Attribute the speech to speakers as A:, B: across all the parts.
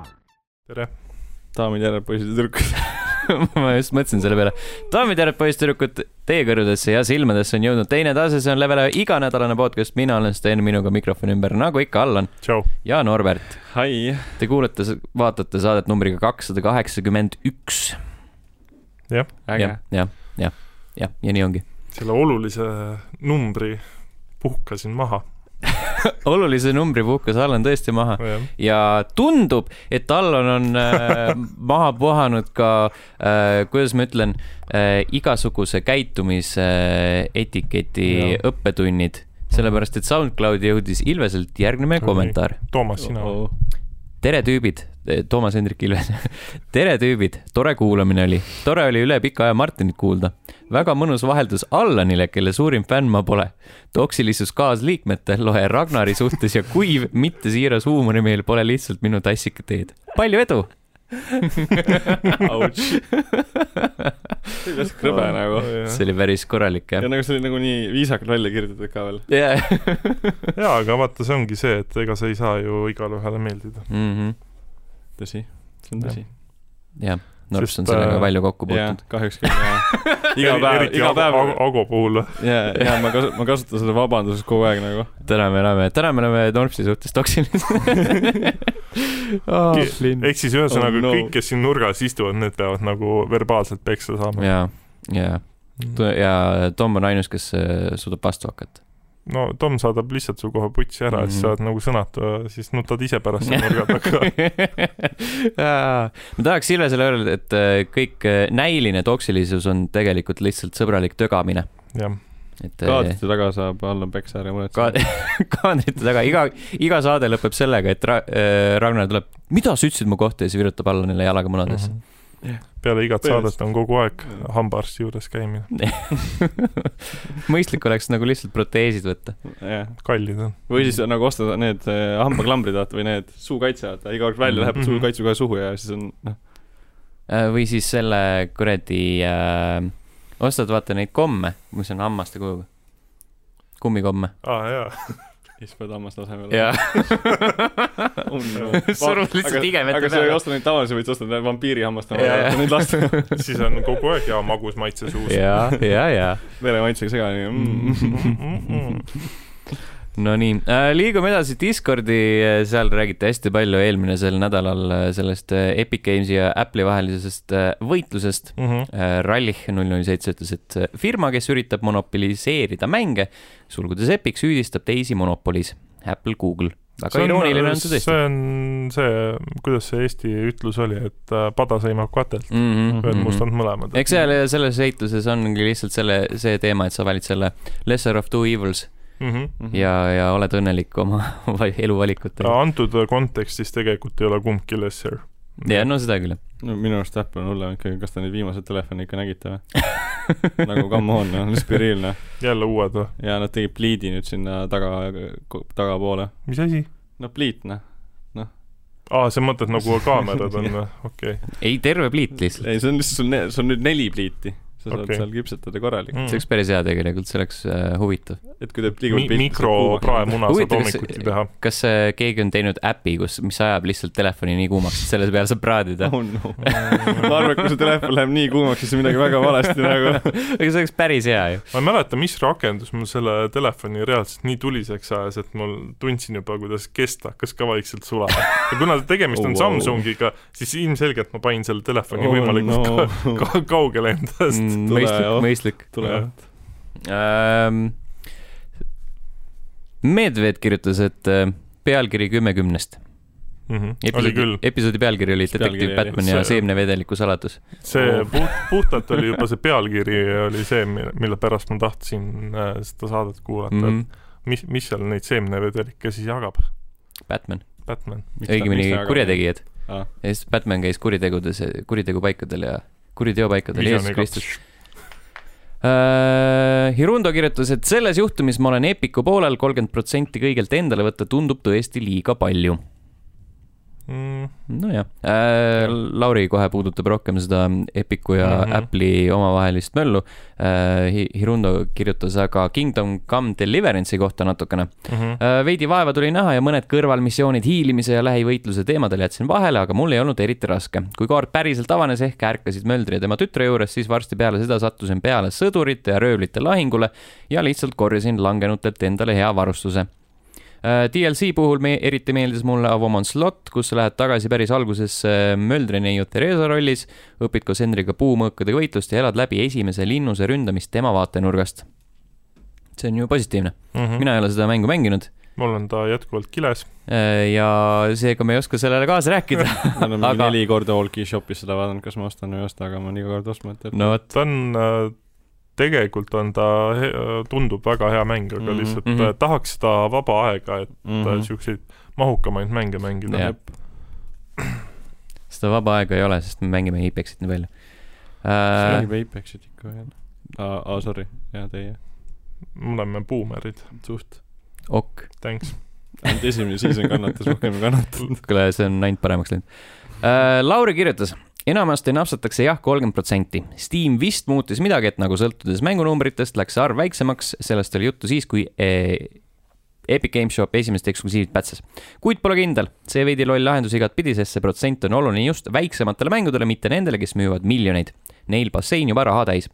A: tere .
B: daamid ja härrad , poisid ja tüdrukud . ma just mõtlesin selle peale . daamid ja härrad , poisid , tüdrukud , teie kõrvadesse ja silmadesse on jõudnud teine tase , see on Level ühe iganädalane podcast , mina olen Sten , minuga mikrofoni ümber , nagu ikka , Allan
A: tšau .
B: ja Norbert .
C: hai ,
B: Te kuulate , vaatate saadet numbriga kakssada kaheksakümmend üks .
C: äge
B: jah ,. jah , jah , jah , ja nii ongi .
A: selle olulise numbri puhkasin maha .
B: olulise numbri puhkas Allan tõesti maha ja tundub , et Allan on äh, maha puhanud ka äh, , kuidas ma ütlen äh, , igasuguse käitumise äh, etiketi ja.
A: Jah.
B: õppetunnid , sellepärast et SoundCloudi jõudis Ilveselt järgmine
A: Oi.
B: kommentaar .
A: Toomas , sina .
B: tere , tüübid , Toomas Hendrik Ilves . tere , tüübid , tore kuulamine oli , tore oli üle pika aja Martinit kuulda . väga mõnus vaheldus Allanile , kelle suurim fänn ma pole . toksilisus kaasliikmete , loe Ragnari suhtes ja kuiv , mitte siiras huumorimeel pole lihtsalt minu tassika teed . palju edu !
C: kuidas krõbe nagu .
B: see oli päris korralik jah
C: ja . nagu see oli nagu nii viisakalt välja kirjutatud ka veel .
B: jah .
A: jaa , aga vaata , see ongi see , et ega sa ei saa ju igale ühele meeldida .
C: tõsi , see on tõsi .
B: Mhm. jah , Norps
A: Sest,
B: on sellega
A: äh,
B: palju kokku
C: jaa
B: puutunud .,
C: kahjuks küll jah . iga päev ,
A: eriti
C: iga päev
A: Ago, Ago puhul .
C: ja , ja ma kasu- , ma kasutan seda vabanduseks kogu aeg nagu .
B: täna me oleme , täna me oleme Norpsi suhtes toksilised oh, .
A: ehk siis ühesõnaga
C: Oh
A: oh,
C: no.
A: no. kõik , kes siin nurgas istuvad , need peavad nagu verbaalselt peksa saama . Mm.
B: ja , ja , ja Tom on ainus , kes äh, suudab vastu hakata .
A: no Tom saadab lihtsalt su kohe putsi ära mm , -hmm.
B: Mhm.
A: siis sa oled nagu sõnatu , siis nutad ise pärast seal nurga taga .
B: ma tahaks Silvesele öelda , et äh, kõik äh, näiline toksilisus on tegelikult lihtsalt sõbralik tögamine ,
A: jah ,
B: et äh,
C: kaadrite taga saab Allan Peksa ära
B: ka-
C: muretseda .
B: kaadrite taga , iga , iga saade lõpeb sellega , et Ra- äh, Ragnar tuleb , mida sa ütlesid mu kohta ja siis virutab Allanile jalaga munadesse
A: Mhm.
B: mm .
A: peale igat
C: Põhimõtteliselt.
A: saadet on kogu aeg hambaarsti juures käimine ,
B: -hmm. mõistlik oleks nagu lihtsalt proteesid võtta .
C: jah ,
A: kallid on .
C: või siis nagu osta need eh, hambaklambrid , vaata , või need suukaitsjad , iga kord välja läheb
A: Mhm.
C: suu kaitsu kohe suhu ja siis on , noh ,
B: Äh, või siis selle kuradi äh, , ostad vaata neid komme , mis on hammaste kujuga , kummikomme .
A: aa jaa ,
C: siis pead hammaste asemele .
B: jaa , surud
C: surud
B: lihtsalt igemete
C: aga sa ei
B: peale.
C: osta neid tavalisi , vaid sa ostad need vampiiri hammaste
B: Jaa, jaa.
C: omad , neid lasta
A: siis on kogu aeg hea magus maitse suus .
B: ja , ja , ja .
C: veremaitsega segani mm. .
A: Mm-mm.
B: Nonii äh, , liigume edasi Discordi , seal räägiti hästi palju eelmine sel nädalal äh, sellest äh, Epic Games'i ja Apple'i vahelisest äh, võitlusest .
A: Mhm.
B: Rallih null null seitse ütles , et äh, firma , kes üritab monopoliseerida mänge , sulgudes Epic , süüdistab teisi monopolis , Apple , Google . väga irooniline on see tõesti .
A: see on see , kuidas see Eesti ütlus oli , et äh, pada sõimab katelt , ühed mustad mõlemad .
B: Mhm, eks seal selles heitluses ongi lihtsalt selle , see teema , et sa valid selle lesser of two evils
A: mm .
C: Mhm.
B: mm. ja , ja oled õnnelik oma eluvalikutega .
A: antud äh, kontekstis tegelikult ei ole kumbki lesser .
B: ja no seda küll .
C: no minu arust Apple on hullem ikkagi , kas te neid viimaseid telefone ikka nägite või ? nagu come on , noh , spiriilne .
A: jälle uued äh, või ?
C: ja nad tegid pliidi nüüd sinna taga , tagapoole .
A: mis asi ?
C: no pliit , noh .
A: aa , sa mõtled nagu kaamerad on või ? okei .
B: ei , terve pliit lihtsalt .
C: ei , see on lihtsalt sul , see on nüüd neli pliiti . sa saad
A: Okei.
C: okay. seal küpsetada
A: mm.
C: korralikult .
B: see oleks päris hea tegelikult , see oleks äh, huvitav .
C: et kui teeb liigub
A: Mhm. Mi- , mikropraemuna saad
B: Huvitav, kas-
A: hommikuti teha .
B: kas äh, keegi on teinud äpi , kus , mis ajab lihtsalt telefoni nii kuumaks , et selle peale saab praadida ?
C: oh no . ma arvan , et kui su telefon läheb nii kuumaks , siis on midagi väga valesti nagu .
B: aga see oleks päris hea ju .
A: ma ei mäleta , mis rakendus mul selle telefoni reaalselt nii tuliseks ajas , et mul tundsin juba , kuidas kest hakkas ka vaikselt sulama . ja kuna tegemist on oh,
C: Oh, wow.
A: Samsungiga , siis ilmselgelt ma panin selle telefoni oh, võimalikult no. ka, ka kaugele endast mm. .
C: tule,
B: mõistlik
C: jah. ,
B: mõistlik .
C: tuleb .
B: ähm, . Medved kirjutas , et äh, pealkiri kümme kümnest .
A: Mm -hmm. oli küll ,
B: episoodi pealkiri oli
C: Mis
B: Detektiiv
C: pealkiri oli?
B: Batman ja
A: See-
B: seemnevedeliku saladus .
A: see
C: Oh.
A: puht , puhtalt oli juba see pealkiri oli see , mille pärast ma tahtsin äh, seda saadet kuulata mm ,
B: Mhm.
A: -hmm. et mis , mis seal neid seemnevedelikke siis jagab ,
B: Batman ,
A: Batman .
B: õigemini . kurjategijad .
C: Aa.
B: ja siis Batman käis kuritegudes , kuritegupaikadel ja kuriteopaikadel , Jeesus Kristus . Äh, Hirundo kirjutas , et selles juhtumis ma olen Epiku poolel , kolmkümmend protsenti kõigelt endale võtta tundub tõesti liiga palju .
A: mm, .
B: nojah äh, , Lauri kohe puudutab rohkem seda Epiku ja mm
A: Mhm.
B: -hmm. Apple'i omavahelist möllu äh, . Hirundo kirjutas aga Kingdom Come Deliverance'i kohta natukene
A: Mm -hmm.
B: äh, . veidi vaeva tuli näha ja mõned kõrvalmissioonid hiilimise ja lähivõitluse teemadel jätsin vahele , aga mul ei olnud eriti raske . kui kaart päriselt avanes , ehk ärkasid Möldri ja tema tütre juures , siis varsti peale seda sattusin peale sõdurite ja röövlite lahingule ja lihtsalt korjasin langenutelt endale hea varustuse . Äh, DLC puhul me eriti meeldis mulle A Woman's Lot , kus sa lähed tagasi päris algusesse Möldri neiu Theresa rollis , õpid koos Henriga puumõõkadega võitlust ja elad läbi esimese linnuse ründamist tema vaatenurgast . see on ju positiivne ,
A: Mm -hmm.
B: mina ei ole seda mängu mänginud ,
A: mul on ta jätkuvalt kiles .
B: Äh, ja seega me ei oska sellele kaasa rääkida .
C: ma olen mingi
B: Aga-
C: neli korda Allkey shop'is seda vaadanud , kas ma ostan või ei osta , aga ma olen iga kord ostmata jätnud .
B: no vot ,
A: ta on , äh, tegelikult on ta , tundub väga hea mäng , aga
C: Mhm.
A: mm -hmm. lihtsalt mm
B: Mhm.
A: -hmm. tahaks seda vaba aega , et mm -hmm. siukseid mahukamaid mänge mängida
B: Jah. . seda vaba aega ei ole , sest me mängime Apexit Äh, nii palju .
C: see oli või Apexit ikka veel . aa , aa , sorry , ja teie ,
A: me oleme buumerid ,
C: suht .
B: Ok ,
A: thanks .
C: ainult esimene season kannatas , rohkem ei kannatanud .
B: kuule , see on ainult paremaks läinud . Lauri kirjutas , enamasti napsatakse jah , kolmkümmend protsenti . Steam vist muutis midagi , et nagu sõltudes mängunumbritest läks see arv väiksemaks , sellest oli juttu siis , kui eh, Epic Games Shop esimesed eksklusiivid pätses . kuid pole kindel , see veidi loll lahendus igatpidi , sest see protsent on oluline just väiksematele mängudele , mitte nendele , kes müüvad miljoneid . Neil bassein juba raha täis .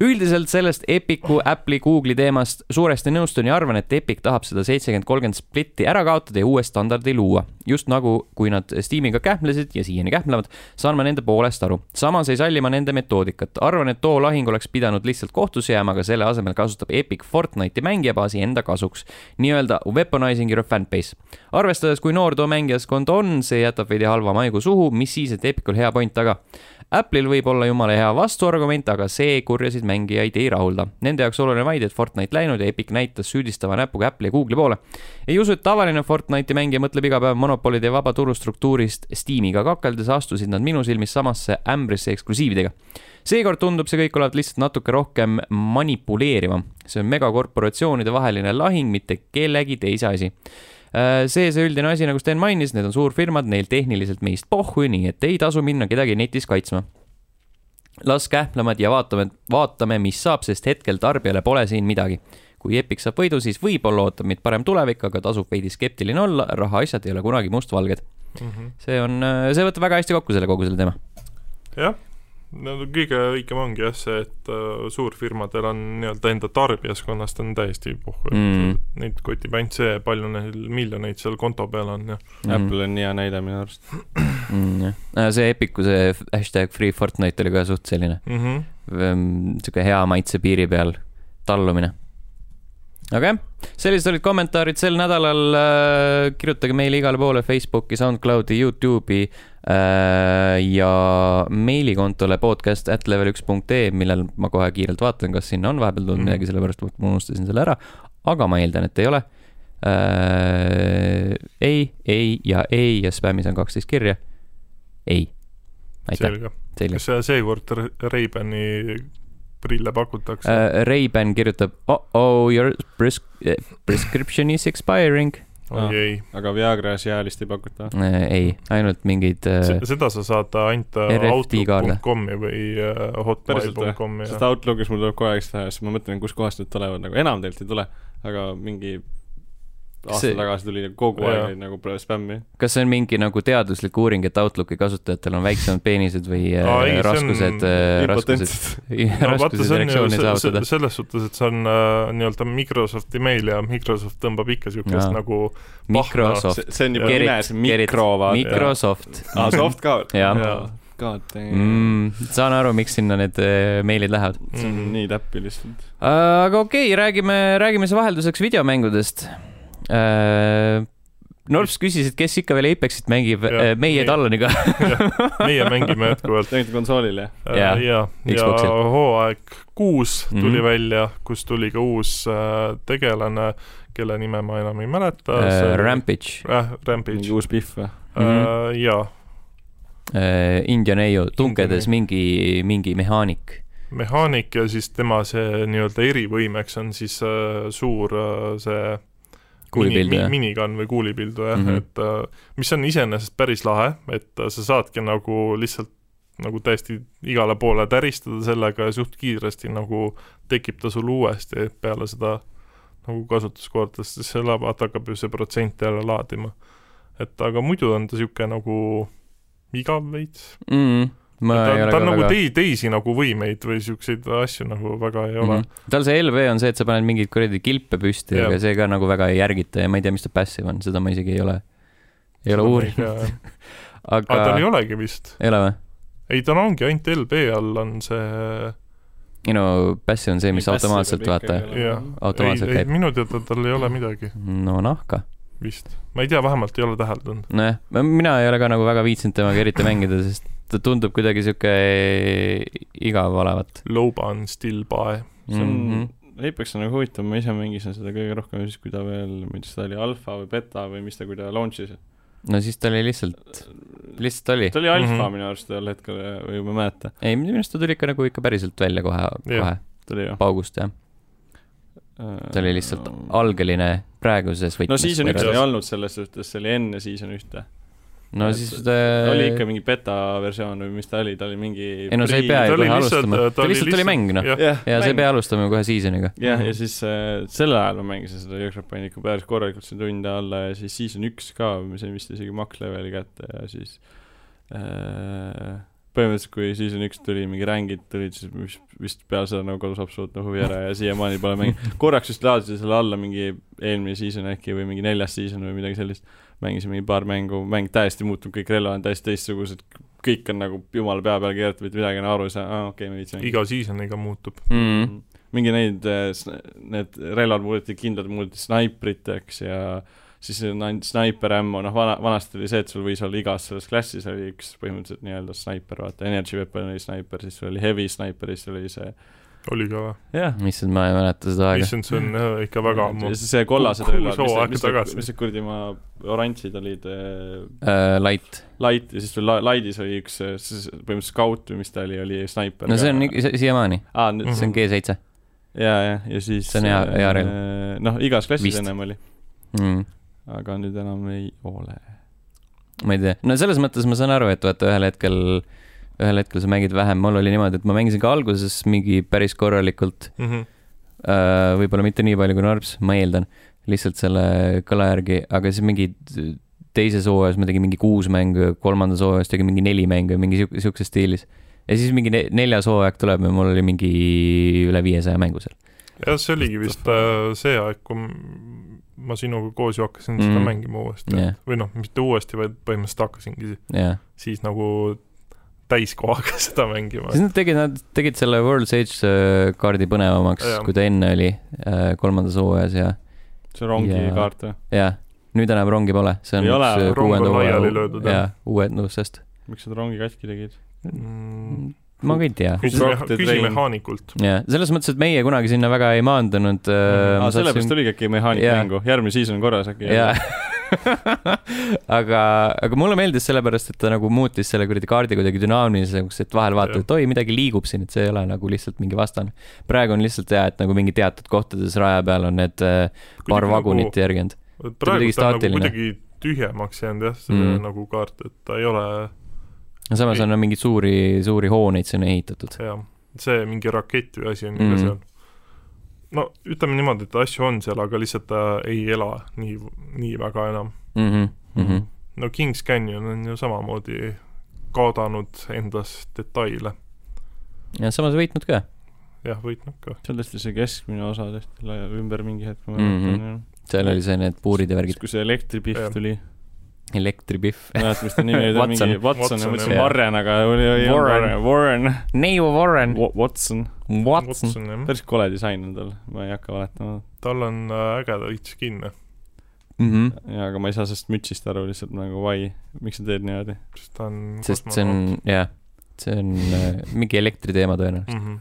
B: üldiselt sellest Epiku , Apple'i , Google'i teemast suuresti nõustun ja arvan , et Epic tahab seda seitsekümmend , kolmkümmend splitti ära kaotada ja uue standardi luua . just nagu , kui nad Steamiga kähmlesid ja siiani kähmlevad , saan ma nende poolest aru . samas ei salli ma nende metoodikat . arvan , et too lahing oleks pidanud lihtsalt kohtusse jääma , aga selle asemel kasutab Epic Fortnite'i mängijabaasi enda kasuks . nii-öelda weaponizing your fanbase . arvestades , kui noor too mängijaskond on , see jätab veidi halva maigu suhu , mis siis , et Epicul hea point taga Apple'il võib olla jumala hea vastuargument , aga see kurjasid mängijaid ei rahulda . Nende jaoks oluline vaid , et Fortnite läinud ja Epic näitas süüdistava näpuga Apple'i ja Google'i poole . ei usu , et tavaline Fortnite'i mängija mõtleb iga päev monopolide ja vaba turu struktuurist Steamiga kakeldes , astusid nad minu silmis samasse ämbrisse eksklusiividega . seekord tundub see kõik olevat lihtsalt natuke rohkem manipuleerivam . see on megakorporatsioonide vaheline lahing , mitte kellegi teise asi Äh, see , see üldine asi , nagu Sten mainis , need on suurfirmad , neil tehniliselt meist pohhu , nii et ei tasu minna kedagi netis kaitsma . las kähmlemad ja vaatame , vaatame , mis saab , sest hetkel tarbijale pole siin midagi . kui Epic saab võidu , siis võib-olla ootab meid parem tulevik , aga tasub veidi skeptiline olla , rahaasjad ei ole kunagi mustvalged . see on , see võtab väga hästi kokku selle kogu selle teema .
A: jah , no kõige õigem ongi jah see , et äh, suurfirmadel on nii-öelda enda tarbijaskonnast on täiesti puhku
B: Mm.
A: mm. , neid kotib ainult see , palju neil miljoneid seal konto peal on ja
C: Apple on nii hea näide minu arust .
B: Mm, Äh, see Epicu see hashtag Free Fortnite oli ka suht selline ,
A: mm . -hmm.
B: Ehm, sihuke hea maitse piiri peal tallumine . aga jah , sellised olid kommentaarid sel nädalal . kirjutage meile igale poole Facebooki , SoundCloudi , Youtube'i äh, ja meilikontole podcast at level üks punkt ee , millel ma kohe kiirelt vaatan , kas sinna on vahepeal tulnud
A: Mhm.
B: mm. midagi , sellepärast et ma unustasin selle ära . aga ma eeldan , et ei ole äh, . ei , ei ja ei ja spämmis on kaksteist kirja . ei . aitäh ,
A: selge .
B: selge .
A: kas äh, seekord Re- Ray-Bani prille pakutakse äh, ?
B: uh, . Ray-Ban kirjutab oh-oh , your pres- , prescription is expiring
A: oi ei
C: aga Viagras ja Alist ei pakuta .
B: uh, . ei , ainult mingid uh,
A: Se- , seda sa saad ainult
B: RFD kaarde.
A: outlook.com'i või äh,
C: Päriselt või?
A: hotmail.com'i
C: sest Outlookis mul tuleb kogu aeg seda , siis ma mõtlen , kuskohast need tulevad , nagu enam tegelikult ei tule , aga mingi aasta
B: See-
C: see... tagasi tuli kogu aeg
A: Jaa.
C: neid nagu pole spämmi .
B: kas see on mingi nagu teaduslik uuring , et Outlooki kasutajatel on väiksemad peenised või uh,
A: Aa, ei, see on
B: raskused uh, , raskused ,
C: impotentsed .
A: no vaata ,
B: raskused
A: see on
B: reaktsioone
A: ju se-
B: saavutada
A: se- ? selles suhtes , et see on äh, nii-öelda Microsofti meil ja Microsoft tõmbab ikka siukest
B: Jaa.
A: nagu
B: Microsoft ,
C: see on juba
A: Kerit-
C: nimes
B: Kerit-
C: mikro , vaata .
B: Microsoft
C: aa , soft ka või ?
B: Jah.
C: God damn .
B: mm, . saan aru , miks sinna need uh, meilid lähevad .
C: see on
A: Mhm.
C: nii täppi lihtsalt .
B: Äh, aga okei , räägime , räägime siis vahelduseks videomängudest . Norps küsis , et kes ikka veel Apexit mängib ,
A: Jah,
B: äh, meie
A: meie.
B: Talloniga .
A: meie mängime jätkuvalt .
C: tegelikult konsoolile .
A: ja
B: Jaa, ,
A: ja,
B: Xboxil.
A: ja hooaeg kuus tuli mm
B: Mhm.
A: -hmm. välja , kus tuli ka uus äh, tegelane , kelle nime ma enam ei mäleta .
B: Äh, Rampage ,
A: äh, . Rampage
C: mingi . uus pihv või ?
B: Mhm. Äh,
A: Äh, jaa ,
B: Indian Eo , tungedes
A: Eo.
B: mingi , mingi mehaanik .
A: mehaanik ja siis tema see nii-öelda erivõimeks on siis äh, suur äh, see
B: Kuulipild,
A: mini,
B: jah.
A: minigun või kuulipild või jah mm
B: Mhm.
A: -hmm. et äh, mis on iseenesest päris lahe , et äh, sa saadki nagu lihtsalt nagu täiesti igale poole täristada sellega ja suht kiiresti nagu tekib ta sul uuesti peale seda nagu kasutuskorda , sest see laevat hakkab ju see protsent jälle laadima . et aga muidu on ta niisugune nagu igav veits .
B: mm, . ma ei
A: ta,
B: ole
A: ta
B: ka
A: on nagu
B: väga .
A: tei- , teisi nagu võimeid või niisuguseid asju nagu väga ei
B: Mhm.
A: ole mm . -hmm.
B: tal see LV on see , et sa paned mingeid kuradi kilpe püsti ,
A: Jah.
B: aga see ka nagu väga ei järgita ja ma ei tea , mis ta passive on , seda ma isegi ei ole , ei ole uurinud ,
A: aga
B: aga
A: Ah, tal ei olegi vist .
B: ei ole või ?
A: ei , tal ongi ainult LB all on see ,
B: ei no passive on see , mis automaatselt vaata ,
A: jah .
B: automaatselt
A: ei ,
B: käib.
A: minu teada tal ei ole midagi
B: no nahka .
A: vist . ma ei tea , vähemalt ei ole täheldanud .
B: nojah , mina ei ole ka nagu väga viitsinud temaga eriti mängida , sest ta tundub kuidagi sihuke igav olevat . Mhm.
A: Loba on still by .
C: see on , Apex on nagu huvitav , ma ise mängisin seda kõige rohkem siis , kui ta veel , ma ei tea , kas ta oli alfa või beta või mis ta , kui ta launch'is .
B: no siis ta oli lihtsalt , lihtsalt oli .
C: ta oli alfa mm
A: Mhm.
C: -hmm. minu arust tol hetkel ja- või ma ei mäleta ,
B: ei , minu arust ta tuli ikka nagu ikka päriselt välja kohe ,
A: Jah.
B: kohe
C: ta oli jah .
B: paugust jah . ta oli lihtsalt algeline praeguses võtmes .
C: Äh, no season üks
A: võrreldes.
C: ei olnud selles suhtes , see oli enne season ühte .
B: no
C: et-
B: siis
C: ta
B: ta
C: oli ikka mingi beta versioon või mis ta oli , ta oli mingi
B: Äh, ei no sa ei
C: free-
B: pea
A: ta
B: ju
A: oli
B: kohe
A: lihtsalt-
B: alustama ,
A: ta
B: ta
A: oli
B: lihtsalt oli
A: lihtsalt-
B: mäng noh .
A: jah ,
C: jah ,
B: ja sa ei pea alustama ju kohe season'iga .
C: jah , ja siis äh, sel ajal ma mängisin seda Jõhkrat panin ikka päris korralikult selle tunde alla ja siis season üks ka , ma sain vist isegi max leveli kätte ja siis äh, põhimõtteliselt , kui season üks tuli , mingi rängid tulid , siis ma vist , vist peale seda nagu kadus absoluutne huvi ära ja siiamaani pole mänginud . korraks vist laadisin selle alla mingi eelmine season äkki või mingi neljas season või midagi sellist . mängisin mingi paar mängu , mäng täiesti muutub , kõik relvad on täiesti teistsugused , kõik on nagu jumala pea peal keeratud , mitte midagi enam aru ei saa , aa okei okay, , ma ei viitsi mängida
A: iga season'iga muutub .
B: mm. .
C: mingi neid , need relvad muudeti , kindlad muudeti snaipriteks ja siis on ainult snaiper ämmu , noh vana , vanasti oli see , et sul võis olla igas selles klassis oli üks põhimõtteliselt nii-öelda snaiper , vaata , energy weapon oli snaiper , siis sul oli heavy sniper ja siis oli see
A: oli ka või ?
C: jah ,
B: issand , ma ei mäleta seda aega .
A: issand , see on jah, ikka väga ammu
C: ja . siis see kollased
A: Kuus
C: relvad , mis
A: hooaega
C: need , mis need ,
A: tagasi.
C: mis need kuradi maa oranžid olid äh,
B: Light .
C: light ja siis veel la- light'is oli üks äh, siis põhimõtteliselt scout või mis ta oli , oli snaiper
B: no see on ikka- si- siiamaani ,
C: aa nüüd
B: see on G7
C: jaa , jah , ja siis
B: See on hea- hea relv.
C: äh, noh , igas klassis
B: Vist.
C: ennem oli
B: mm. .
C: aga nüüd enam ei ole .
B: ma ei tea , no selles mõttes ma saan aru , et vaata ühel hetkel , ühel hetkel sa mängid vähem , mul oli niimoodi , et ma mängisin ka alguses mingi päris korralikult ,
A: Mhm.
B: võib-olla mitte nii palju kui Narps , ma eeldan , lihtsalt selle kõla järgi , aga siis mingi teises hooajas ma tegin mingi kuus mängu ja kolmandas hooajas tegin mingi neli mängu ja mingi sihuke , sihukeses stiilis . ja siis mingi ne- neljas hooaeg tuleb ja mul oli mingi üle viiesaja mängu seal .
A: jah , see oligi vist äh, see aeg , kui m- ma sinuga koos ju hakkasin mm. seda
B: Mhm.
A: mängima uuesti
B: Jah.
A: yeah. . või noh , mitte uuesti , vaid põhimõtteliselt hakkasingi si-
B: jah ,
A: siis nagu täiskohaga seda mängima .
B: siis nad tegid , nad tegid selle World's Age äh, kaardi põnevamaks
A: Jaa. ,
B: kui ta enne oli äh, kolmandas hooajas ja ,
C: see on rongikaart või ?
B: ja nüüd enam rongi pole , see on
C: Ei ole,
B: üks äh,
A: rong on
B: kuuenda
A: laiali löödud,
B: hooaja
A: jah.
B: ja uuendusest .
C: miks nad rongi katki tegid ?
A: Mm.
B: ma ka ei tea .
A: küsi
C: Rock the
A: küsi
C: Train.
A: mehaanikult .
B: ja selles mõttes , et meie kunagi sinna väga ei maandunud
A: Mm.
B: äh, .
C: aa , sellepärast oligi äkki mehaanik
B: Jaa.
C: mängu , järgmine season on korras äkki .
B: jaa , aga , aga mulle meeldis sellepärast , et ta nagu muutis selle kuradi kaardi kuidagi dünaamilisemaks , et vahel vaatad ,
A: Jah.
B: et oi , midagi liigub siin , et see ei ole nagu lihtsalt mingi vastane . praegu on lihtsalt hea , et nagu mingi teatud kohtades raja peal on need äh, paar vagunit nagu... järginud .
A: praegu
B: kuidagi
A: ta on nagu
B: staatiline.
A: kuidagi tühjemaks jäänud jah , see
B: Mhm.
A: mm. nagu kaart , et ta ei ole
B: samas on mingeid suuri , suuri hooneid sinna ehitatud .
A: jah , see mingi rakett või asi on ikka
B: Mhm.
A: mm. seal . no ütleme niimoodi , et asju on seal , aga lihtsalt ta ei ela nii , nii väga enam .
B: Mhm,
A: Mhm. no King's Canyon on ju samamoodi kaotanud endas detaile ,
B: ja samas võitnud ka .
A: jah , võitnud ka .
C: seal tõesti see keskmine osa tehti lai- ümber mingi hetk , ma
B: Mhm.
C: mäletan jah .
B: seal oli see , need puurid ja värgid ,
C: kui see elektripihv
A: Jah.
C: tuli ,
B: elektripihv .
C: mäletad , mis ta nimi oli , ta oli
B: Watson.
C: mingi Watson ,
A: Watson,
C: ma mõtlesin
B: jah.
C: Warren , aga oli , oli
B: Warren.
C: Warren ,
B: neiu Warren
C: Watson ,
B: Watson .
A: jah ,
C: päris kole disain on tal , ma ei hakka valetama .
A: tal on äh, ägedaid skin'e ,
B: Mhm. Mm.
C: jaa , aga ma ei saa sellest mütsist aru lihtsalt nagu why , miks sa teed niimoodi ?
A: sest ta on
B: sest see on , jah , see on äh, mingi elektriteema tõenäoliselt .
A: mm -hmm.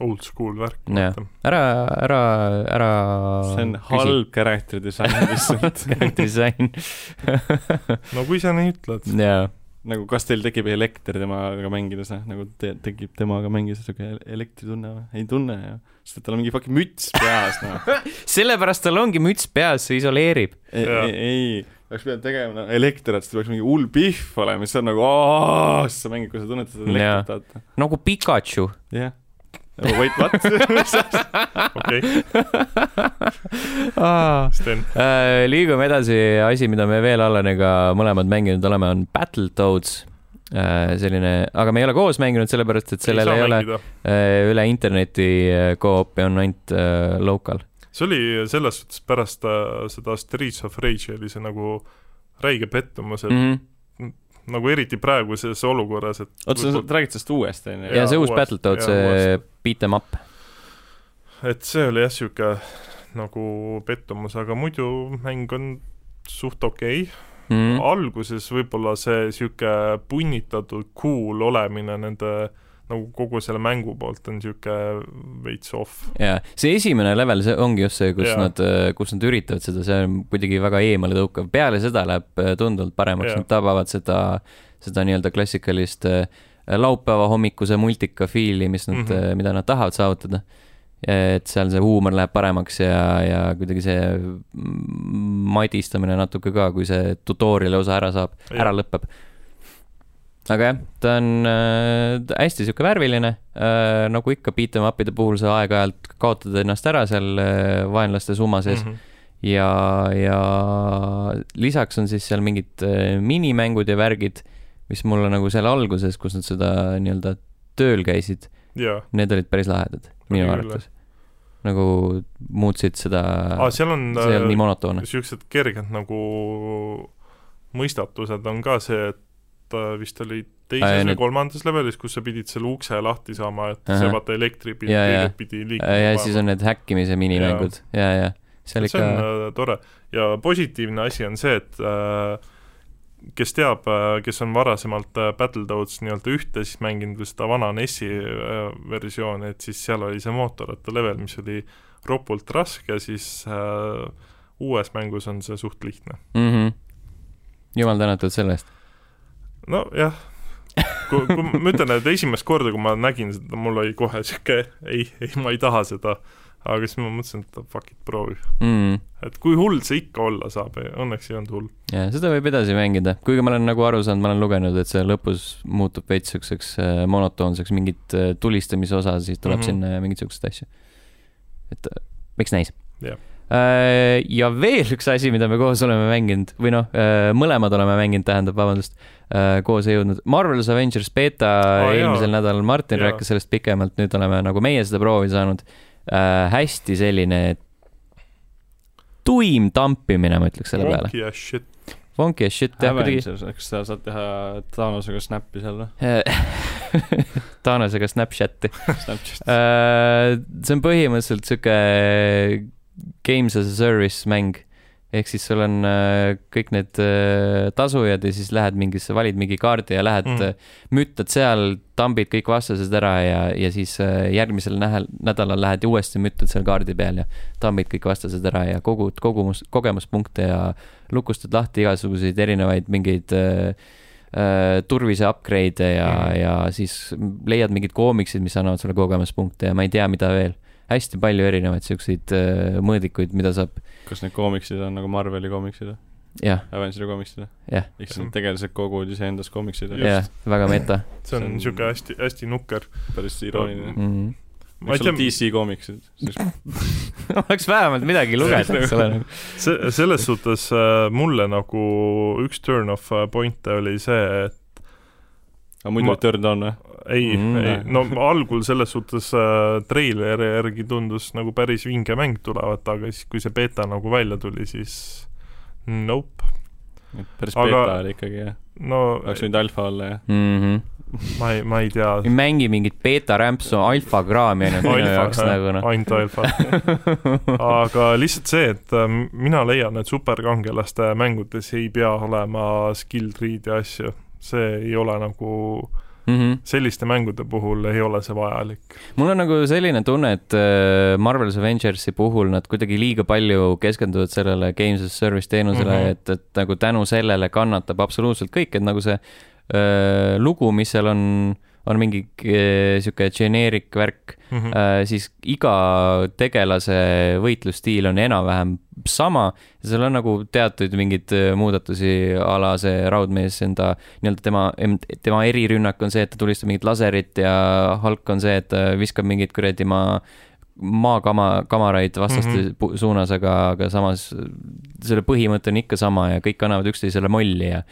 A: old school värk ,
B: Jah.
A: vaata .
B: ära , ära , ära .
C: see on . halb character disain lihtsalt .
B: disain .
A: no kui sa nii ütled ,
B: jaa ,
C: nagu kas teil tekib elekter temaga mängides , noh , nagu te, tekib temaga mängides siuke el- elektritunne või ? ei tunne ju , sest et tal on mingi fucking müts peas , noh .
B: sellepärast tal ongi müts peas , see isoleerib .
C: ei ,
A: Jaa.
C: ei, ei. , peaks pidama tegema no, elektrit , siis peaks mingi hull pihv olema , siis see on nagu aa , siis sa mängid , kui sa tunned seda
B: Jaa.
C: elektrit , vaata .
B: nagu Pikachu .
C: jah . Wait , what ?
A: okei ,
B: Äh,
A: Sten ,
B: liigume edasi , asi , mida me veel Allaniga mõlemad mänginud oleme , on Battletoads . selline , aga me ei ole koos mänginud , sellepärast et
A: ei
B: sellel
A: saa
B: ei, ei ole
A: mängida .
B: äh, üle interneti äh, co-op'i , on ainult äh, local .
A: see oli selles suhtes pärast äh, seda Streets of Rage'i oli see nagu räige pettumus , et mm.
B: -hmm.
A: nagu eriti praeguses olukorras , et
C: oota , sa räägid sellest uuest , onju ?
B: ja
A: Jaa,
B: see uus
A: uuesti-
B: Battletoads
A: jaa, ,
B: beat em up .
A: et see oli jah , niisugune nagu pettumus , aga muidu mäng on suht okei okay.
B: Mhm.
A: mm. . alguses võib-olla see niisugune punnitatud cool olemine nende nagu kogu selle mängu poolt on niisugune veits off .
B: ja see esimene level , see ongi just see , kus
A: Jaa.
B: nad , kus nad üritavad seda , see on kuidagi väga eemale tõukav , peale seda läheb äh, tunduvalt paremaks ,
A: Jaa.
B: nad tabavad seda , seda nii-öelda klassikalist äh, laupäeva hommikuse multika fiili , mis nad mm ,
A: Mhm.
B: -hmm. mida nad tahavad saavutada . et seal see huumor läheb paremaks ja , ja kuidagi see mm, madistamine natuke ka , kui see tutorial'i osa ära saab ,
A: Jaa.
B: ära lõpeb . aga jah , ta on äh, ta hästi sihuke värviline äh, , nagu ikka beat'em up'ide puhul sa aeg-ajalt kaotad ennast ära seal äh, vaenlaste summa sees mm .
A: -hmm.
B: -hmm. ja , ja lisaks on siis seal mingid äh, minimängud ja värgid , mis mulle nagu seal alguses , kus nad seda nii-öelda tööl käisid ,
A: jaa ,
B: need olid päris lahedad , minu
A: küll,
B: arvates . nagu muutsid seda
A: aa , Ah, seal on
B: Äh,
A: äh,
B: see ei olnud nii monotoonne .
A: niisugused kerged nagu mõistatused on ka see , et äh, vist oli
B: Aa,
A: teises
B: ja
A: või
B: need-
A: kolmandas levelis , kus sa pidid selle ukse lahti saama , et
B: Ahah.
A: see vaata elektri pidi ,
B: Jaa, jaa.
A: teised pidi liikuma .
B: Äh, ja siis on need häkkimise minimängud ja , ja seal
A: see
B: ikka
A: on äh, tore ja positiivne asi on see , et äh, kes teab , kes on varasemalt äh, Battletoads nii-öelda ühte siis mänginud või seda vana NES-i äh, versiooni , et siis seal oli see mootorrattalevel , mis oli ropult raske , siis äh, uues mängus on see suht lihtne .
B: mm . -hmm. jumal tänatud selle eest .
A: nojah , kui , kui ma ütlen , et esimest korda , kui ma nägin seda , mul oli kohe sihuke ei , ei , ma ei taha seda , aga siis ma mõtlesin , et fuck it , proovi .
B: mm. .
A: et kui hull see ikka olla saab , õnneks ei olnud hull .
B: ja seda võib edasi mängida , kuigi ma olen nagu aru saanud , ma olen lugenud , et see lõpus muutub veits siukseks äh, monotoonseks , mingit äh, tulistamise osa , siis tuleb mm
A: Mhm.
B: -hmm. sinna ja mingeid siukseid asju . et äh, miks näis Äh,
A: Jah. .
B: ja veel üks asi , mida me koos oleme mänginud või noh , mõlemad oleme mänginud , tähendab , vabandust , koos ei jõudnud . Marvel's Avengers beeta
A: Aa,
B: oh,
A: jaa.
B: eelmisel nädalal Martin
A: Jaa.
B: rääkis sellest pikemalt , nüüd oleme nagu meie seda proovi saanud . hästi selline tuim tampimine , ma ütleks selle peale .
A: Wonky as shit .
B: Funky as shit jah , kuidagi
C: Avengers , kas sa saad teha Thanosega snappi seal noh, või ?
B: Taanesega Snapchati .
C: Snapchat .
B: Äh, see on põhimõtteliselt sihuke games as a service mäng . ehk siis sul on äh, kõik need äh, tasujad ja siis lähed mingisse , valid mingi kaardi ja lähed
A: Mm.
B: mm. , müttad seal , tambid kõik vastased ära ja , ja siis äh, järgmisel nähel, nädalal lähed ja uuesti müttad seal kaardi peal ja tambid kõik vastased ära ja kogud kogumus , kogemuspunkte ja lukustad lahti igasuguseid erinevaid mingeid äh, äh, turvise upgrade'e ja mm. , ja siis leiad mingid koomiksid , mis annavad sulle kogemuspunkte ja ma ei tea , mida veel . hästi palju erinevaid siukseid äh, mõõdikuid , mida saab ,
C: kas need koomiksid on nagu Marveli koomiksid või ?
B: jah ,
C: Avengersi koomiksid või ?
B: Jah.
C: ehk siis need tegelased koguvad noh. iseendas koomiksid või ?
B: jah , väga meta
A: see on
C: See on-
A: niisugune hästi , hästi nukker .
C: päris irooniline .
B: mm. .
A: ma ei
C: võiks
A: tea
C: olla , DC koomiksid , siis
B: oleks vähemalt midagi lugeda , eks ole .
A: see , selles suhtes äh, mulle nagu üks turn-off äh, point'e oli see , et
C: aga muidu
A: Ma-
C: ma... turned on noh. või ?
A: ei
B: Mm.
A: mm, , ei , no algul selles suhtes äh, treileri järgi tundus nagu päris vinge mäng tulevat , aga siis , kui see beeta nagu välja tuli , siis nope .
C: päris
A: Aga-
C: aga... beta oli ikkagi jah ,
A: no
C: oleks võinud alfa olla jah .
B: Mm -hmm.
A: ma ei , ma ei tea .
B: ei mängi mingit beeta rämpsu , alfa kraami on ju minu jaoks nagu noh .
A: ainult alfa . aga lihtsalt see , et äh, mina leian , et superkangelaste mängudes ei pea olema skill tree'd ja asju . see ei ole nagu ,
B: noh. Mhm.
A: selliste mängude puhul ei ole see vajalik .
B: mul on nagu selline tunne , et äh, Marvel's Avengersi puhul nad kuidagi liiga palju keskenduvad sellele games as service teenusele mm ,
A: Mhm.
B: -hmm. et , et nagu tänu sellele kannatab absoluutselt kõik , et nagu see öö, lugu , mis seal on , on mingi öö, sihuke geneerik värk ,
A: mm . -hmm.
B: Äh, siis iga tegelase võitlusstiil on enam-vähem sama ja seal on nagu teatud mingeid äh, muudatusi , a la see raudmees enda nii-öelda tema , tema erirünnak on see , et ta tulistab mingit laserit ja Hulk on see , et ta viskab mingeid kuradi maa , maakama , kamaraid vastaste mm
A: Mhm.
B: -hmm. suunas , aga , aga samas selle põhimõte on ikka sama ja kõik annavad üksteisele molli ja ,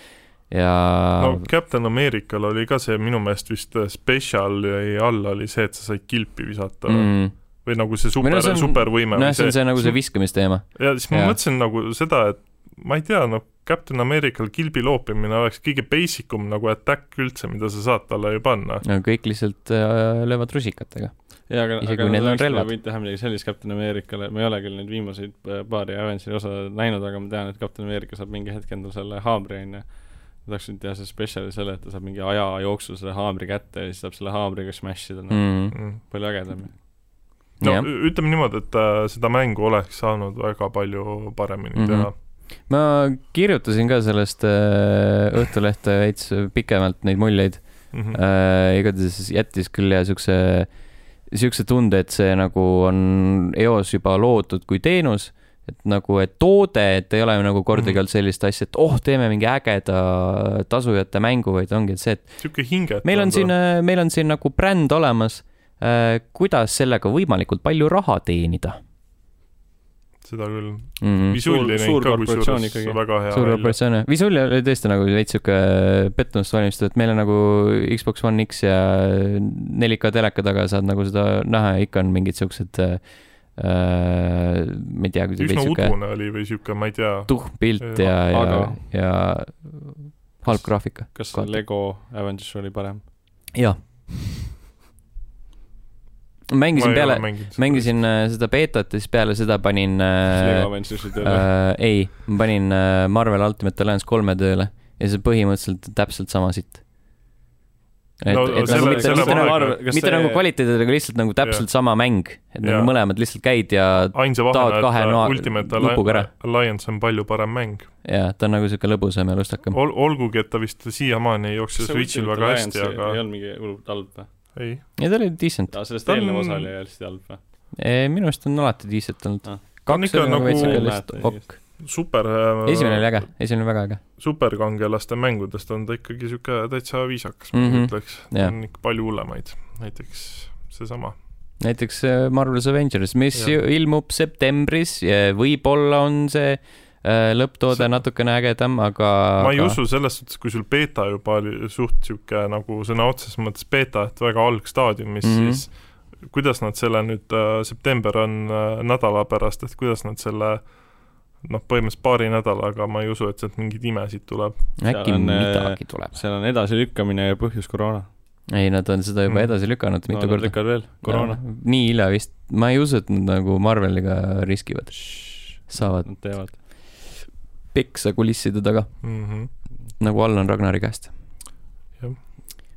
B: ja
A: no Captain Americal oli ka see minu meelest vist spetsial jäi alla oli see , et sa said kilpi visata mm.
B: mm,
A: või nagu see
B: Või
A: super
B: no see on- ,
A: supervõime
B: nojah ,
A: või
B: see on see nagu see viskamisteema .
A: ja siis ma
B: jaa.
A: mõtlesin nagu seda , et ma ei tea , noh , Captain Americal kilbi loopimine oleks kõige basic um nagu attack üldse , mida sa saad talle ju panna .
B: no kõik lihtsalt äh, löövad rusikatega .
C: jaa , aga ,
B: Isegi
C: aga
B: kui
C: nad
B: neil on
C: oleks
B: relvad.
C: võinud teha midagi sellist Captain Americale , ma ei ole küll neid viimaseid äh, paari Avengersi osa näinud , aga ma tean , et Captain America saab mingi hetk endale selle haamri , onju . ma tahaksin teha selle spetsiali selle , et ta saab mingi aja jooksul selle haamri kätte ja siis saab selle haamriga smash ida , noh ,
B: mm. .
A: no
C: palju ägedam .
B: jah ,
A: ü- ütleme niimoodi , et äh, seda mängu oleks saanud väga palju paremini
B: Mhm.
A: mm -hmm.
B: ma kirjutasin ka sellest äh, Õhtulehte veits pikemalt neid muljeid
A: teha .
B: äh, . igatahes jättis küll ja siukse , siukse tunde , et see nagu on eos juba loodud kui teenus , et nagu , et toode , et ei ole nagu kordagi
A: Mhm.
B: olnud sellist asja , et oh , teeme mingi ägeda tasujate mängu , vaid ongi see , et
A: niisugune hinge .
B: meil on siin , meil on siin nagu bränd olemas , kuidas sellega võimalikult palju raha teenida
A: seda küll ,
B: mm. .
A: visuaalne
C: Suur-
A: näinud
C: suur
A: ka
C: korporatsioon
A: kusjuures
C: ikkagi.
A: väga hea
B: suur . operatsioon jah , visuaal oli tõesti nagu veits sihuke pettumust valmistatud , et meil on nagu Xbox One X ja 4K teleka taga saad nagu seda näha ja ikka on mingid siuksed äh, , ma ei tea ,
A: üsna
B: veits sihuke
A: udune oli või niisugune , ma ei tea ,
B: tuhm pilt ja , ja
C: Aga- ,
B: ja halb graafika .
C: kas see Lego Avengers oli parem ?
B: jah .
A: ma
B: mängisin
A: ei
B: peale
A: ole , mänginud .
B: mängisin äh, seda beetot ja siis peale seda panin
C: kas Lego
B: äh, ,
C: Avengersi tööle äh, ?
B: äh, ei , ma panin äh, Marvel Ultimate Alliance kolme tööle ja see põhimõtteliselt on täpselt sama sitt . et
A: No
B: no, , et
A: selle-
B: nagu mitte ,
A: selle
B: mitte nagu ,
A: vahega-
B: mitte see... nagu kvaliteedid , aga lihtsalt nagu täpselt yeah. sama mäng , et yeah.
A: Jaa.
B: nagu mõlemad lihtsalt käid ja ,
A: ainsa
B: taod kahe
A: vahena ,
B: noa-
A: et äh, Ultimate
B: lupuga ära.
A: Alli- Alliance on palju parem mäng .
B: ja ta on nagu sihuke lõbusam ja lustakam .
A: Ol- , olgugi , et ta vist siiamaani ei jookse Switchil väga hästi , aga
C: ei olnud mingi hullult halb või ?
A: ei ,
B: ja ta oli decent ,
C: aa , sellest
A: Ta on-
C: eelnev osa oli hästi halb või ?
B: minu arust on alati decent olnud
C: Ah.
B: ah. .
A: Ta on
B: kaks
A: ikka
B: oli nagu
A: nagu-
B: veits sihuke
C: Ei
B: lihtsalt
C: mäleta
B: okk .
A: super äh,
B: esimene oli äge , esimene oli väga äge .
A: superkangelaste mängudest on ta ikkagi niisugune täitsa viisakas , ma
B: Mhm.
A: mm -hmm. ütleks .
B: Jah.
A: on ikka palju hullemaid , näiteks seesama .
B: näiteks äh, Marvel's Avengers , mis
A: Jah.
B: ju ilmub septembris , võib-olla on see äh, lõpptoode
A: See-
B: see... natukene ägedam , aga
A: ma ei
B: aga...
A: usu selles suhtes , kui sul beeta juba oli suht niisugune nagu sõna otseses mõttes beeta , et väga algstaadiumis mm ,
B: Mhm.
A: -hmm. siis kuidas nad selle nüüd äh, , september on äh, nädala pärast , et kuidas nad selle noh , põhimõtteliselt paari nädalaga ma ei usu , et sealt mingeid imesid tuleb .
B: äkki
C: seal
B: on,
C: on, äh,
B: midagi tuleb .
C: seal on edasilükkamine ja põhjus koroona .
B: ei , nad on seda juba
A: Mm.
B: edasi lükanud mitu
C: Hmm. no,
B: no,
C: nad
B: korda .
C: lükkavad veel , koroona .
B: nii hilja vist , ma ei usu , et nad nagu Marveliga riskivad , saavad
C: Nad teevad .
B: peksa kulisside taga ,
A: mm . -hmm.
B: nagu Allan Ragnari käest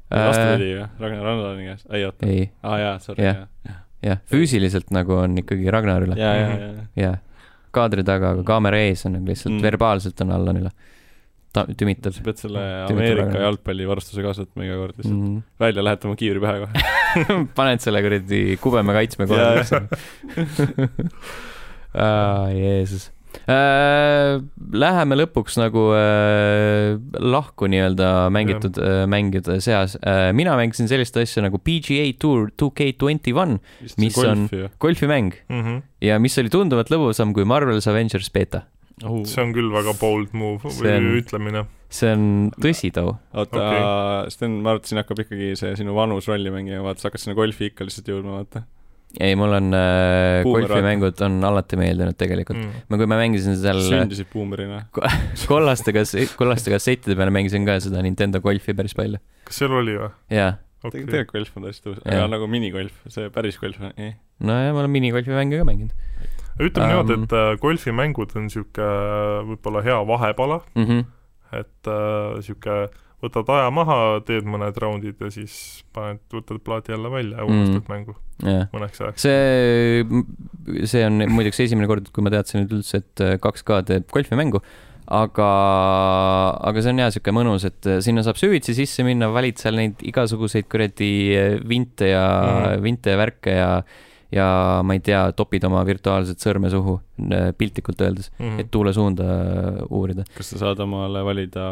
B: Äh,
A: Jah. .
C: vastupidi ju , Ragnar Androni käest , ei oota ,
B: ei ,
C: aa jaa , sorry ,
B: Jah.
C: jaa ,
B: jah , füüsiliselt nagu on ikkagi Ragnar üle ,
C: jaa , jaa , jaa .
B: jah . kaadri taga , aga kaamera ees on nagu lihtsalt
C: Mm.
B: mm. verbaalselt on Allan üle . ta tümitab
C: sa . pead selle
B: Tüütu
C: Ameerika
B: Ragnar.
C: jalgpallivarustuse kaasa võtma iga kord lihtsalt ,
B: Mm.
C: välja lähetama kiivri pähe kohe .
B: paned selle kuradi kubeme kaitsme
C: Jaa,
B: kohe
C: jah.
B: üldse . Jeesus . Läheme lõpuks nagu äh, lahku nii-öelda mängitud äh, mängude seas . mina mängisin sellist asja nagu PGA Tour 2K21 Mis on- ? golfimäng
A: Mm -hmm.
B: ja mis oli tunduvalt lõbusam kui Marvel's Avengers beeta .
A: see on küll väga bold move
B: See
A: või
B: on-
A: ütlemine .
B: see on tõsi too .
C: oota okay. , Sten , ma arvan , et siin hakkab ikkagi see sinu vanus rolli mängima , vaata , sa hakkad sinna golfi ikka lihtsalt jõudma , vaata .
B: ei , mul on äh,
C: Boomerang.
B: golfimängud on alati meeldinud tegelikult .
A: Mm.
B: ma , kui ma mängisin seal
C: sündisid buumerina .
B: kollaste kas- , kollaste kassettide peale mängisin ka seda Nintendo golfi päris palju .
A: kas seal oli või ?
B: jaa ,
A: okei ,
C: tegelikult golf on täiesti tõus ,
B: Jah.
C: aga nagu minigolf , see päris golf on , eh. ei .
B: nojah , ma olen minigolfimänge ka mänginud
A: ütleme niimoodi ,
B: Ähm.
A: et äh, golfimängud on niisugune võib-olla hea vahepala ,
B: mm . -hmm.
A: et niisugune võtad aja maha , teed mõned raundid ja siis paned , võtad plaadi jälle välja ja
B: Mm.
A: unustad mm. mängu
B: jah ,
A: mõneks ajaks .
B: äh, see , see on muideks esimene kord , kui ma teadsin nüüd üldse , et 2K teeb golfimängu , aga , aga see on jah , sihuke mõnus , et äh, sinna saab süvitsi sisse minna , valid seal neid igasuguseid kuradi vinte ja mm.
A: Mhm. ,
B: vinte ja värke ja , ja ma ei tea , topid oma virtuaalset sõrme suhu , piltlikult öeldes ,
A: mm.
B: et tuule suunda äh, uurida .
C: kas sa saad omale valida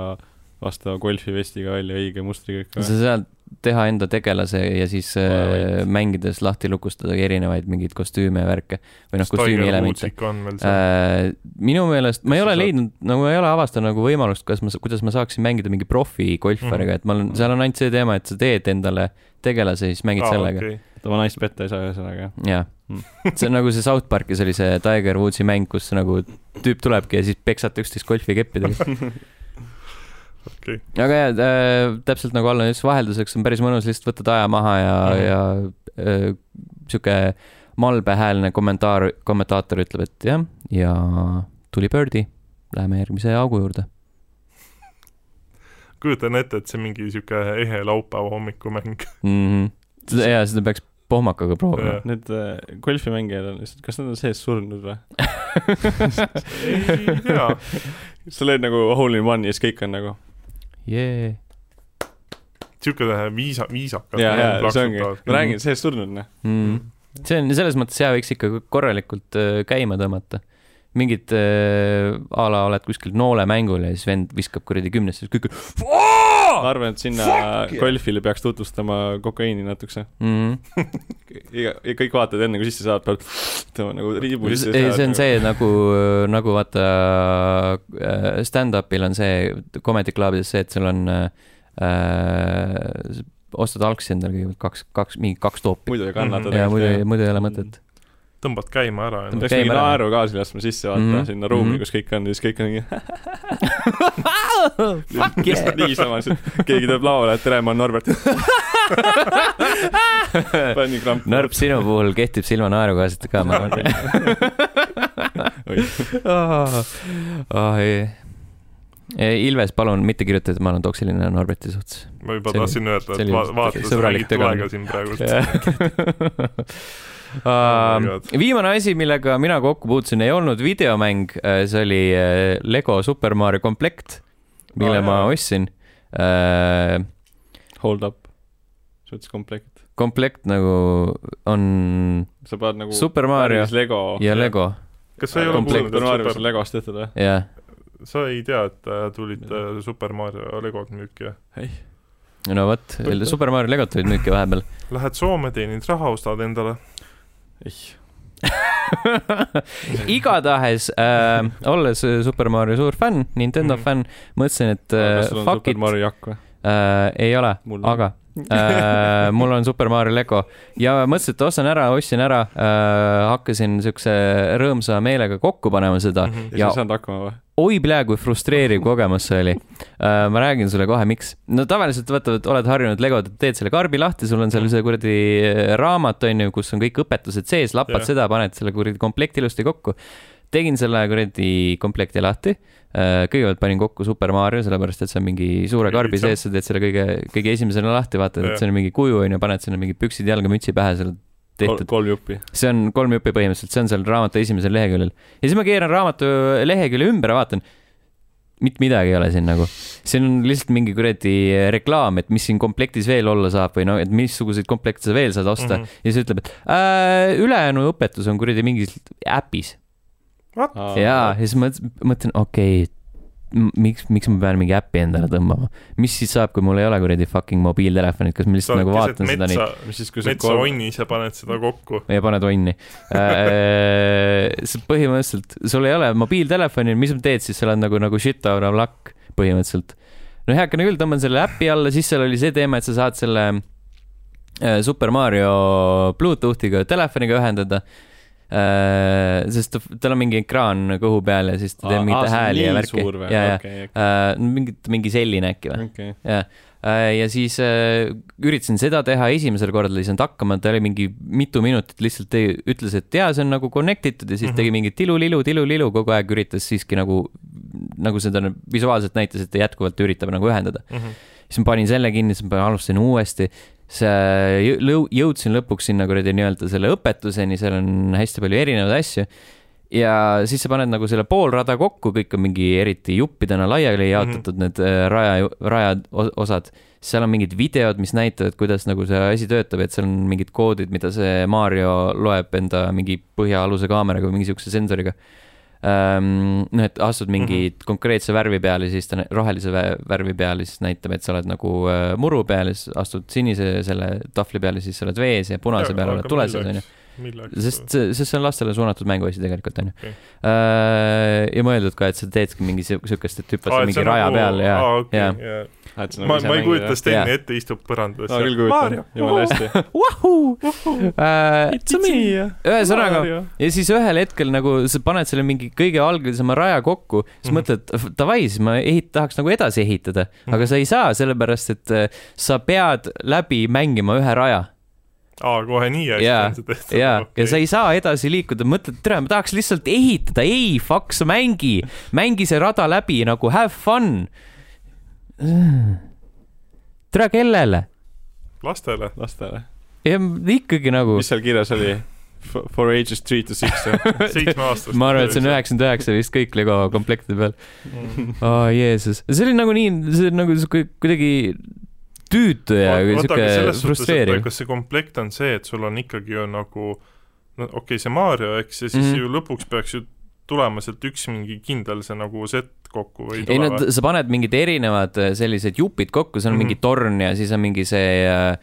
C: vastava golfivestiga välja õige mustriga ikka
B: sa
C: või ?
B: saad teha enda tegelase ja siis äh,
C: Alright.
B: mängides lahti lukustada erinevaid mingeid kostüüme ja värke või noh , kostüümielemente .
A: ikka on veel seal .
B: Äh, minu meelest ma ei
C: Kas sa
B: ole
C: saad-
B: leidnud , nagu ma ei ole avastanud nagu võimalust , kas ma , kuidas ma saaksin mängida mingi profi
C: Mhm.
B: golfariga , et ma olen , seal on ainult see teema , et sa teed endale tegelase ja siis mängid sellega .
A: Okay.
C: oma naist petta ei saa ühesõnaga , jah ?
B: jah ,
C: Mm.
B: see on nagu see South Park'is oli see Tiger Woodsi mäng , kus nagu tüüp tulebki ja siis peksate üksteist golfikeppidega
A: Okei. .
B: aga jaa äh, , täpselt nagu Allan ütles , vahelduseks on päris mõnus lihtsalt võtad aja maha ja mm , -hmm. ja äh, sihuke malbehäälne kommentaar , kommentaator ütleb , et jah , ja tuli birdie , läheme järgmise augu juurde .
A: kujutan ette , et see mingi sihuke ehe laupäeva hommikumäng .
B: Mhm. jaa , seda peaks pohmakaga proovima .
C: Need äh, golfimängijad on lihtsalt , kas nad on sees surnud või ?
A: ei tea ,
C: sa lööd nagu hole in one'i ja siis kõik on nagu ,
B: jee ,
A: sihuke viisa , viisakas .
C: jaa , jaa , see ongi , ma räägin , sees surnud , noh .
B: Mm. see on selles mõttes hea , võiks ikka korralikult äh, käima tõmmata . mingid äh, a la oled kuskil noolemängul ja siis vend viskab kuradi kümnesse , kõik
A: Ah,
C: ma arvan , et sinna golfile peaks tutvustama kokaiini natukese .
B: mm .
C: iga , kõik vaatavad enne kui sisse saad , peavad tõmbama nagu riibu
B: -hmm.
C: sisse .
B: ei , see on . see nagu , nagu vaata äh, stand-up'il on see , comedy club'ides see , et sul on äh, äh, ostad algsi endale kõigepealt kaks , kaks , mingi kaks toopi
C: muidu ei kannata
A: Mhm.
B: ja muidu , muidu ei ole mõtet .
A: tõmbad käima ära .
C: peaks
B: Käime
C: mingi
B: ära.
C: naeru ka sinna laskma sisse vaata mm
B: Mhm.
C: -hmm. sinna ruumi
B: Mhm.
C: mm , -hmm. kus kõik on ja siis kõik on
B: Fuck
C: mingi lihtsalt niisama , keegi tuleb lauale , et tere , ma olen Norbert . panen nii kramp .
B: Nõrp , sinu puhul kehtib silma naerukaasita ka , ma arvan . oh, oh, ei. Ilves , palun mitte kirjuta , et ma olen toksiline Norberti suhtes .
A: ma juba
B: see
A: tahtsin
B: oli-
A: öelda ,
B: see
A: et
B: oli
A: va-
B: just
A: vaata , sa
B: sõbralik
A: räägid tulega
B: tegemine.
A: siin praegu . Oh my
B: Uh,
A: God.
B: viimane asi , millega mina kokku puutusin , ei olnud videomäng , see oli äh, Lego Super Mario komplekt , mille
A: Aa,
B: ma
A: jaa.
B: ostsin uh, .
C: Hold up , suts komplekt .
B: komplekt nagu on
C: sa paned nagu
B: Super Mario
C: päris Lego
B: ja . Lego ,
A: kas sa ei ole
C: komplekt
A: kuulnud ,
C: Super
A: et
C: Mario , mis on
A: super ,
C: Legost tehtud või ?
B: jah .
A: sa ei tea , et äh, tulid äh, Super Mario legod müüki , jah ?
C: ei ,
B: no vot , Super Mario Legot olid müüki vahepeal .
A: Lähed Soome , teenid raha , ostad endale .
C: ei .
B: igatahes äh, , olles Super Mario suur fänn , Nintendo
A: Mhm.
B: mm. fänn , mõtlesin , et
C: kas
B: äh,
C: sul on
B: fuck
C: Super
B: it ,
C: Mario jakk või ?
B: äh, ei ole ,
C: Mul on.
B: aga äh, mul on Super Mario Lego ja mõtlesin , et ostan ära , ostsin ära äh, , hakkasin siukse rõõmsa meelega kokku panema seda .
A: Mhm.
C: ja sa
B: Ja-
C: ei saanud hakkama või ?
B: oi plea , kui frustreeriv kogemus see oli äh, . ma räägin sulle kohe , miks . no tavaliselt vaata , oled harjunud Legot , et teed selle karbi lahti , sul on seal see kuradi äh, raamat , on ju , kus on kõik õpetused sees , lappad
A: Jah.
B: yeah. seda , paned selle kuradi komplekti ilusti kokku . tegin selle kuradi komplekti lahti äh, . kõigepealt panin kokku Super Mario , sellepärast et see on mingi suure karbi
A: Lihtsam.
B: sees , sa teed selle kõige , kõige esimesena lahti , vaatad yeah. ,
A: Jah.
B: et see on mingi kuju , on ju , paned sinna mingi püksid jalga , mütsi pähe , seal on tehtud
C: kolm juppi .
B: see on kolm juppi põhimõtteliselt , see on seal raamatu esimesel leheküljel . ja siis ma keeran raamatu lehekülje ümber ja vaatan , mitte midagi ei ole siin nagu . siin on lihtsalt mingi kuradi reklaam , et mis siin komplektis veel olla saab või no , et missuguseid komplekte sa veel saad osta mm .
A: Mhm.
B: -hmm. ja siis ütleb , et äh, ülejäänu õpetus on kuradi mingis äpis . jaa , ja siis mõtlesin , mõtlen , okei okay, , miks , miks ma pean mingi äppi endale tõmbama . mis siis saab , kui mul ei ole kuradi fucking mobiiltelefonit , kas ma lihtsalt nagu vaatan seda nii ?
C: mis siis , kui sa
A: metsa onnis ja paned seda kokku .
B: ja paned onni . Äh, see põhimõtteliselt , sul ei ole mobiiltelefoni , mis sa teed siis , sa oled nagu , nagu shit out of luck põhimõtteliselt . no heakene küll , tõmban selle äpi alla , siis seal oli see teema , et sa saad selle äh, Super Mario Bluetoothiga telefoniga ühendada . sest ta- tal on mingi ekraan kõhu peal ja siis ta teeb mingit hääli ja värki . ja , ja
C: okei ,
B: äh, mingit , mingi selline äkki või ?
C: okei .
B: Äh, ja siis äh, üritasin seda teha , esimesel korral ei saanud hakkama , ta oli mingi mitu minutit lihtsalt ei, ütles , et jaa , see on nagu connected ja siis
A: Mhm.
B: tegi mingi tilulilu , tilulilu kogu aeg üritas siiski nagu , nagu seda visuaalselt näitas , et ta jätkuvalt üritab nagu ühendada .
A: Mhm.
B: siis ma panin selle kinni , siis ma alustasin uuesti , see , jõudsin lõpuks sinna kuradi nii-öelda selle õpetuseni , seal on hästi palju erinevaid asju ja siis sa paned nagu selle pool rada kokku , kõik on mingi eriti juppidena laiali jaotatud mm -hmm. need äh, raja , rajad , osad . seal on mingid videod , mis näitavad , kuidas nagu see asi töötab , et seal on mingid koodid , mida see Mario loeb enda mingi põhjaaluse kaameraga või mingi siukse sensoriga . noh , et astud mingi mm -hmm. konkreetse värvi peale , siis ta nä- rohelise vä- värvi peale , siis näitab , et sa oled nagu äh, muru peal ja siis astud sinise selle tahvli peale , siis sa oled vees ja punase peal oled tule sees , onju ..
A: milleks ? Ah,
B: sest , sest see on lastele suunatud mänguasi tegelikult , on ju
A: Okei. .
B: ja mõeldud ka , et sa teedki mingi siu- siukest , et hüppad seal mingi
A: nagu-
B: raja peal ja , ja .
A: ja . Ah, ma ,
B: nagu
A: ma ei kujuta , Sten
B: Jaa.
A: ette istub põrandas .
C: seda küll kujutan , jumala
A: Uhuh!
C: hästi .
B: vahuu , it's me . Äh, ühesõnaga , ja siis ühel hetkel nagu sa paned selle mingi kõige algelisema raja kokku , siis
A: Mhm.
B: mõtled , davai , siis ma ehit- , tahaks nagu edasi ehitada , aga sa ei saa , sellepärast et äh, sa pead läbi mängima ühe raja
A: aa , Ah, kohe nii
B: Jaa,
A: hästi on see tehtud .
B: jaa , ja sa ei saa edasi liikuda , mõtled , tere , ma tahaks lihtsalt ehitada , ei , fuck , sa mängi , mängi see rada läbi nagu have fun . tere , kellele ?
A: lastele .
C: lastele .
B: ikkagi nagu ,
C: mis seal kirjas oli ? For ages three to six või ?
A: seitsmeaastast .
B: ma arvan , et see on . üheksakümmend üheksa vist kõik Lego komplektide peal . aa , Jeesus , see oli nagu nii , see oli nagu sihuke kuidagi tüütu ja sihuke frustreeriv .
A: kas see komplekt on see , et sul on ikkagi ju nagu no okei okay, , see Mario , eks , ja siis mm
B: Mhm.
A: -hmm. ju lõpuks peaks ju tulema sealt üks mingi kindel see nagu sett kokku või ei
B: ei
A: tule
B: no
A: või ?
B: sa paned mingid erinevad äh, sellised jupid kokku , seal on mm
A: Mhm.
B: -hmm. mingi torn ja siis on mingi see äh,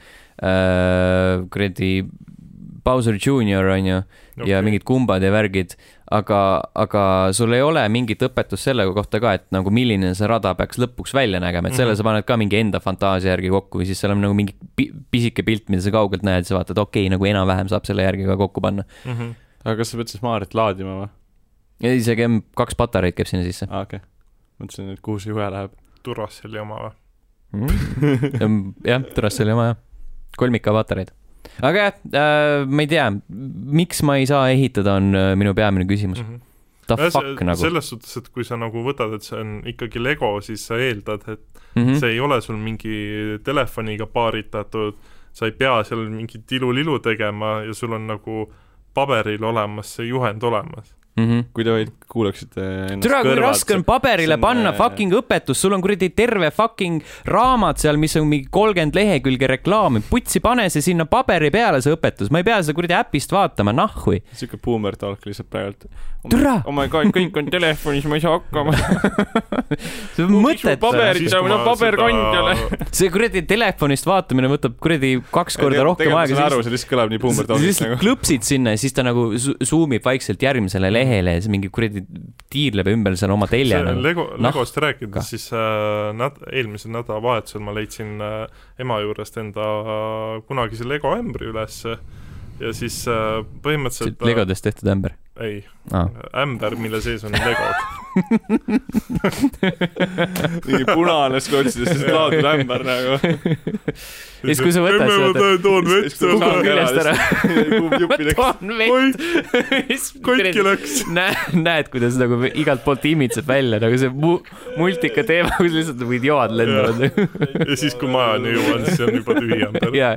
B: äh, kuradi Bowser Junior on ju okay. ja mingid kumbad ja värgid , aga , aga sul ei ole mingit õpetust selle kohta ka , et nagu milline see rada peaks lõpuks välja nägema , et selle mm
A: Mhm.
B: -hmm. sa paned ka mingi enda fantaasia järgi kokku või siis seal on nagu mingi pi pisike pilt , mida sa kaugelt näed , sa vaatad , okei okay, , nagu enam-vähem saab selle järgi ka kokku panna .
A: mm . -hmm.
C: aga kas sa pead siis Maaret laadima või ?
B: ja isegi M- kaks patareid käib sinna sisse
C: aa , okei okay. . mõtlesin , et kuhu see juhe läheb .
A: Duracell'i oma või ? Mhm.
B: Mm. jah , tõras oli oma jah , kolmika patareid . aga jah äh, , ma ei tea , miks ma ei saa ehitada , on äh, minu peamine küsimus . The fuck nagu .
A: Mhm. selles suhtes , et kui sa nagu võtad , et see on ikkagi Lego , siis sa eeldad , et
B: Mm
A: -hmm.
B: -hmm.
A: see ei ole sul mingi telefoniga paaritatud , sa ei pea seal mingit ilulilu tegema ja sul on nagu paberil olemas see juhend olemas .
B: mm -hmm.
C: kui te vaid kuulaksite ennast
B: türa , kui raske on paberile
C: see on,
B: panna
C: äh,
B: fucking õpetus , sul on kuradi terve fucking raamat seal , mis on mingi kolmkümmend lehekülge reklaami , putsi , pane see sinna paberi peale , see õpetus , ma ei pea seda kuradi äpist vaatama , nahhui .
C: siuke buumer talk lihtsalt praegult .
B: Türa!
C: oh my god , kõik on telefonis , ma ei saa hakkama .
B: see on
C: Kuhu su
B: mõttetu
C: paberid- Siis, kui ma paberkandjale-
B: see kuradi telefonist vaatamine võtab kuradi kaks korda rohkem aega .
C: saan aru , see lihtsalt kõlab nii buumer
B: sa
C: talk'is
B: lihtsalt
C: nagu .
B: klõpsid sinna ja siis ta nagu su- suumib vaikselt järgmisele lehele ja siis mingi kuradi tiirleb ümber seal oma telje nagu .
A: Lego ,
B: Noh,
A: Legost
B: ka.
A: rääkides , siis äh, nad, eelmisel nädalavahetusel ma leidsin äh, ema juurest enda äh, kunagise Lego ämbri ülesse ja siis äh, põhimõtteliselt
B: Legodest tehtud ämber
A: äh, ei ,
B: ah. .
A: ämber , mille sees on Legod .
C: mingi punane skotš , lihtsalt laadib ämber nagu .
B: Ja siis, kui sa võtad
A: emme ,
B: seda-
A: ma tahan- toon vett
C: Kukub
A: sulle.
B: kukub küljest ära .
C: juppi läks .
B: toon
A: oi ,
B: vett .
A: katki läks .
B: näed , näed , kuidas nagu igalt poolt imitseb välja nagu see mu multika teema , kus lihtsalt mingid joad lendavad .
A: ja siis , kui majani jõuan , siis on juba tühi ämber .
B: ja ,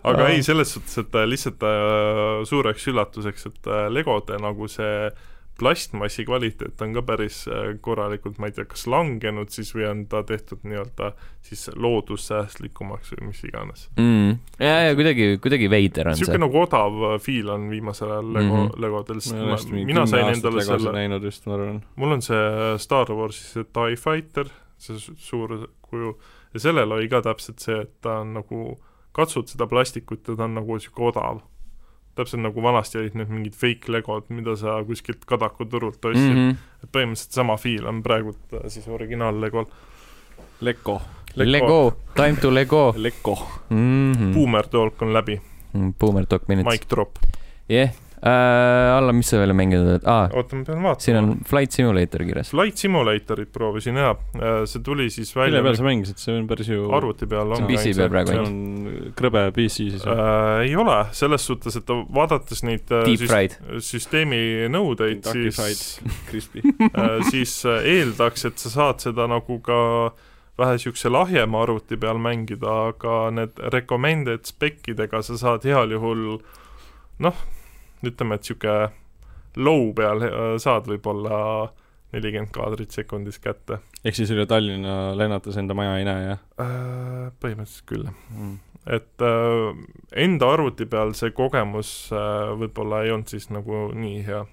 A: aga
B: Aa.
A: ei , selles suhtes , et äh, lihtsalt äh, suureks üllatuseks , et äh, Legode nagu see plastmassi kvaliteet on ka päris äh, korralikult , ma ei tea , kas langenud siis või on ta tehtud nii-öelda siis loodussäästlikumaks või mis iganes .
B: ja , ja Mm. kuidagi , kuidagi veider on see
A: niisugune . nagu odav äh, feel on viimasel ajal Lego mm ,
B: Mhm.
A: -hmm. Legodel , sest ma, mina sain endale selle ,
C: näinud vist , ma arvan .
A: mul on see äh, Star Warsi see TIE Fighter , see su- suur kuju , ja sellel oli ka täpselt see , et ta on nagu , katsud seda plastikut ja ta on nagu niisugune odav . täpselt nagu vanasti olid need mingid fake legod , mida sa kuskilt kadakuturult ostsid mm ,
B: -hmm.
A: -hmm. et põhimõtteliselt sama feel on praegult äh, siis originaallegol .
B: Mhm.
C: Leko ,
B: Lego , time to Lego
C: Leko .
B: mm . -hmm.
A: Boomer Talk on läbi ,
B: Boomer Talk Minutes .
A: mic drop .
B: jah yeah. , alla , mis sa veel mänginud oled ah, ?
A: oota , ma pean vaatama .
B: siin on Flight Simulator kirjas .
A: Flight Simulatorit proovisin ja see tuli siis välja
C: mille peal sa mängisid , see on päris ju .
A: arvuti peal .
B: See on PC peal praegu,
C: see
B: on
C: on krõbe PC siis .
A: äh, . ei ole , selles suhtes , et vaadates neid äh,
B: Deep
A: süst-
B: Fried .
A: süsteemi nõudeid ,
C: Kentucky
A: siis ,
C: Crispy .
A: siis äh, eeldaks , et sa saad seda nagu ka vähe niisuguse lahjema arvuti peal mängida , aga need recommended spec idega sa saad heal juhul noh , ütleme , et niisugune low peal äh, saad võib-olla nelikümmend kaadrit sekundis kätte
C: ehk siis üle Tallinna lennates enda maja ei näe , jah
A: äh, . põhimõtteliselt küll .
C: mm. ?
A: et äh, enda arvuti peal see kogemus äh, võib-olla ei olnud siis nagu nii hea .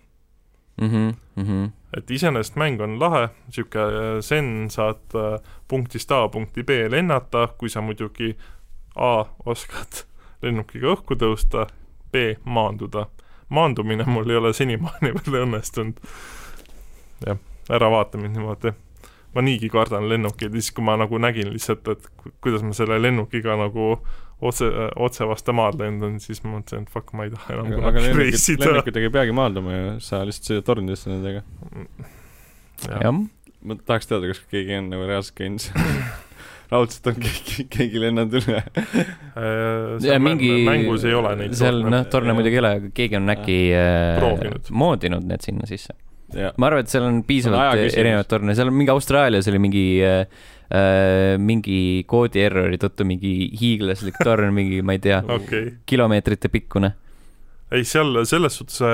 B: Mhm,
A: et iseenesest mäng on lahe , niisugune sen saad äh, punktist A punkti B lennata , kui sa muidugi A oskad lennukiga õhku tõusta , B maanduda . maandumine mul ei ole senimaani veel õnnestunud . jah , ära vaata mind niimoodi . ma niigi kardan lennukeid ja siis , kui ma nagu nägin lihtsalt , et ku- kuidas ma selle lennukiga nagu otse , otse vastu maad lendan , siis ma mõtlesin , et fuck , ma ei taha enam
C: aga aga
A: kunagi
C: lennuki-
A: reisida .
C: lennukitega ei peagi maanduma ju , sa lihtsalt sõidad tornidesse nendega .
B: jah ,
C: ma tahaks teada , kas keegi on nagu reaalselt käinud seal raudselt on keegi , keegi lennanud üle .
A: Äh,
B: ja mingi
A: mängus ei ole neid
B: seal
A: torne.
B: noh , torne muidugi ei ole , aga keegi on äkki äh,
A: Proovinud.
B: moodinud need sinna sisse .
C: jah ,
B: ma arvan , et seal on
C: See on aja
B: piisavalt
C: küsimus.
B: erinevaid torne , seal on mingi Austraalias oli mingi äh, äh, mingi koodi errori tõttu mingi hiiglaslik torn , mingi , ma ei tea ,
A: okei okay. ,
B: kilomeetrite pikkune .
A: ei seal selles suhtes äh,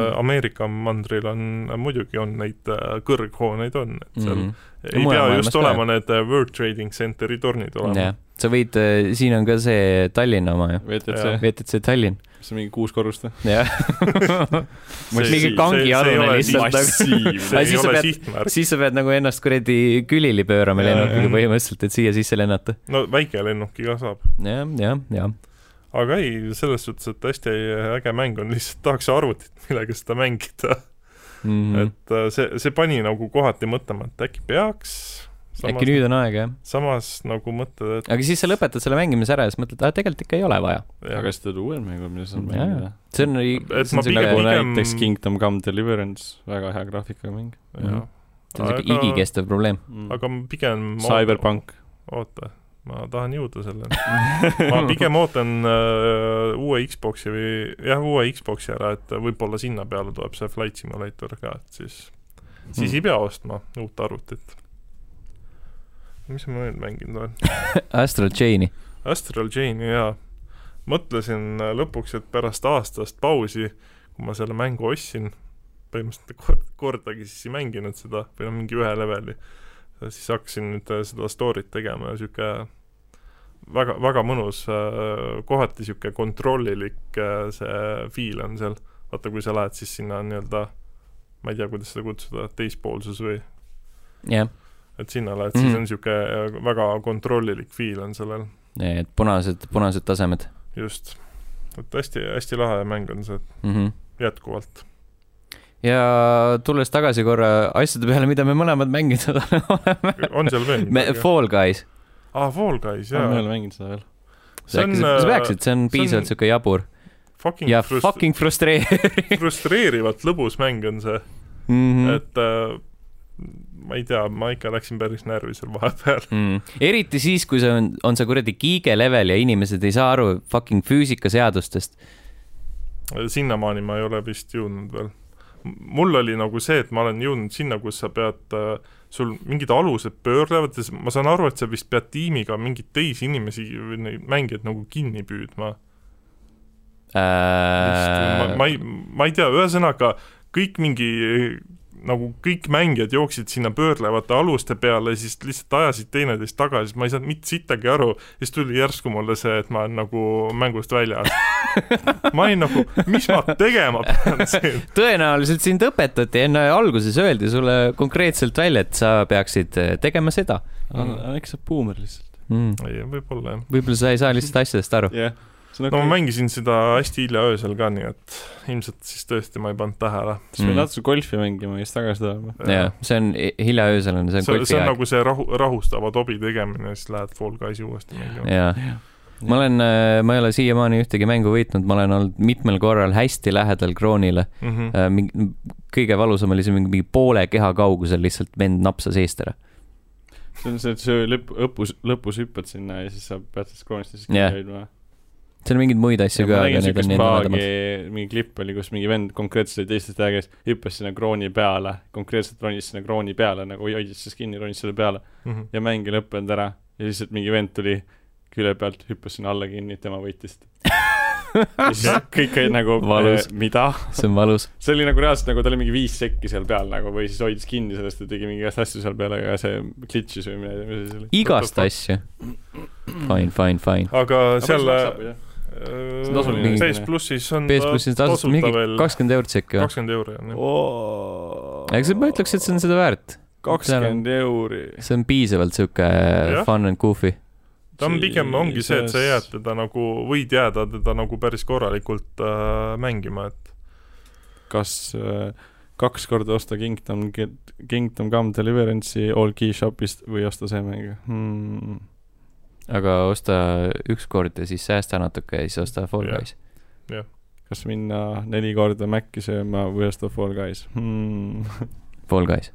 B: Mm.
A: Ameerika mandril on , muidugi on neid äh, kõrghooneid on , et seal mm
B: Mhm.
A: -hmm. ei
B: Mujal
A: pea
B: maailmas
A: just
B: ka.
A: olema need äh, World Trading Centeri tornid olema
B: jah , sa võid , siin on ka see Tallinna oma ju ,
C: VTC ,
B: VTC Tallinn ,
C: see on mingi kuus korrust või ?
B: jah
A: See-
B: mingi
A: see- see ei
B: kangialune
A: ole
B: lihtsalt nagu ,
A: see
B: Aga
A: ei
B: siis sa
A: ole
B: pead-
A: sihtmärk ,
B: siis sa pead nagu ennast kuradi külili pöörama
A: Jaa,
B: lennukiga
A: jah.
B: põhimõtteliselt , et siia sisse lennata .
A: no väikelennukiga saab ,
B: jah , jah , jah .
A: aga ei , selles suhtes , et hästi äh, äge mäng on , lihtsalt tahaks arvutit , millega seda mängida mm. ,
B: Mhm.
A: et äh, see , see pani nagu kohati mõtlema , et äkki peaks ,
B: äkki
A: samas ,
B: nüüd on aega , jah ?
A: samas nagu mõtled , et
B: aga siis sa lõpetad selle mängimise ära ja siis mõtled , aa , tegelikult ikka ei ole vaja .
C: aga siis tuleb uued mängud , mida saab
B: Jaa.
C: mängida .
B: see on ,
A: Et
B: see
A: ma
B: on siuke
A: pigem-
C: nagu
B: väga ,
A: pigem-
C: näiteks Kingdom Come Deliverance , väga hea graafikaga mäng
A: jah.
B: see on siuke
A: aga-
B: igikestev probleem .
C: mm. .
A: aga ma pigem
C: Cyberpunk .
A: oota , ma tahan jõuda selleni . ma pigem ootan äh, uue Xbox'i või jah , uue Xbox'i ära , et võib-olla sinna peale tuleb see Flight Simulator ka , et siis , siis hmm. ei pea ostma uut arvutit . mis ma veel mänginud olen ?
B: Astral Chain'i .
A: Astral Chain'i jaa . mõtlesin äh, lõpuks , et pärast aastast pausi , kui ma selle mängu ostsin , põhimõtteliselt kord, kordagi siis ei mänginud seda või noh , mingi ühe leveli , siis hakkasin nüüd äh, seda story't tegema ja sihuke äh, väga , väga mõnus , kohati sihuke kontrollilik äh, see feel on seal . vaata , kui sa lähed siis sinna nii-öelda , ma ei tea , kuidas seda kutsuda , teispoolsus või ,
B: jah ,
A: et sinna lähed mm , -hmm.
B: Mhm.
A: siis on sihuke äh, väga kontrollilik feel on sellel .
B: need punased , punased tasemed
A: just , et hästi-hästi lahe mäng on see
B: mm . -hmm.
A: jätkuvalt .
B: ja tulles tagasi korra asjade peale , mida me mõlemad mänginud oleme .
A: on seal veel
B: me ,
A: midagi ?
B: Fall Guys ,
A: aa , Fall Guys ,
C: ma ei
A: jaa .
C: ole mänginud seda veel .
B: sa äkki , sa peaksid , see on piisavalt siuke jabur
A: fucking,
B: ja
A: frust-
B: fucking frustreeriv
A: frustreerivalt lõbus mäng on see ,
B: mm . -hmm.
A: et äh, ma ei tea , ma ikka läksin päris närvi seal vahepeal .
B: Mm. eriti siis , kui see on , on see kuradi kiige level ja inimesed ei saa aru fucking füüsikaseadustest .
A: sinnamaani ma ei ole vist jõudnud veel . mul oli nagu see , et ma olen jõudnud sinna , kus sa pead äh, sul mingid alused pöörlevad ja s- ma saan aru , et sa vist pead tiimiga mingeid teisi inimesi või neid mängijaid nagu kinni püüdma .
B: Äh,
A: ma, ma ei , ma ei tea , ühesõnaga kõik mingi nagu kõik mängijad jooksid sinna pöörlevate aluste peale , siis lihtsalt ajasid teineteist taga , siis ma ei saanud mitte sittagi aru , siis tuli järsku mulle see , et ma olen nagu mängust väljas . ma olin nagu , mis ma tegema pean siin ,
B: tõenäoliselt sind õpetati enne alguses , öeldi sulle konkreetselt välja , et sa peaksid eh, tegema seda
C: eks sa buumer lihtsalt .
B: mm. .
A: ei võib-olla jah .
B: võib-olla sa ei saa lihtsalt asjadest aru .
C: jah .
A: no ma mängisin seda hästi hilja öösel ka , nii et ilmselt siis tõesti ma ei pannud tähele .
C: siis pead
B: Mm.
C: natuke golfi mängima ja siis tagasi tulema .
B: jah , see on hilja öösel on , see on
A: see,
B: golfi
A: see on
B: aeg
A: nagu see rahu , rahustava tobi tegemine , siis lähed Fall Guysi uuesti mängima .
B: jaa , ma olen , ma ei ole siiamaani ühtegi mängu võitnud , ma olen olnud mitmel korral hästi lähedal kroonile .
A: Mhm.
B: Äh. mingi , kõige valusam oli see mingi, mingi poole keha kaugusel lihtsalt vend napsas eest ära .
C: see on see , et sa lõpp , õpus , lõpus hüppad sinna ja siis sa pead sellest kroonist siis
B: Jah.
C: hoidma .
B: seal on mingeid muid asju ka ,
C: ma
B: aga
C: nägin
B: need on
C: siukest
B: need
C: paagi
B: nõmedamad .,
C: mingi klipp oli , kus mingi vend konkreetselt oli teistest aega ees , hüppas sinna krooni peale , konkreetselt ronis sinna krooni peale nagu hoi- hoidis siis kinni , ronis selle peale
A: Mhm.
C: ja mäng ei lõppenud ära ja lihtsalt mingi vend tuli külje pealt , hüppas sinna alla kinni , tema võitis . kõik olid nagu
B: Valus. ,
C: mida ?
B: see on valus .
C: see oli nagu reaalselt nagu ta oli mingi viis sekki seal peal nagu või siis hoidis kinni sellest ja tegi mingi igast asju seal peal , aga see glitch'is või midagi , mis asi see oli .
B: igast
A: What
B: asja . Fine , fine , fine .
A: aga seal
C: äh, See on tasuline
A: äh,
C: vist,
A: PS
C: jah?
A: plussis on
B: PS plussis tasus mingi
A: veel
B: kakskümmend eurot sekki või ?
A: kakskümmend euri on jah .
B: aga see , ma ütleks , et see on seda väärt .
C: kakskümmend euri .
B: see on piisavalt sihuke äh, fun and goofy .
A: ta on pigem ongi see , et sa jääd . teda nagu , võid jääda teda nagu päris korralikult äh, mängima , et
C: kas äh, kaks korda osta Kingdom , Kingdom Come Deliverance'i All Key Shopist või osta see mäng hmm. ?
B: aga osta üks kord ja siis säästa natuke ja siis osta Fall
A: Jah.
B: Guys .
C: kas minna neli korda Maci sööma või osta Fall Guys hmm. ?
B: Fall Guys ,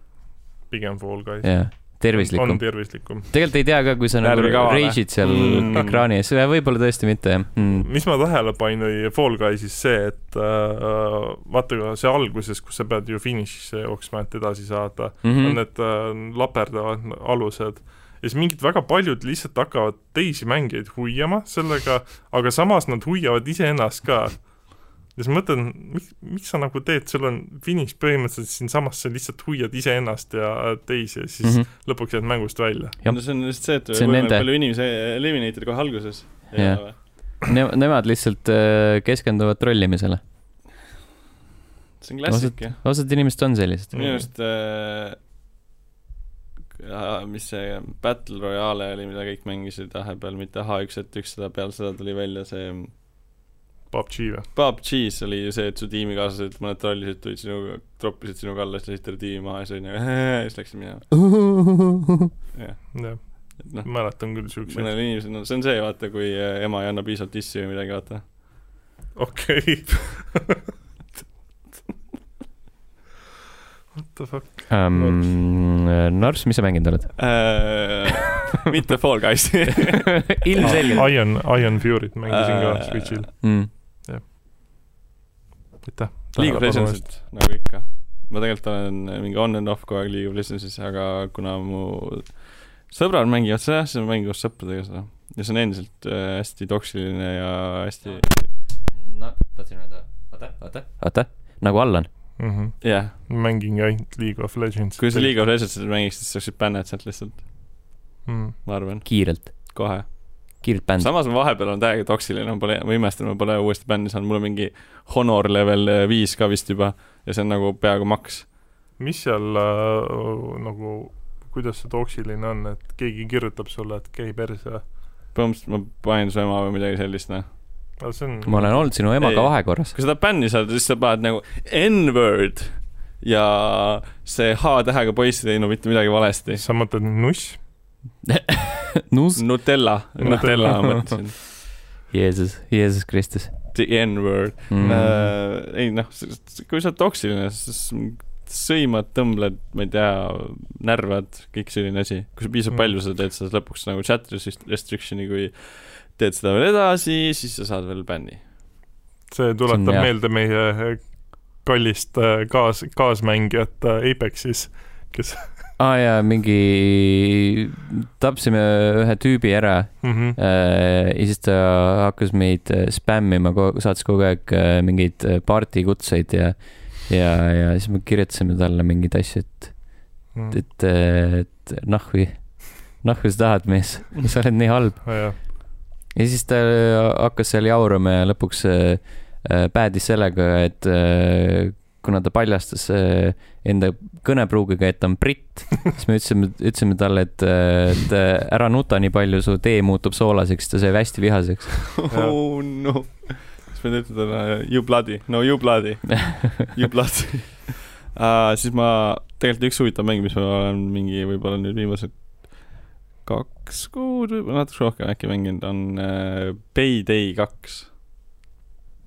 A: pigem Fall Guys .
B: jaa .
A: on
B: tervislikum .
A: tervislikum .
B: tegelikult ei tea ka , kui sa nagu
C: Närvi kavale.
B: reisid seal
C: Mm.
B: mm. ekraani ees , võib-olla tõesti mitte jah mm. .
A: mis ma tähele panin Fall Guysis see , et äh, vaata see alguses , kus sa pead ju finišisse jooksma , et edasi saada mm , -hmm. on
C: Mhm.
B: Mm -hmm.
A: need äh, laperdavad alused ja siis mingid väga paljud lihtsalt hakkavad teisi mängijaid huiama sellega , aga samas nad huiavad iseennast ka . ja siis mõtlen , miks , miks sa nagu teed , sul on finiš põhimõtteliselt siinsamas , sa lihtsalt huiad iseennast ja teisi ja siis mm
B: Mhm.
A: -hmm. lõpuks jääd mängust välja .
B: Jah.
C: no see on lihtsalt see , et
B: See on
C: võimalikult
B: nende-
C: palju inimesi eliminated kohe alguses .
B: Jah. Ne- , nemad lihtsalt äh, keskenduvad trollimisele .
C: see on klassik jah ,
B: osad inimesed on sellised .
C: minu arust äh, äh, mis see Battle Royale oli , mida kõik mängisid vahepeal , mitte H1Z1 , seda peale seda tuli välja see
A: PUBG või ?
C: PUBG-s oli ju see , et su tiimikaaslased , mõned trollisid tulid sinuga , troppisid sinuga alla , siis lasid talle tiimi maha ja siis oli nagu ja siis läksid minema , jah ,
A: jah ,
C: et noh ,
A: mäletan küll siukseid .
C: mõnel inimesel , no see on see , vaata , kui äh, ema ei anna piisavalt issi või midagi , vaata .
A: okei okay. What the fuck ,
B: um, . Narss , mis sa mänginud oled ?
C: Äh, mitte Fall Guys .
B: ilmselgelt
A: Ah, Iron , Iron Fury't mängisin ka
C: Äh,
A: Switch'il ,
B: mm. .
A: aitäh .
C: League of Legendsit , nagu ikka . ma tegelikult olen eh, mingi on and off kogu aeg League of Legendsis , aga kuna mu sõbrad mängivad seda , siis ma mängin koos sõpradega seda . ja see on endiselt äh, hästi toksiline ja hästi ,
B: no , tahtsin öelda , oota , oota . oota , nagu Allan .
A: mm . -hmm.
C: jah .
A: mängin ka ainult League of Legends .
C: kui sa League of Legendsit mängiks , siis saaksid bänned sealt lihtsalt ,
A: mm. .
C: ma arvan ,
B: kiirelt ,
C: kohe .
B: kiirelt bänd .
C: samas ma vahepeal olen täiega toksiline , ma pole , ma imestan , ma pole uuesti bänni saanud , mul on mingi Honor level äh, viis ka vist juba ja see on nagu peaaegu maks .
A: mis seal äh, nagu , kuidas see toksiline on , et keegi kirjutab sulle , et käi perse ,
C: põhimõtteliselt ma panin su ema või midagi sellist , noh .
A: aga see on
B: ma olen olnud sinu emaga
C: Ei.
B: vahekorras .
C: kui sa tahad bänni saada , siis sa paned nagu N-word ja see H-tähega poiss ei teinud mitte midagi valesti .
A: sa mõtled nuss ?
B: nus .
C: Nutella , Nutella
A: Nutella.
C: ma mõtlesin ,
B: Jeesus , Jeesus Kristus
C: the N-word mm. .
B: mm. .
C: Uh, ei noh , kui sa oled toksiline , siis sõimad , tõmbled , ma ei tea , närvad , kõik selline asi . kui sa piisavalt
A: Mm.
C: palju seda teed , sa saad lõpuks nagu chat resist- restriction'i , kui teed seda veel edasi , siis sa saad veel bänni .
A: see tuletab
B: See on hea.
A: meelde meie äh, kallist äh, kaas , kaasmängijat äh, Apexis , kes
B: aa ah, jaa , mingi , tapsime ühe tüübi ära
A: mm . -hmm.
B: äh, ja siis ta hakkas meid äh, spämmima , saatis kogu aeg äh, mingeid äh, party kutseid ja , ja , ja siis me kirjutasime talle mingeid asju , et ,
A: Mm.
B: et , et nahvi , nahvi sa tahad , mees , sa oled nii halb .
A: Ah, jah.
B: ja siis ta äh, hakkas seal jaurama ja lõpuks äh, äh, päädis sellega , et äh, kuna ta paljastas äh, enda kõnepruugiga , et ta on britt , siis me ütlesime , ütlesime talle , et , et äh, ära nuta nii palju , su tee muutub soolaseks , ta sai hästi vihaseks .
C: oh no . siis me teeme talle you bloody , no you bloody , you bloody uh, . siis ma , tegelikult üks huvitav mäng , mis ma olen mingi võib-olla nüüd viimased kaks kuud või natuke rohkem äkki mänginud , on uh, Payday kaks .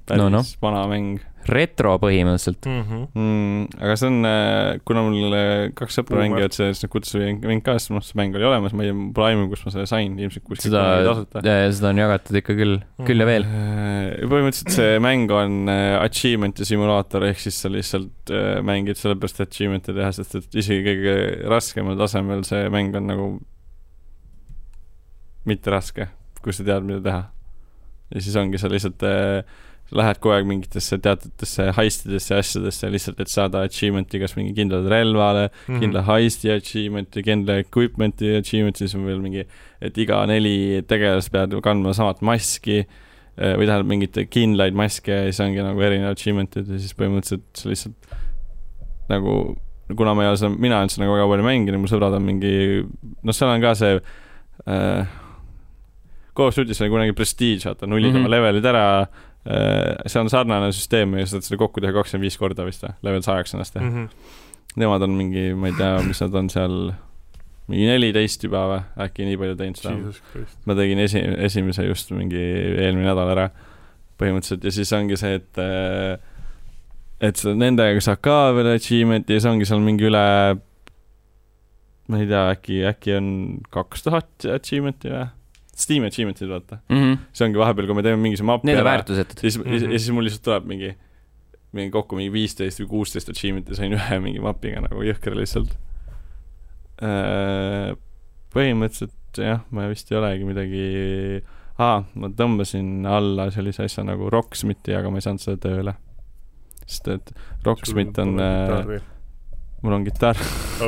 C: päris
B: No,
C: no,
B: noh.
C: no. vana mäng
B: retro põhimõtteliselt .
A: Mm -hmm.
C: mm, . aga see on , kuna mul äh, kaks sõpra
A: Boomer.
C: mängivad seda , siis nad kutsusid mind ka , sest noh , see mäng oli olemas , ma ei tea , pole aimu , kus ma selle sain , ilmselt kuskilt
B: seda ,
C: tasuta .
B: seda on jagatud ikka küll , küll ja veel .
C: Äh, põhimõtteliselt see mäng on äh, achievement'i simulaator , ehk siis sa lihtsalt äh, mängid sellepärast , et achievement'e teha , sest et isegi kõige raskemal tasemel see mäng on nagu mitte raske , kui sa tead , mida teha . ja siis ongi sa lihtsalt äh, lähed kogu aeg mingitesse teatutesse heistidesse ja asjadesse lihtsalt , et saada achievement'i kas mingi kindlale relvale ,
A: Mhm.
C: Mm-hmm. kindla heisti achievement'i , kindla equipment'i achievement'i , siis on veel mingi , et iga neli tegelast peavad kandma samat maski eh, või tähendab mingeid kindlaid maske ja siis ongi nagu erinevad achievement'id ja siis põhimõtteliselt sa lihtsalt nagu , kuna ma ei ole seda , mina olen seda nagu väga palju mänginud , mu sõbrad on mingi , noh , seal on ka see äh, Call of Duty's oli kunagi Prestige , vaata , nullid mm -hmm.
B: Mhm.
C: oma levelid ära äh, see on sarnane süsteem ja sa saad seda kokku teha kakskümmend viis korda vist või , level sajaks ennast teha .
A: Mhm.
C: nemad on mingi , ma ei tea , mis nad on seal , mingi neliteist juba või , äkki nii palju teinud seda .
A: Jesus Christ .
C: ma tegin esi- , esimese just mingi eelmine nädal ära põhimõtteliselt ja siis ongi see , et äh, et sa nendega saad ka veel achievement'i ja siis ongi seal mingi üle ma ei tea , äkki , äkki on kaks tuhat achievement'i või ? Steam achievement'id vaata , see ongi vahepeal , kui me teeme mingi see
B: Mhm.
C: mapi
B: Need on
C: ära ,
B: väärtusetud .
C: siis mm , -hmm.
A: Mhm.
C: ja siis mul lihtsalt tuleb mingi , mingi kokku mingi viisteist või kuusteist achievement'i sain ühe mingi mapiga nagu jõhker lihtsalt . põhimõtteliselt jah , ma vist ei olegi midagi , aa , ma tõmbasin alla sellise asja nagu Rocksmithi , aga ma ei saanud seda tööle . sest et Rocksmith on , äh, mul on kitarr ,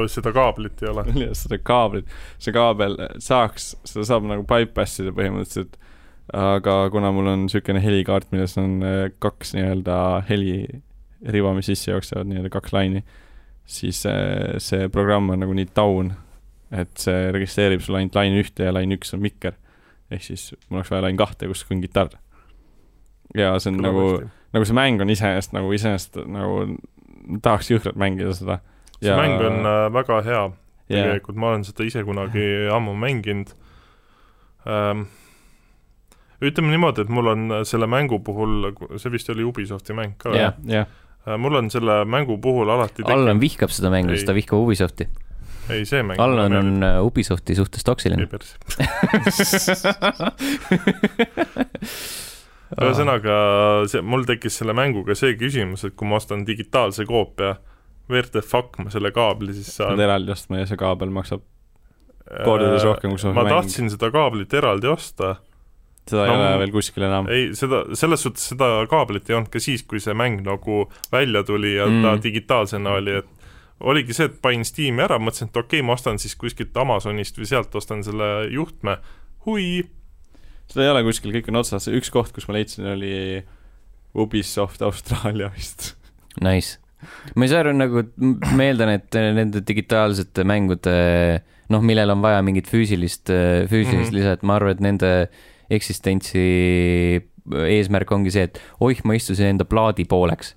A: seda kaablit ei ole .
C: mul ei ole seda kaablit , see kaabel saaks , seda saab nagu bypass ida põhimõtteliselt , aga kuna mul on niisugune helikaart , milles on äh, kaks nii-öelda heliriba , mis sisse jooksevad , nii-öelda kaks laini , siis äh, see programm on nagu nii down , et see registreerib sulle ainult laine ühte ja laine üks on mikker . ehk siis mul oleks vaja laine kahte , kus on kitarr . ja see on nagu , nagu see mäng on iseenesest nagu iseenesest nagu tahaks jõhkralt mängida seda .
A: see mäng on äh, väga hea ,
C: yeah.
A: tegelikult ma olen seda ise kunagi ammu mänginud ähm, . ütleme niimoodi , et mul on selle mängu puhul , see vist oli Ubisofti mäng ka
B: Jah.
C: jah , jah ,
A: Äh, mul on selle mängu puhul alati
B: Allan vihkab seda mängu ,
A: Ei.
B: sest ta vihkab Ubisofti .
A: ei see mäng .
B: Allan on äh, Ubisofti suhtes
A: ei
B: toksiline .
A: päris , ühesõnaga see , mul tekkis selle mänguga see küsimus , et kui ma ostan digitaalse koopia , where the fuck ma selle kaabli siis
C: pead
A: saan .
C: eraldi ostma ja see kaabel maksab kordades rohkem , kui sul
A: ma . tahtsin seda kaablit eraldi osta ,
C: seda ei
A: no-
C: ole veel kuskil enam .
A: ei seda , selles suhtes seda kaablit ei olnud ka siis , kui see mäng nagu välja tuli ja mm. ta
B: Mm.
A: digitaalsena oli , et oligi see , et panin Steam'i ära , mõtlesin , et okei okay, , ma ostan siis kuskilt Amazonist või sealt ostan selle juhtme , hui ,
C: seda ei ole kuskil , kõik on otsas , üks koht , kus ma leidsin , oli Ubisoft Austraalia vist .
B: Nice . ma ei saa aru , nagu m- ma eeldan , et nende digitaalsete mängude noh , millel on vaja mingit füüsilist , füüsilist
A: Mhm.
B: mm -hmm. lisa , et ma arvan , et nende eksistentsi eesmärk ongi see , et oih , ma istusin enda plaadi pooleks .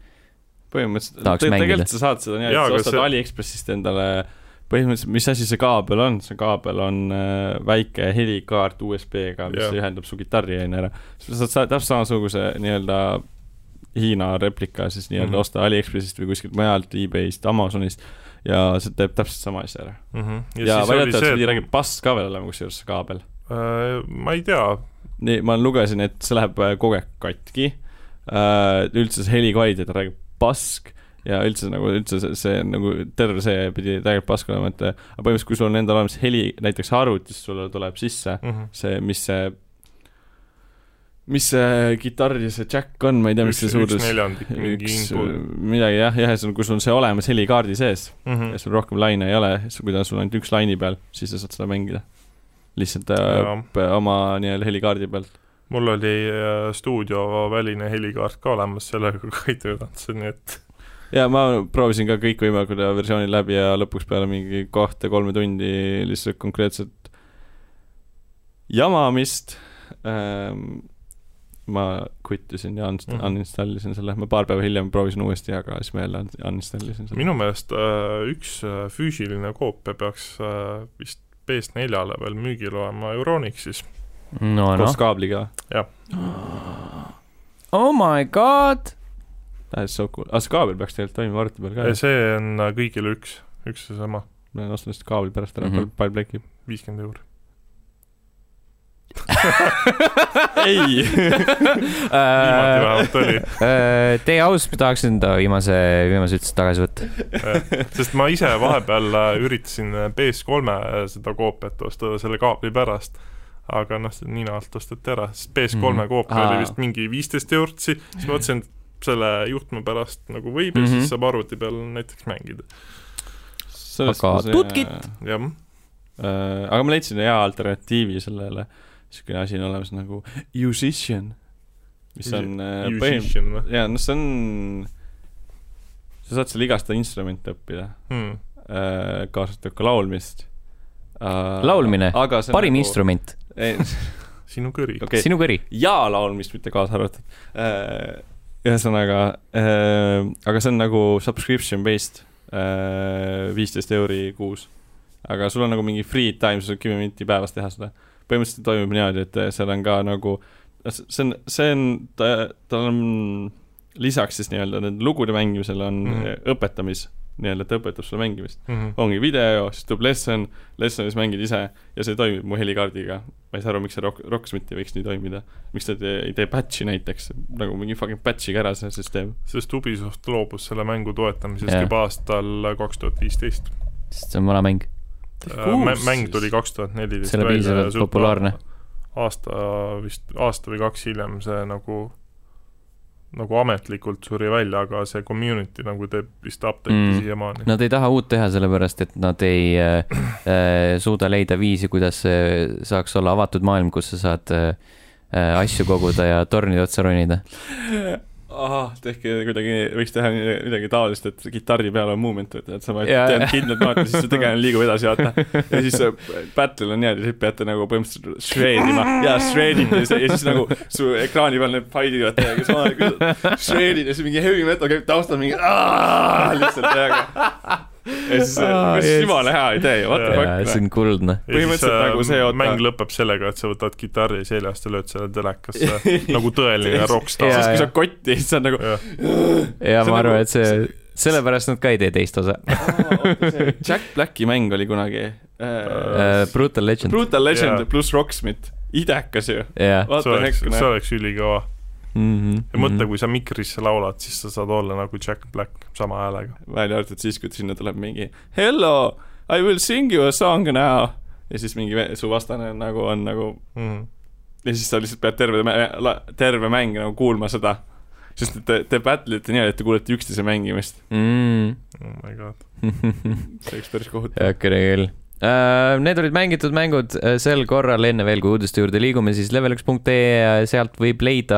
C: põhimõtteliselt ,
B: Tahaks mängida.
C: tegelikult sa saad seda nii-öelda ,
A: Jaa,
C: sa
A: aga
C: ostad see...
A: see-
C: Aliekspressist endale põhimõtteliselt , mis asi see kaabel on , see kaabel on äh, väike helikaart USB-ga , mis
A: Jaa.
C: yeah. ühendab su kitarriaine ära . sa saad sa- täpselt samasuguse nii-öelda Hiina replika siis nii-öelda mm
A: Mhm.
C: -hmm. osta Aliekspressist või kuskilt mujalt , e-Bayst , Amazonist ja see teeb täpselt sama asja ära .
A: mm . -hmm.
C: ja, ja välja arvatud , et
A: et-
C: see pidi pass ka veel olema , kusjuures see kaabel .
A: Äh, ma ei tea ,
C: nii , ma lugesin , et see läheb äh, kogu aeg katki . üldse see heli kvaliteet on räägib pask ja üldse nagu üldse see, see nagu terve see pidi tegelikult pask olema , et äh, aga põhimõtteliselt , kui sul on endal olemas heli , näiteks arvutis sulle tuleb sisse
A: mm . -hmm.
C: see , mis see , mis see kitarri see jack on , ma ei tea , mis
A: üks,
C: see
A: üks
C: suurus ,
A: neljandik mingi
C: üks
A: input
C: midagi jah , jah , ühesõnaga , kui sul on see olemas helikaardi sees
A: mm .
C: ja
A: -hmm.
C: sul rohkem laine ei ole , kui ta sul on ainult üks laini peal , siis sa saad seda mängida . lihtsalt
A: Jaa.
C: äh, p- oma nii-öelda helikaardi pealt .
A: mul oli äh, stuudioväline helikaart ka olemas , sellega ka ei töötanud see , nii et
C: ja ma proovisin ka kõik võimalikud versioonid läbi ja lõpuks peale mingi kahte-kolme tundi lihtsalt konkreetselt jamamist ähm, . ma kuttisin ja unst-
A: Mhm.
C: uninstallisin selle , ma paar päeva hiljem proovisin uuesti , aga siis ma jälle un- uninstallisin selle .
A: minu meelest äh, üks äh, füüsiline koopia peaks äh, vist PS4-le veel müügil olema Euronixis .
B: no noh
C: koos , kaabliga .
B: oh my god ,
C: That is so cool , aga see kaabel peaks tegelikult toimima arvuti peal ka .
A: see on äh, kõigile üks , üks seesama ,
C: ma lähen ostan lihtsalt kaabli pärast ära mm ,
B: Mhm.
C: -hmm. pall plekib .
A: viiskümmend euri .
C: ei .
A: viimati vähemalt oli ,
B: teie Äh, aus , ma tahaksin ta viimase , viimase üldse tagasi võtta .
A: sest ma äh, ise vahepeal äh, üritasin äh, PS3-e seda koopiat osta selle kaabli pärast , aga noh , see nina alt tõsteti ära , siis PS3-e
B: Mhm.
A: koop oli
B: Aa.
A: vist mingi viisteist eurtsi , siis ma mõtlesin , et selle juhtme pärast nagu võib ja mm
B: Mhm.
A: -hmm. siis saab arvuti peal näiteks mängida ,
B: Aga tutkit!
A: jah .
C: äh, . aga ma leidsin hea alternatiivi sellele , siukene asi on olemas nagu Musician , mis on äh, põhim- ,
A: Musician või ?
C: jaa , noh , see on , sa saad seal igast instrumente õppida
A: Hmm.
C: äh, , kaasa arvatud ka laulmist äh, .
B: Laulmine,
A: nagu-
B: parim . instrument ,
A: sinu kõri
C: Okei.
B: sinu kõri .
C: ja laulmist , mitte kaasa arvatud . ühesõnaga , aga see on nagu subscription based , viisteist euri kuus . aga sul on nagu mingi free time , sa saad kümme minutit päevas teha seda . põhimõtteliselt toimub niimoodi , et eh, seal on ka nagu , see on , see on , ta , tal on lisaks siis nii-öelda need lugude mängimisel on
A: Mhm.
C: mm. õpetamis , nii-öelda ta õpetab sulle mängimist .
A: mm . -hmm.
C: ongi video , siis tuleb lesson , lesson'is mängid ise ja see toimib mu helikaardiga . ma ei saa aru , miks see Rock , Rocksmithi võiks nii toimida . miks ta ei tee- ei tee patch'i näiteks , nagu mingi fucking patch'iga ära see süsteem .
A: sest Ubisoft loobus selle mängu toetamisest
B: Jah.
A: yeah. juba aastal kaks tuhat viisteist .
B: sest see on vana mäng ,
A: Äh, mäng tuli . kaks tuhat neliteist
B: see oli piisavalt populaarne .
A: aasta vist , aasta või kaks hiljem see nagu , nagu ametlikult suri välja , aga see community nagu teeb vist update'i
B: Mm.
A: mm. siiamaani .
B: Nad ei taha uut teha , sellepärast et nad ei äh, äh, suuda leida viisi , kuidas äh, saaks olla avatud maailm , kus sa saad äh, äh, asju koguda ja tornide otsa ronida .
C: ahah , tehke kuidagi , võiks teha nii- midagi taolist , et kitarri peal on movement , et sa
B: Jaa.
C: teed kindlad noot ja siis see tegelane liigub edasi , vaata . ja siis see battle'il on niimoodi , et peate nagu põhimõtteliselt shredima ja shredima ja siis- ja siis nagu su ekraani peal need failid , vaata , kes omal ajal shred'id ja siis mingi heavy metal käib taustal mingi "Aa!" lihtsalt peaga . ja siis ,
B: Aa,
C: kas
B: jess.
C: jumala hea idee , what the
B: see
C: fuck .
B: on kuldne .
C: põhimõtteliselt nagu see, oota-
A: mäng lõpeb sellega , et sa võtad kitarri seljast ja lööd selle telekasse nagu tõeline rockstar
C: siis ,
B: Jaa,
C: kui sa
B: jaa.
C: kotti , siis sa oled nagu .
B: ja
C: See
B: ma
C: on
B: arvan ,
C: nagu-
B: et see , sellepärast nad ka ei tee teist osa .
C: Jack Blacki mäng oli kunagi äh, .
B: Brutal Legend ,
C: Brutal Legend
A: Jaa.
C: yeah. pluss Rocksmith , idekas ju .
B: jah .
A: see
C: vaata
A: oleks ,
C: hekkune
A: see . oleks ülikõva . ja
B: Mhm.
A: mõtle , kui sa mikrisse laulad , siis sa saad olla nagu Jack Black sama häälega .
C: välja arvatud siis , kui sinna tuleb mingi hello , I will sing you a song now . ja siis mingi ve- su vastane on nagu on nagu
A: Mm-hmm.
C: ja siis sa lihtsalt pead terve , terve mäng nagu kuulma seda . sest et te , te battle ite niimoodi , et te kuulete üksteise mängimist .
B: Mm-hmm.
A: Oh my god .
C: see oleks päris kohutav .
B: heakene küll . Need olid mängitud mängud äh, sel korral , enne veel , kui uudiste juurde liigume , siis level1.ee , sealt võib leida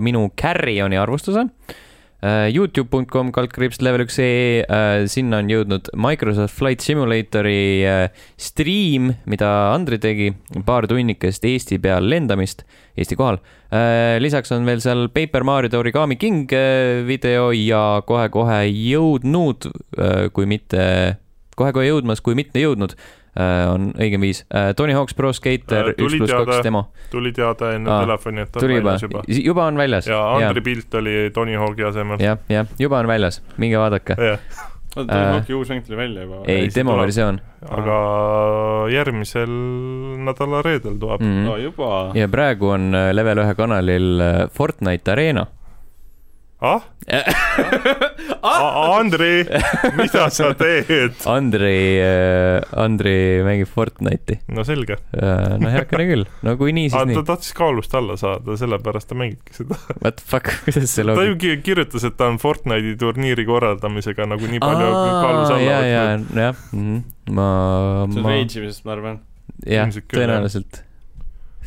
B: minu Carrioni arvustuse . Äh, Youtube.com kaldkriips level1.ee , äh, sinna on jõudnud Microsoft Flight Simulatori äh, stream , mida Andri tegi , paar tunnikest Eesti peal lendamist , Eesti kohal . lisaks on veel seal Paper Mario The Origami King äh, video ja kohe-kohe jõudnud , kui mitte , kohe-kohe jõudmas , kui mitte jõudnud , on õigem viis , Tony Hawk's Pro Skater
A: Äh, tuli
B: üks pluss
A: teada.
B: kaks demo .
A: tuli teada enne
B: Aa,
A: telefoni , et ta on
B: Ah, tuli juba
A: väljas , juba .
B: juba on väljas .
A: ja Andri pilt oli Tony Hawk'i asemel .
B: jah , jah , juba on väljas , minge vaadake .
A: jah ,
C: oota ,
B: Äh.
C: Tony Hawk'i uus mäng tuli välja juba .
A: ei,
B: ei ,
A: see tuleb.
B: demoversioon
A: aga järgmisel nädala reedel tuleb mm. .
B: mm.
C: no . juba .
B: ja praegu on äh, level ühe kanalil äh, Fortnite Arena .
A: ah ah, , Andri , mida sa teed ?
B: Andri , Andri äh, mängib Fortnite'i .
A: no selge ,
B: no heakene küll , no kui nii , siis
A: ta
B: nii .
A: tahtis kaalust alla saada , sellepärast ta mängibki seda .
B: What the fuck , kuidas see
A: ta ju
B: loogika ?
A: ki- kirjutas , et ta on Fortnite'i turniiri korraldamisega nagu nii palju kaalus alla
B: ja , ja
A: võtnud .,
B: jah , ma ,
C: see on
B: ma ,
C: rage imisest , ma arvan .
B: jah
A: Ilmselt , küll, jah.
B: tõenäoliselt ,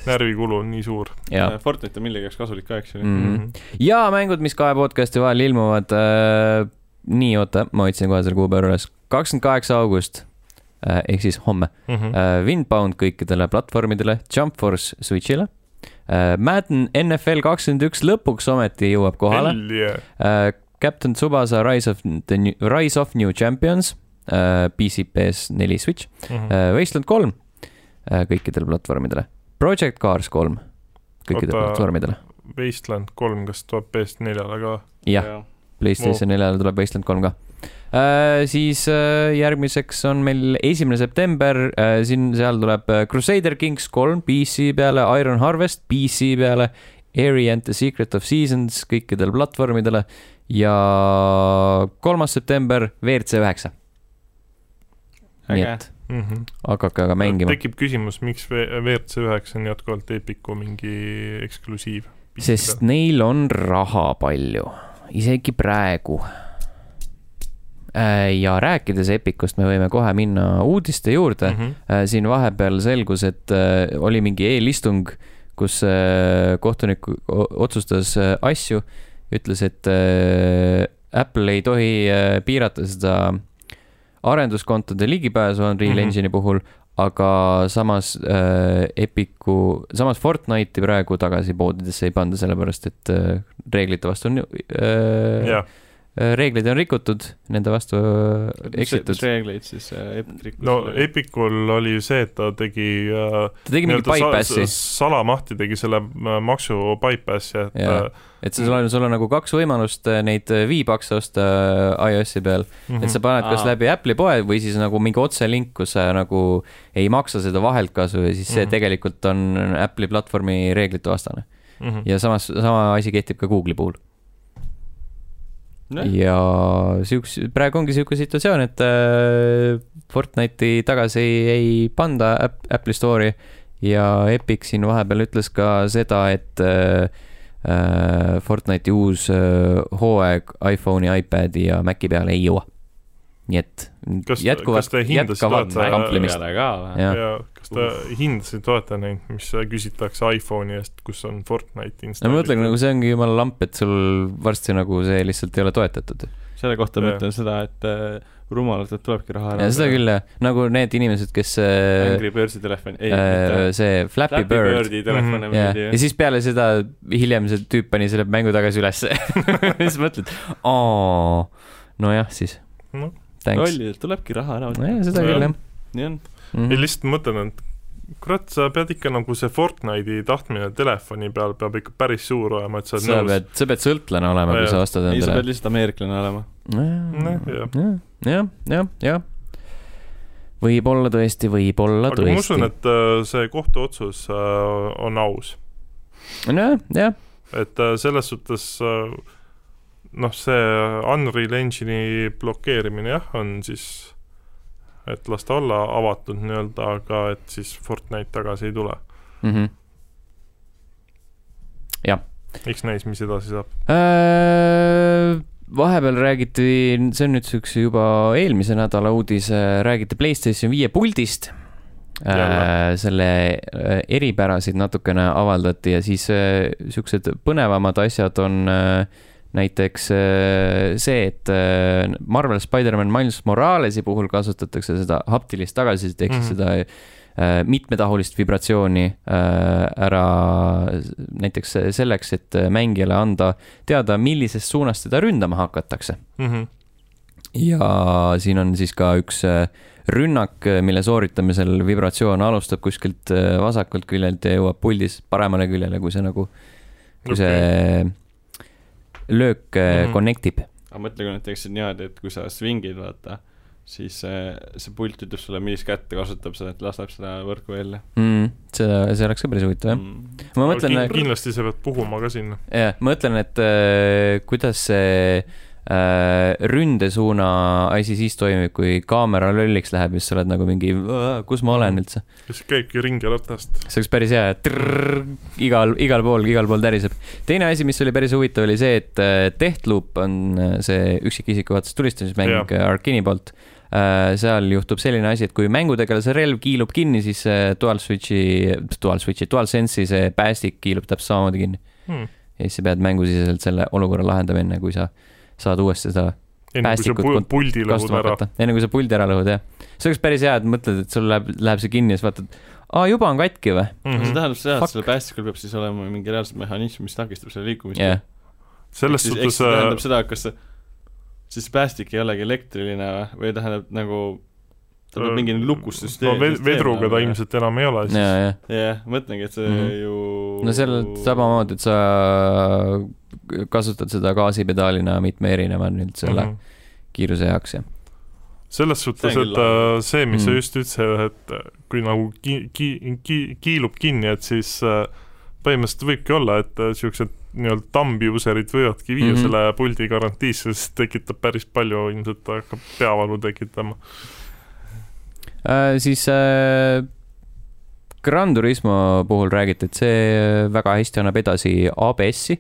A: närvikulu on nii suur Mhm.
B: jaa .
C: Äh, Fortnite on millegi jaoks kasulik ka , eks ju .
B: Mm. ja mängud , mis kahe podcast'i vahel ilmuvad äh, . nii , oota , ma otsin kohe selle kuupäeva üles . kakskümmend kaheksa august äh, ehk siis homme
A: mm . -hmm.
B: äh, . Windbound kõikidele platvormidele , Jump Force Switch'ile äh, . Madden NFL kakskümmend üks lõpuks ometi jõuab kohale .
A: Yeah.
B: äh, . Captain Tsubasa Rise of the New , Rise of New Champions äh, , PC , PS4 Switch
A: Mm -hmm.
B: äh, , Wasteland kolm äh, kõikidele platvormidele , Project Cars kolm kõikidele
A: Oota.
B: platvormidele .
A: Wasteland kolm , kas tuleb PS4-le ka ?
B: jah , Playstation neljale tuleb Wasteland kolm ka . Uh, siis uh, järgmiseks on meil esimene september uh, , siin , seal tuleb äh, Crusader Kings kolm PC peale , Iron Harvest PC peale , Airy and the Secret of Seasons kõikidele platvormidele ja kolmas september WRC üheksa . nii
C: Äge.
B: et
A: mm . -hmm.
B: hakake aga mängima .
A: tekib küsimus , miks V- WRC üheksa on jätkuvalt Epiku mingi eksklusiiv ?
B: sest neil on raha palju , isegi praegu . ja rääkides Epicust , me võime kohe minna uudiste juurde .
A: -hmm.
B: Äh, siin vahepeal selgus , et äh, oli mingi eelistung , kus äh, kohtunik o- otsustas äh, asju , ütles , et äh, Apple ei tohi äh, piirata seda arenduskontode ligipääsu Unreal mm
A: Mhm.
B: -hmm. Engine'i puhul , aga samas äh, Epiku , samas Fortnite'i praegu tagasi poodidesse ei panda , sellepärast et äh, reeglite vastu on äh, ,
A: jah ,
B: reegleid on rikutud , nende vastu äh, eksitud .
C: reegleid siis äh, Epic rikkus
A: no . Epicul oli ju see , et ta tegi äh,
B: ta tegi mingi
A: nii-öelda sa-
B: bypass'i .
A: sa- salamahti tegi selle äh, maksu bypassi , et
B: Jaa.
A: äh,
B: et sul on , sul on nagu kaks võimalust äh, neid äh, V-Bucks osta äh, iOS-i peal mm , -hmm.
A: mhm,
B: et sa paned kas
C: Aa.
B: läbi Apple'i poe või siis nagu mingi otselink , kus sa nagu ei maksa seda vaheltkasu ja siis see mm
A: Mhm.
B: -hmm. tegelikult on Apple'i platvormi reeglite vastane .
A: mhm.
B: ja samas , sama asi kehtib ka Google'i puhul
C: Nojah.
B: ja siukse , praegu ongi siuke situatsioon , et äh, Fortnite'i tagasi ei, ei panda äpp , Apple'i Store'i ja Epic siin vahepeal ütles ka seda , et äh, äh, Fortnite'i uus äh, hooaeg iPhone'i , iPad'i ja Maci peale ei jõua . nii et
A: Kas- kas
B: jätkuvalt
A: te , hindasite seda,
B: jätkavad
A: et sa-
B: kamplemist .
C: peale ka või ?
B: jah.
A: ja kas te hindasite , olete näinud , mis äh, küsitakse iPhone'i eest , kus on Fortnite
B: no ma mõtlen ,
A: installitud ?
B: nagu see ongi jumala lamp , et sul varsti nagu see lihtsalt ei ole toetatud .
C: selle kohta ma
A: Jah.
C: ütlen seda , et äh, rumalalt , et tulebki raha ära .
B: ja seda küll jah , nagu need inimesed , kes äh,
C: Angry Birdsi telefon , ei
B: äh,
C: mitte .
B: see Flappy Bird
C: Birdi telefon
A: Mhm.
C: on
B: yeah. . ja
C: muidugi .
B: siis peale seda hiljem see tüüp pani selle mängu tagasi ülesse . siis mõtled , aa , nojah siis
A: Noh. .
B: Thanks .
C: lolli , tulebki raha ära
B: nojah , seda
A: Nojah.
B: küll jah
C: nii on .
A: ei ,
B: mm. .
A: lihtsalt mõtlen , et kurat , sa pead ikka nagu see Fortnite'i tahtmine telefoni peal peab ikka päris suur olema , et sa oled
B: sa
A: nõus .
B: pead , sa pead sõltlane olema , kui
A: Nojah.
B: sa ostad
C: ei , sa pead
B: endale .
C: lihtsalt ameeriklane olema .
A: Nojah.
B: jah , jah , jah , jah . võib-olla tõesti , võib-olla
A: aga ma usun ,
B: tõesti .
A: et äh, see kohtuotsus äh, on aus ,
B: nojah , jah ,
A: et äh, selles suhtes äh, noh , see Unreal Engine'i blokeerimine jah , on siis , et las ta olla avatud nii-öelda , aga et siis Fortnite tagasi ei tule .
B: Mhm.
A: eks näis , mis edasi saab .
B: Äh, vahepeal räägiti , see on nüüd siukse juba eelmise nädala uudis , räägiti Playstation viie puldist .
A: Jälle.
B: selle äh, eripärasid natukene avaldati ja siis äh, siuksed põnevamad asjad on äh, näiteks äh, see , et äh, Marvel Spider-man Miles Moralesi puhul kasutatakse seda haptilist tagasisidet ehk siis
A: Mhm.
B: seda äh, mitmetahulist vibratsiooni äh, ära näiteks selleks , et mängijale anda teada , millisest suunast teda ründama hakatakse .
A: Mm -hmm.
B: ja siin on siis ka üks äh, rünnak , mille sooritamisel vibratsioon alustab kuskilt äh, vasakult küljelt ja jõuab puldis paremale küljele , kui see nagu , kui see löök mm
A: Mhm.
B: -hmm. connect ib .
C: aga mõtle , kui nad teeksid niimoodi , et kui sa svingid , vaata , siis äh, see pult ütleb sulle , millist kätt ta kasutab seda , et laseb seda võrku välja .
B: Mm, see , see oleks ka päris huvitav jah .
C: Mm.
B: ma mõtlen , äh,
A: kindlasti sa pead puhuma ka sinna .
B: jah , ma mõtlen , et äh, kuidas see äh, ründesuuna asi siis toimib , kui kaamera lolliks läheb ja siis sa oled nagu mingi , kus ma olen üldse .
A: kes käibki ringi ratast .
B: see oleks päris hea , et igal , igal pool , igal pool täriseb . teine asi , mis oli päris huvitav , oli see , et äh, Deathloop on äh, see üksikisiku vaates tulistamismäng
A: Jah.
B: Arkini poolt . seal juhtub selline asi , et kui mängutegelase relv kiilub kinni , siis äh, dual switch'i , dual switch'i , dual sense'i see päästik kiilub täpselt samamoodi kinni .
A: Hmm.
B: ja siis sa pead mängusiseselt selle olukorra lahendama , enne kui sa saad uuesti seda
A: enne kui sa
B: Päästikud
A: pu-
B: kont-
A: puldi lõhud
B: kasutama
A: ära .
B: hakata , enne kui sa puldi ära lõhud , jah . see oleks päris hea , et mõtled , et sul läheb , läheb see kinni ja siis vaatad , aa , juba on katki või ?
A: Mhm.
C: see tähendab seda ,
B: Mhm. Fuck.
C: et sellel päästikul peab siis olema mingi reaalselt mehhanism , mis takistab selle liikumist
B: jah .
A: selles
C: siis,
A: suhtes äh,
C: eks see tähendab seda , kas see , siis päästik ei olegi elektriline või , või tähendab nagu , ta peab mingi lukussüsteem
A: Äh, no, . vedruga ta . ilmselt enam ei ole siis
B: ja , ja ,
C: jah , mõtlengi , et see mm
B: Mhm.
C: -hmm. ju
B: no seal on samamoodi , et sa kasutad seda gaasipedaalina mitme erineva nüüd selle mm
A: Mhm.
B: -hmm. kiiruse jaoks ja .
A: selles suhtes ,
C: See on
A: et
C: küll lahe.
A: äh, see , mis mm. sa
B: Mm.
A: just ütlesid , et kui nagu ki- , ki- , ki- , kiilub kinni , et siis äh, põhimõtteliselt võibki olla , et äh, siuksed nii-öelda thumb user'id võivadki viia mm -hmm.
B: Mhm.
A: selle puldi garantiisse , sest tekitab päris palju , ilmselt hakkab peavalu tekitama .
B: Äh, siis äh, Gran Turismo puhul räägiti , et see väga hästi annab edasi ABS-i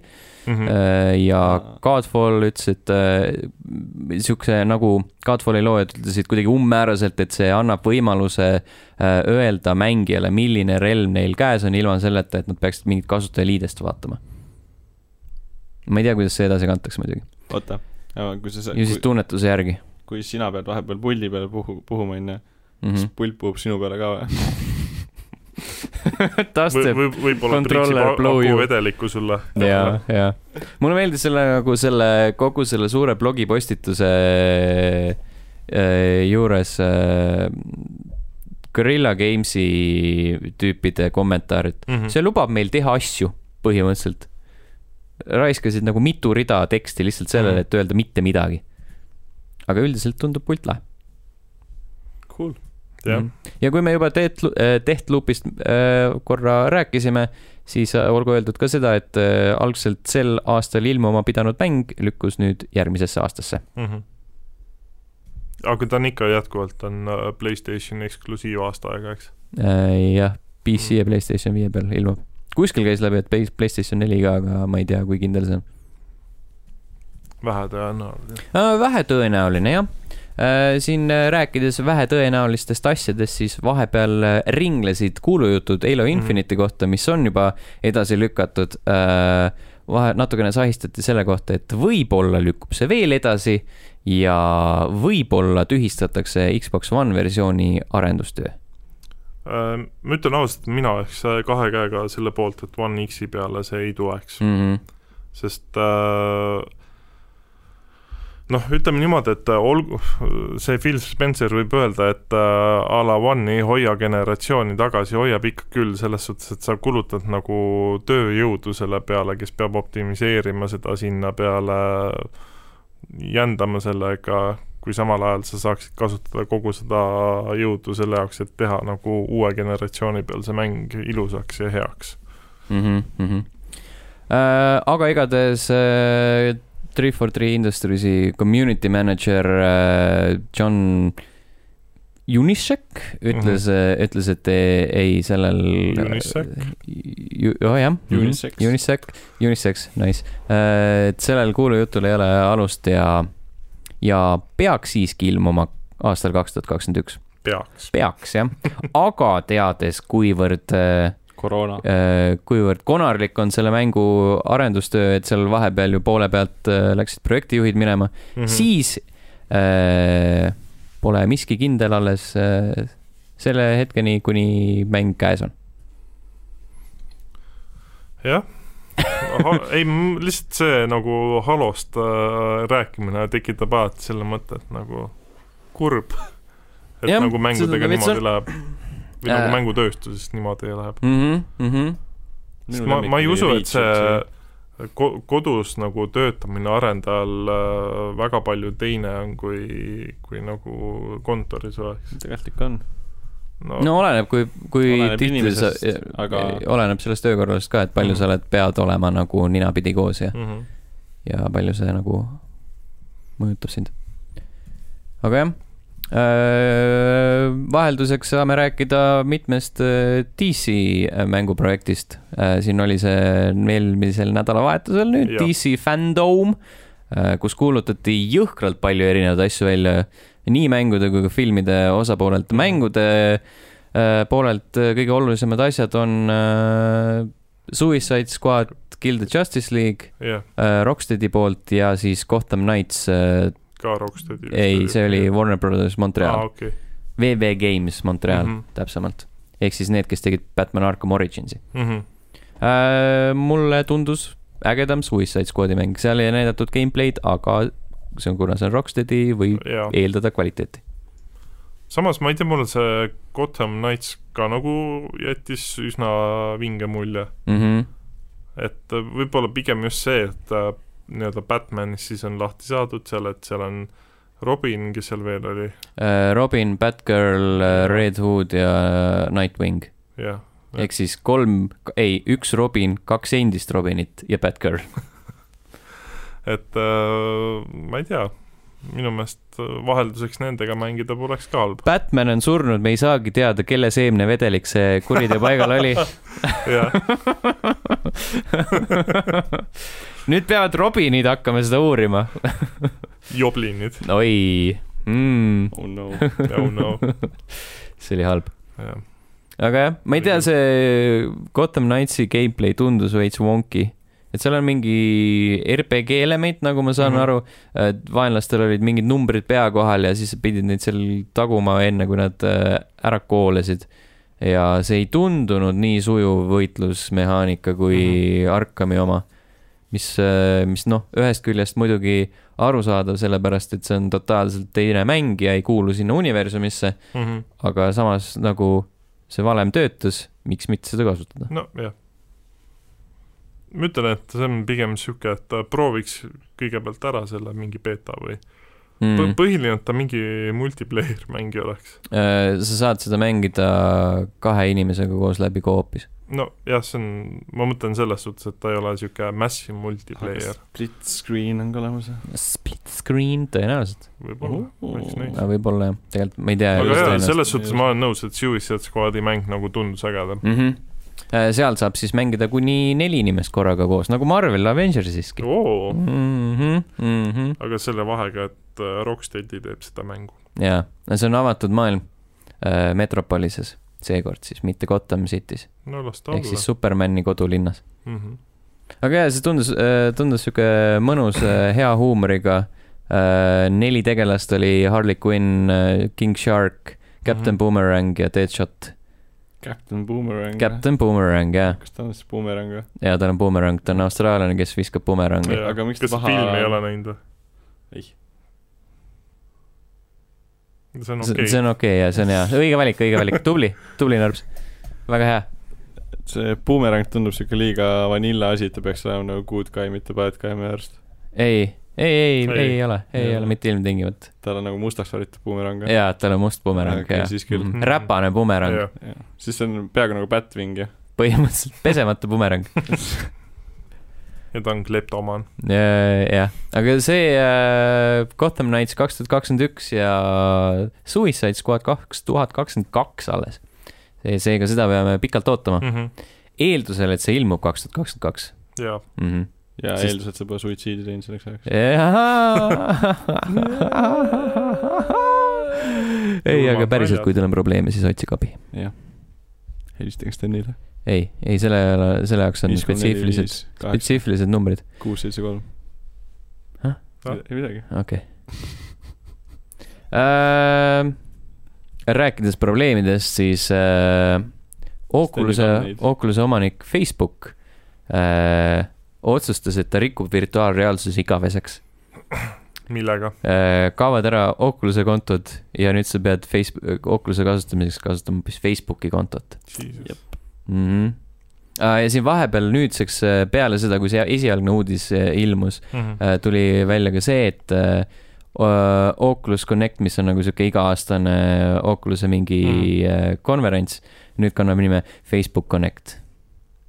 A: mm . -hmm.
B: äh, ja
C: Aa.
B: Godfall ütles , et äh, siukse nagu Godfalli loojad ütlesid kuidagi umbmääraselt , et see annab võimaluse äh, öelda mängijale , milline relv neil käes on , ilma selleta , et nad peaksid mingit kasutajaliidest vaatama . ma ei tea , kuidas see edasi kantakse muidugi ,
C: oota , kui sa ,
B: ju siis
C: kui,
B: tunnetuse järgi
C: kui sina pead vahepeal pulli peale puhu- , puhuma , onju ,
B: mm
C: kas . pull puhub sinu peale ka või ?
A: või ,
B: taasteb
A: või võib-olla
B: controller
A: priksib
B: blow you.
A: aku vedelikku sulle .
B: ja , ja mulle meeldis selle nagu selle kogu selle suure blogipostituse äh, juures äh, Gorilla Gamesi tüüpide kommentaarid .
A: Mm -hmm.
B: see lubab meil teha asju põhimõtteliselt . raiskasid nagu mitu rida teksti lihtsalt sellele , et öelda mitte midagi . aga üldiselt tundub pult lahe .
C: Cool .
A: jah ,
B: Mm. ja kui me juba Death , Deathloopist äh, korra rääkisime , siis äh, olgu öeldud ka seda , et äh, algselt sel aastal ilmuma pidanud mäng lükkus nüüd järgmisesse aastasse .
A: mm . -hmm. aga ta on ikka jätkuvalt on äh, Playstationi eksklusiivaasta aega , eks .
B: Äh, jah , PC ja Playstation viie peal ilmub . kuskil käis läbi , et Play- Playstation neli ka , aga ma ei tea , kui kindel see on .
A: vähe tõenäoliselt .
B: Äh, vähetõenäoline jah . siin äh, rääkides vähetõenäolistest asjadest , siis vahepeal äh, ringlesid kuulujutud Halo Infinite'i kohta , mis on juba edasi lükatud . vahe , natukene sahistati selle kohta , et võib-olla lükkub see veel edasi ja võib-olla tühistatakse Xbox One versiooni arendustöö .
A: Äh, ma ütlen ausalt , mina oleks äh, kahe käega selle poolt , et One X-i peale see ei tuleks mm. ,
B: Mhm.
A: sest äh, noh , ütleme niimoodi , et äh, olgu , see Phil Spencer võib öelda , et äh, a la One ei hoia generatsiooni tagasi , hoiab ikka küll , selles suhtes , et sa kulutad nagu tööjõudu selle peale , kes peab optimiseerima seda sinna peale , jändama sellega , kui samal ajal sa saaksid kasutada kogu seda jõudu selle jaoks , et teha nagu uue generatsiooni peal see mäng ilusaks ja heaks .
B: mm . -hmm. Äh, aga igatahes äh, 343 Industriesi community manager äh, John Unišek ütles mm , -hmm. ütles , et ei, ei sellel .
A: Unišek. .
B: Oh, jah ,
C: Unisex.
B: Unisex , Unisex , nice . et sellel kuulujutul ei ole alust ja , ja peaks siiski ilmuma aastal kaks tuhat kakskümmend üks .
A: peaks .
B: peaks jah , aga teades , kuivõrd äh,
C: koroona .
B: Äh, kuivõrd konarlik on selle mängu arendustöö , et seal vahepeal ju poole pealt äh, läksid projektijuhid minema mm ,
A: Mhm.
C: Mhm.
B: -hmm. siis äh, pole miski kindel alles äh, selle hetkeni , kuni mäng käes on .
A: jah Aha, ei , lihtsalt see nagu halost äh, rääkimine tekitab alati selle mõtte , et nagu kurb . et
B: Jah,
A: ja, nagu
B: seda ta
A: mängudega
B: veits
A: niimoodi on... läheb . või nagu
B: Äh.
A: mängutööstuses niimoodi läheb .
C: Minu
A: ma , ma ei
C: lemmik
A: usu ,
C: oli
A: et
C: Reach üldse.
A: see ko- kodus nagu töötamine arendajal äh, väga palju teine on , kui , kui nagu kontoris oleks .
C: tegelikult ikka on .
A: no,
B: no oleneb , kui , kui
C: Oh. Oleneb
B: tihti sa
C: inimesest, , aga- Mhm.
B: oleneb sellest töökorraldusest ka , et palju mm -hmm. sa oled , pead olema nagu ninapidi koos ja ,
A: Mm -hmm.
B: ja palju see nagu mõjutab sind . aga jah äh, , vahelduseks saame rääkida mitmest äh, DC mänguprojektist . siin oli see eelmisel nädalavahetusel nüüd ja.
A: Jah.
B: DC Fandom , kus kuulutati jõhkralt palju erinevaid asju välja , nii mängude kui ka filmide osa poolelt . mängude äh, poolelt äh, kõige olulisemad asjad on äh, Suicide Squad , Kill the Justice League ,
A: jah ,
B: äh, Rocksteadi poolt ja siis Gotham Knights äh, ,
A: ka Rocksteadi .
B: ei , see oli Warner Brothers Montreal
A: Aa,
B: ah, ,
A: okei
B: VV Games Montreal mm
A: Mhm.
B: -hmm. täpsemalt . ehk siis need , kes tegid Batman Arkham Originsi
A: mm . -hmm.
B: äh, . mulle tundus ägedam Suicide Squad'i mäng , seal ei näidatud gameplay'd , aga see on , kuna see on Rocksteadi , võib
A: jaa .
B: eeldada kvaliteeti .
A: samas ma ei tea , mulle see Gotham Knights ka nagu jättis üsna vinge mulje ,
B: Mm -hmm.
A: et äh, võib-olla pigem just see , et äh, nii-öelda Batmanis siis on lahti saadud seal , et seal on Robin , kes seal veel oli ,
B: Äh, Robin , Batgirl , Red Hood ja äh, Nightwing
A: jah .
B: ehk siis kolm , ei , üks Robin , kaks endist Robinit ja Batgirl .
A: et äh, ma ei tea , minu meelest äh, vahelduseks nendega mängida poleks ka halb .
B: Batman on surnud , me ei saagi teada , kelle seemnevedelik see kuriteo paigal oli .
A: jah ,
B: nüüd peavad Robinid hakkama seda uurima .
A: joblinid ,
B: oi mm, ,
C: oh no .
A: oh no ,
B: see oli halb .
A: jah .
B: aga jah , ma ei tea , see Gotham Knightsi gameplay tundus veits wonky . et seal on mingi RPG element , nagu ma saan mm
A: Mhm.
B: -hmm. aru , vaenlastel olid mingid numbrid pea kohal ja siis pidid neid seal taguma enne , kui nad äh, ära koolasid . ja see ei tundunud nii sujuv võitlusmehaanika kui mm -hmm. Arkami oma . mis , mis noh , ühest küljest muidugi arusaadav , sellepärast et see on totaalselt teine mäng ja ei kuulu sinna universumisse ,
A: Mhm.
B: aga samas nagu see valem töötas , miks mitte seda kasutada ?
A: nojah . ma ütlen , et see on pigem sihuke , et ta prooviks kõigepealt ära selle mingi beeta või mm. ,
B: Mm.
A: põhiline , et ta mingi multiplayer mäng ei oleks .
B: Äh, sa saad seda mängida kahe inimesega koos läbi koopis .
A: nojah , see on , ma mõtlen selles suhtes , et ta ei ole sihuke massive multiplayer ,
C: split screen on ka olemas .
B: Split screen tõenäoliselt ,
A: võib-olla
C: Oho.
A: võiks näis .
B: võib-olla jah , tegelikult ma ei tea .
A: aga jaa ,
C: tõenäoliselt
A: selles suhtes
C: just.
A: ma olen nõus , et Suicide Squad'i mäng nagu tundus ägedam .
B: mm . -hmm. seal saab siis mängida kuni neli inimest korraga koos , nagu Marvel Avengersiski .
A: oo ,
B: Mm -hmm, mm -hmm.
A: aga selle vahega , et äh, Rocksteadi teeb seda mängu .
B: jaa , see on avatud maailm äh, Metropolises , seekord siis , mitte Gotham City's
A: no las ta
B: ehk
A: olla
B: siis . Supermani kodulinnas .
A: Mm -hmm.
B: aga jaa , see tundus , tundus sihuke mõnus , hea huumoriga . neli tegelast oli Harley Quinn , King Shark , Captain
A: Mhm.
B: Boomerang ja Deadshot .
C: Captain Boomerang .
B: Captain Boomerang jah ,
C: kas ta on siis Boomerang või ?
B: ja tal on boomerang , ta on austraallane , kes viskab bumerangi .
A: Jaa.
C: aga miks ta
A: kas
C: paha
A: filmi ei ole näinud või ?
C: Ei. .
A: see on okei
B: see
A: okay. ,
B: on okei okay, ja see on hea , õige valik , õige valik , tubli , tubli Narps , väga hea .
C: see Boomerang tundub siuke liiga vanilla asi , et ta peaks olema nagu good guy , mitte bad guy minu arust .
B: ei , ei , ei ,
A: Ei.
B: ei ole , ei
C: Ei
B: ole
C: ole.
B: mitte ilmtingimata .
C: tal on nagu mustaks värvitud Boomerang .
B: jaa , tal on must bumerang
C: Okei,
B: ja
C: siis küll.
B: Mhm. räpane bumerang ,
A: jah ,
C: siis see on peaaegu nagu Batwing jah .
B: põhimõtteliselt pesemata bumerang .
A: ja ta on kleptomaan .
B: Ja- jah , aga see äh, Gotham Knights kaks tuhat kakskümmend üks ja Suicide Squad kaks tuhat kakskümmend kaks alles . seega seda peame pikalt ootama , eeldusel , et see ilmub kaks tuhat kakskümmend kaks .
A: Mhm.
B: Mhm.
A: jaa ,
C: ja
B: Sest-
C: Sest... eeldus , et sa pole suitsiidi teinud selleks ajaks .
B: ei , aga päriselt , kui teil on probleeme , siis otsige abi .
C: jah . helistage Stenile .
B: ei , ei selle , selle jaoks on spetsiifilised ,. spetsiifilised numbrid .
C: kuus , seitse , kolm .
B: Hah?
C: ei midagi . Ähm,
B: Äh, rääkides probleemidest , siis äh, Oculus'e
C: Stelli thumbnails. ,
B: Oculus'e omanik Facebook äh, otsustas , et ta rikub virtuaalreaalsuse igaveseks
A: millega ?
B: äh, . kaovad ära Oculus'e kontod ja nüüd sa pead Facebook , Oculus'e kasutamiseks kasutama hoopis Facebooki kontot
A: Jesus ,
B: mm . -hmm. ja siin vahepeal nüüdseks äh, peale seda , kui see esialgne uudis äh, ilmus ,
A: Mhm.
B: Äh, tuli välja ka see , et äh, o- Oculus Connect , mis on nagu sihuke iga-aastane äh, Oculus'e mingi
A: Mhm.
B: äh, konverents , nüüd kannab nime Facebook Connect .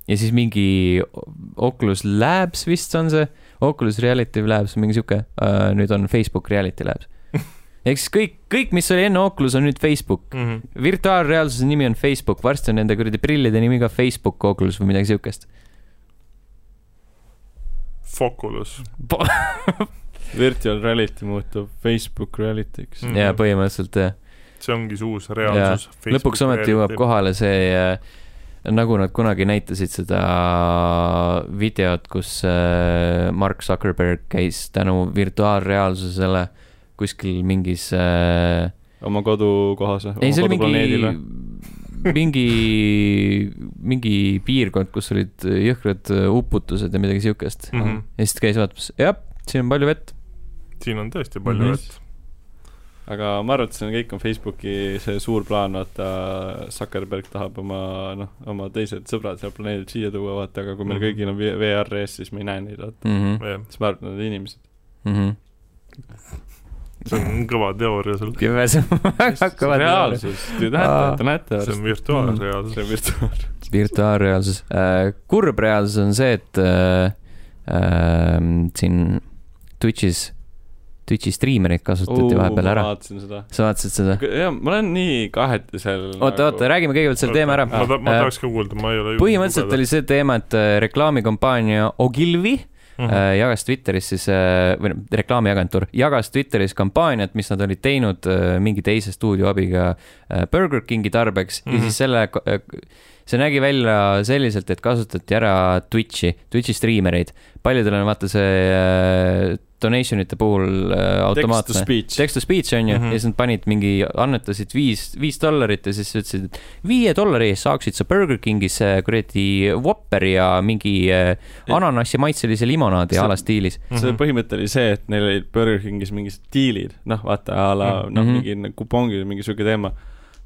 B: ja siis mingi O- Oculus Labs vist on see , Oculus Reality Labs , mingi sihuke , nüüd on Facebook Reality Labs . ehk siis kõik , kõik , mis oli enne Oculus , on nüüd Facebook .
A: Mhm.
B: virtuaalreaalsuse nimi on Facebook , varsti on nende kuradi prillide nimi ka Facebook Oculus või midagi siukest .
A: Foculus ,
C: Virtual reality muutub Facebook reality'ks
A: Mm.
C: mm. .
B: jaa ,
A: Mhm.
B: põhimõtteliselt jah .
A: see ongi see uus reaalsus .
B: lõpuks ometi jõuab . kohale see , nagu nad kunagi näitasid seda videot , kus äh, Mark Zuckerberg käis tänu virtuaalreaalsusele kuskil mingis äh, ,
C: oma kodukohas või
B: ei see
C: oma
B: oli
C: koduplaneedil või ?
B: mingi , mingi , mingi piirkond , kus olid jõhkrad äh, uputused ja midagi siukest mm .
A: Mhm.
B: -hmm. ja siis ta käis vaatamas , jah , siin on palju vett ,
A: siin on tõesti palju
B: Mhm.
A: vett .
C: aga ma arvan , et see on kõik on Facebooki see suur plaan , vaata Zuckerberg tahab oma noh , oma teised sõbrad seal planeedilt siia tuua , vaata , aga kui meil
A: Mhm.
C: kõigil on V- VR ees , siis me ei näe neid , vaata .
B: Mhm.
C: siis ma arvan , et nad on inimesed .
A: see on kõva teooria sul .
B: kümme , see on väga kõva teooria .
C: reaalsus , te näete , te
A: see
C: näete
A: on
C: varsti .
B: Mhm.
A: virtuaalreaalsus .
C: see on virtuaal .
B: virtuaalreaalsus , kurb reaalsus on see , et äh, äh, siin ähm, Twitch'is Twitch'i striimereid kasutati vahepeal ära .
C: vaatasin seda .
B: sa vaatasid seda ?
C: jah , ma olen nii nagu kaheti seal .
B: oota , oota ,. räägime kõigepealt selle teema ära
A: ma, ta, ma
B: Äh,
A: tahaks ka kuulda , ma ei ole .
B: põhimõtteliselt oli see teema , et äh, reklaamikampaania Ogilvy
A: mm
B: äh, jagas Twitteris siis , või noh , reklaamiagentuur jagas Twitteris kampaaniat , mis nad olid teinud äh, mingi teise stuudio abiga äh, Burger Kingi tarbeks mm -hmm.
A: Mhm.
B: ja siis selle , see nägi välja selliselt , et kasutati ära Twitch'i , Twitch'i striimereid . paljudel on vaata see äh, donation'ite puhul äh,
C: text to
B: automaatne .
C: speech .
B: text to speech on ju mm ,
A: Mhm.
B: -hmm. ja siis nad panid mingi , annetasid viis , viis dollarit ja siis ütlesid , et viie dollari eest saaksid sa Burger Kingis äh, kuradi Whopperi ja mingi äh, ananassi maitselise limonaadi
C: See-
B: a la stiilis .
C: see põhimõte oli see , et neil olid Burger Kingis mingid diilid , noh , vaata a la
A: Mhm.
C: noh ,
B: Mhm.
C: mingi nagu kupongid , mingi sihuke teema .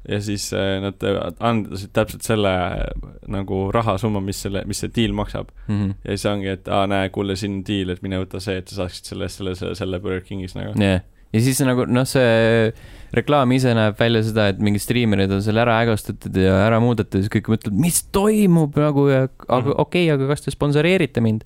C: ja siis äh, nad äh, andsid täpselt selle äh, nagu rahasumma , mis selle , mis see diil maksab .
B: Mm -hmm.
C: ja siis ongi , et aa , näe , kuule , siin on diil , et mine võta see , et sa saaksid selle , selle , selle , selle Burger Kingis nagu .
B: yeah. ja siis nagu noh , see reklaam ise näeb välja seda , et mingid striimerid on selle ära ägastatud ja ära muudetud ja siis kõik mõtlevad , mis toimub nagu ja aga
A: Mhm.
B: mm. okei okay, , aga kas te sponsoreerite mind ?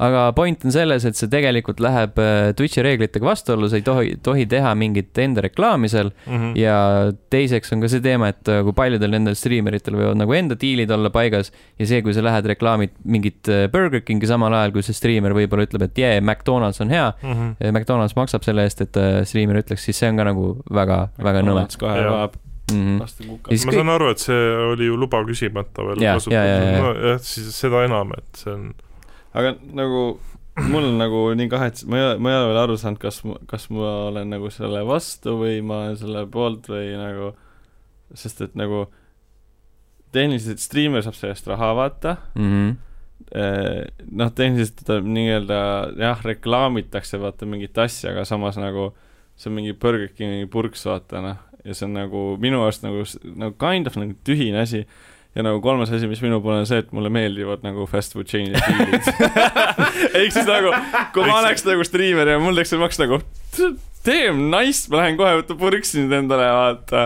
B: aga point on selles , et see tegelikult läheb äh, Twitch'i reeglitega vastuollu , sa ei tohi , tohi teha mingit enda reklaami seal .
A: -hmm.
B: äh, ja teiseks on ka see teema , et äh, kui paljudel nendel striimeritel võivad nagu enda diilid olla paigas ja see , kui sa lähed reklaamid mingit äh, Burger Kingi samal ajal , kui see striimer võib-olla ütleb , et jee , McDonalds on hea ,
A: Mm
B: McDonalds maksab selle eest , et äh, striimer ütleks , siis see on ka nagu väga , väga nõme .
C: kohe
A: Jah.
C: vajab
B: Mm -hmm.
C: laste
B: Ja
C: kuka .
B: siis
A: ma
B: kõik ,
A: saan aru , et see oli ju luba küsimata veel
B: Jaa, jaa, jaa, jaa.
A: nojah , siis seda enam , et see on
C: aga nagu mul on nagu nii kahets- , ma ei ole , ma ei ole veel aru saanud , kas , kas ma olen nagu selle vastu või ma olen selle poolt või nagu , sest et nagu tehniliselt striimer saab sellest raha vaata ,
B: mm -hmm.
C: noh , tehniliselt teda nii-öelda jah , reklaamitakse vaata mingit asja , aga samas nagu see on mingi Burger Kingi purks , vaata noh , ja see on nagu minu arust nagu , nagu kind of nagu tühine asi ja nagu kolmas asi , mis minu poole on see , et mulle meeldivad nagu fast food chain'id ja diilid . ehk siis nagu , kui ma oleks nagu striimer ja mul teeks see maks nagu damn nice , ma lähen kohe võtan purksi nüüd endale , vaata .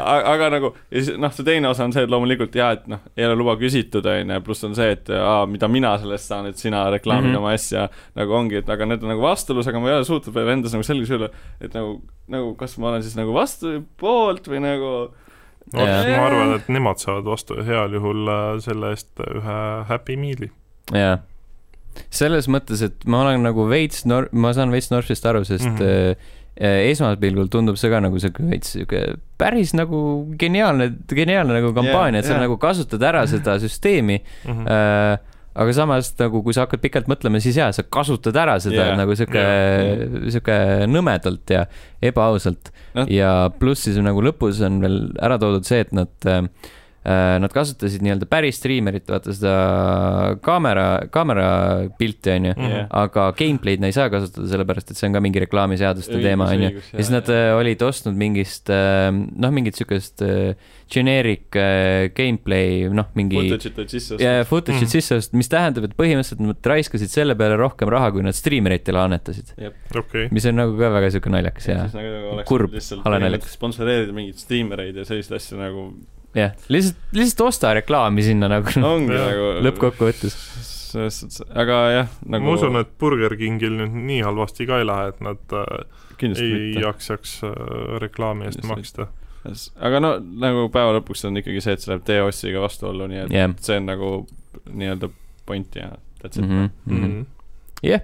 C: aga nagu , ja siis noh , see teine osa on see , et loomulikult jaa , et noh , ei ole luba küsitud , on ju , pluss on see , et aa , mida mina sellest saan , et sina reklaamid mm
A: Mhm.
C: -hmm. oma asja . nagu ongi , et aga need on nagu vastuolus , aga ma ei ole suutnud veel endas nagu selgeks öelda , et nagu , nagu kas ma olen siis nagu vastu või poolt või nagu
A: no,
B: Jaa.
A: ma arvan , et nemad saavad vastu heal juhul äh, selle eest ühe Happy Meali .
B: jaa . selles mõttes , et ma olen nagu veits nor- , ma saan veits norpsist aru , sest mm
A: Mhm.
B: -hmm. esmaspilgul tundub see ka nagu siuke veits siuke päris nagu geniaalne , geniaalne nagu kampaania yeah, , et sa
C: jah.
B: yeah. nagu kasutad ära seda süsteemi
A: Mhm.
B: Äh, aga samas nagu , kui sa hakkad pikalt mõtlema , siis jaa , sa kasutad ära seda
C: Jaa,
B: yeah, nagu sihuke
A: jaa,
B: yeah. , sihuke nõmedalt ja ebaausalt no.
C: Noh. .
B: ja pluss siis nagu lõpus on veel ära toodud see , et nad äh, äh, Nad kasutasid nii-öelda päris striimerit , vaata seda kaamera , kaamerapilti , onju .
C: Jah.
B: aga gameplay'd nad ei saa kasutada , sellepärast et see on ka mingi reklaamiseaduste teema , onju . ja siis nad äh, olid ostnud mingist , noh , mingit siukest äh, generic äh, gameplay , noh , mingi
C: footage'it olid sisse
B: ja
C: ostnud .
B: footage'id
A: Mhm.
B: mm. sisse ostnud , mis tähendab , et põhimõtteliselt nad raiskasid selle peale rohkem raha , kui nad striimeritele annetasid .
A: okei ,
B: mis on nagu ka väga siuke naljakas ja
C: siis nagu oleks
B: Kurb,
C: lihtsalt
B: hale
C: põhimõtteliselt
B: naljakas.
C: sponsoreerida mingeid striimereid ja selliseid asju nagu
B: jah , lihtsalt , lihtsalt osta reklaami sinna nagu no,
C: ongi
A: Jah.
C: nagu
B: lõppkokkuvõttes .
C: selles suhtes , aga jah ,
A: nagu...
C: nagu
A: ma usun , et Burger Kingil nüüd nii halvasti ka ei lähe , et nad äh,
C: kindlasti
A: ei
C: mitte .
A: jaksaks äh, reklaami eest
C: Just
A: maksta .
C: aga no nagu päeva lõpuks on ikkagi see , et see läheb DOS-iga vastuollu , nii et
B: Jah.
C: see on nagu nii-öelda point ja
B: Mhm,
C: that's it mm . -hmm.
A: Mhm.
B: jah .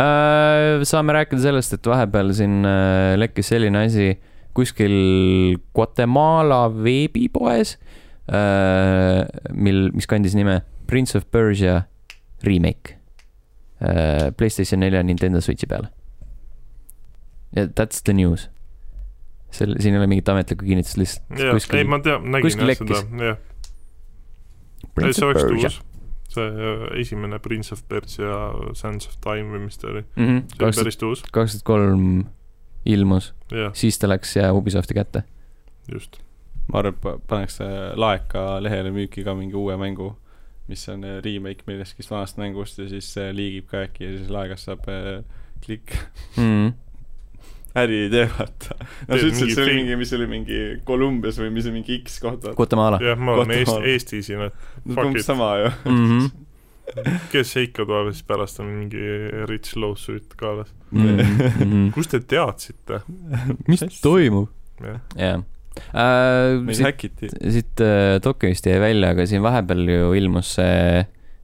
B: Äh, saame rääkida sellest , et vahepeal siin äh, lekkis selline asi kuskil Guatemala veebipoes , mil , mis kandis nime Prince of Persia remake äh, Playstation 4 ja Nintendo Switchi peale . ja that's the news . seal , siin ei ole mingit ametlikku kinnitust , lihtsalt
A: jah ,
B: kuskil-
A: ei ma tean , nägin
B: kuskil
A: jah seda , jah .
B: Prince
A: see
B: of
A: oleks
B: Persia .
A: tuus . see äh, esimene Prince of Persia , Sands of Time või mis ta oli , see oli
B: kaks tuhat ,
A: päris tuus ,
B: Mhm. kaks tuhat kolm ilmus ,
A: jah ,
B: siis ta läks ja Ubisofti kätte .
A: just .
C: ma arvan , et pa- pannakse laeka lehele müüki ka mingi uue mängu , mis on eh, remake millestki vanast mängust ja siis see liigib ka äkki ja siis laegas saab eh, klikk ,
B: mm .
C: äriidee vaata . no
A: Teed
C: sa
A: mingi
C: ütlesid , et see oli
A: film-
C: mingi , mis see oli mingi Kolumbias või mis see mingi X koht vaata .
B: Guatemala .
A: jah , me oleme Eest-
C: Guatemala.
A: Eestis ja need
C: no
A: fuck
C: umbes
A: it.
C: sama ju .
B: Mhm.
A: kes see ikka tuleb ja siis pärast on mingi rich lawsuit ka alles .
B: mm. .
A: kust te teadsite ?
B: mis toimub ?
A: jah ,
B: jah äh, .
C: meid
B: siit ,
C: häkiti .
B: siit äh, dokist jäi välja , aga siin vahepeal ju ilmus see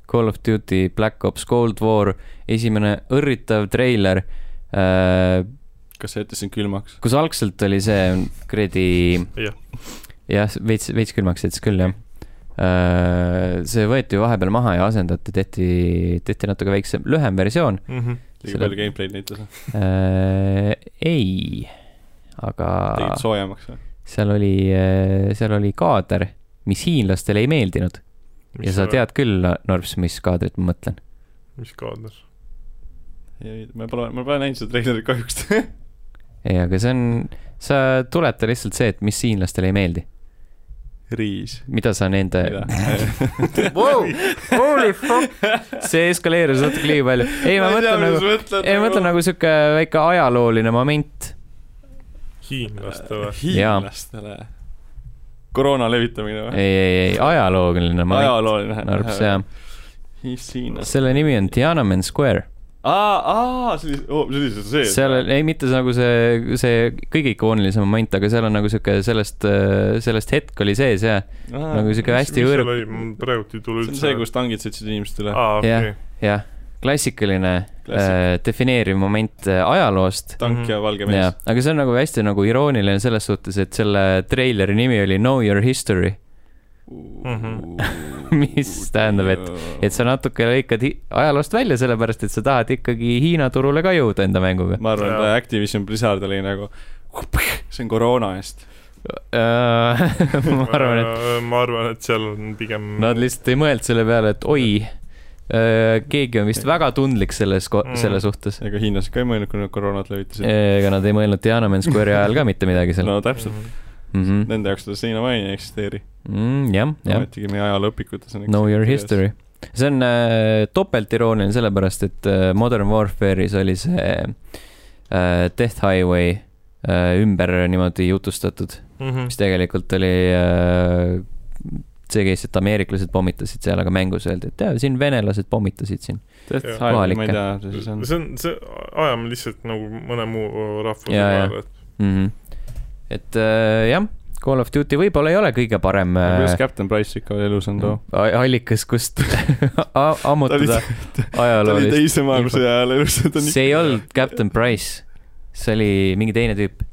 B: Call of Duty Black Ops Cold War esimene õrritav treiler äh, ,
C: kas sa jätad sind külmaks ?
B: kus algselt oli see kuradi
A: Jah. ,
B: jah , veits , veits külmaks jättis küll , jah . see võeti ju vahepeal maha ja asendati , tehti , tehti natuke väiksem , lühem versioon .
A: Mhm.
C: liiga
B: Selle-
C: palju gameplay'd näitas ,
B: Äh, ei , aga
C: tegid soojemaks või ?
B: seal oli , seal oli kaader , mis hiinlastele ei meeldinud ja sa . tead küll , Norps , mis kaadrit ma mõtlen .
A: mis kaader ?
C: ei , ma pole , ma pole näinud seda treilerit kahjuks .
B: ei , aga see on , sa tuleta lihtsalt see , et mis hiinlastele ei meeldi ,
C: riis .
B: mida sa nende .
C: Wow!
B: Holy fuck , see eskaleerus natuke liiga palju . ei , ma mõtlen nagu , ei ma mõtlen nagu sihuke väike ajalooline moment .
A: hiinlastele .
C: hiinlastele . koroona
B: ei ,
C: levitamine või ?
B: ei , ei , ajalooline moment ,
C: ajalooline .
B: Norps , jaa .
C: Hiinlast .
B: selle nimi on Tiananmen Square .
C: aa , aa , see oli , oo , see oli see sees .
B: seal on , ei mitte see nagu see , see kõige ikoonilisem moment , aga seal on nagu sihuke sellest , sellest hetk oli sees ja , nagu sihuke hästi võõr- ,
A: praegu ei tule
C: see on
A: üldse .
C: see , kus tangid sõitsid inimeste üle .
A: aa , okei
B: Jah. . jah , klassikaline
C: Klassik.
B: äh, defineeriv moment äh, ajaloost .
C: tank
A: mhm.
C: ja valge
B: jah
C: mees .,
B: aga see on nagu hästi nagu irooniline selles suhtes , et selle treileri nimi oli Know Your History ,
A: Mhm.
B: mis tähendab , et , et sa natuke lõikad hi- ajaloost välja , sellepärast et sa tahad ikkagi Hiina turule ka jõuda enda mänguga .
C: ma arvan ,
A: Jaa.
C: et Activision Blizzard oli nagu , see on koroona eest .
B: Äh, ma arvan , et
A: Äh, ma arvan , et seal on pigem .
B: Nad lihtsalt ei mõelnud selle peale , et oi , keegi on vist väga tundlik selles ,
A: Mm.
B: selle suhtes .
C: ega hiinlased ka ei mõelnud , kui nad koroonat levitasid .
B: ega Äh, nad ei mõelnud Tiananmen Square'i ajal ka mitte midagi seal .
C: no täpselt ,
B: Mhm.
C: nende jaoks seda siiamaani ei eksisteeri .
B: Mm, jah , jah ,
C: ometigi meie ajalooõpikutes on .
B: know your . history . see on äh, topeltirooniline sellepärast , et äh, Modern Warfare'is oli see äh, Death Highway äh, ümber niimoodi jutustatud ,
C: Mhm.
B: mis tegelikult oli äh, see case , et ameeriklased pommitasid seal , aga mängus öeldi , et jaa , siin venelased pommitasid siin .
A: Jaa.
C: ma ei
B: Kohalikke.
C: tea , mis see siis on .
A: see on , see , ajame lihtsalt nagu mõne muu rahvuse
B: Jaa, jaa.
A: peale , et
B: mm . -hmm. et äh, jah , Call of Duty võib-olla ei ole kõige parem
C: kuidas
B: äh,
C: Captain Price ikka veel elus on too ?
B: a- allikas , kust a- ammutada
C: ta oli
B: ajaloolist .
C: teise maailmasõja ajal elus .
B: see ei olnud Captain Price , see oli mingi teine tüüp .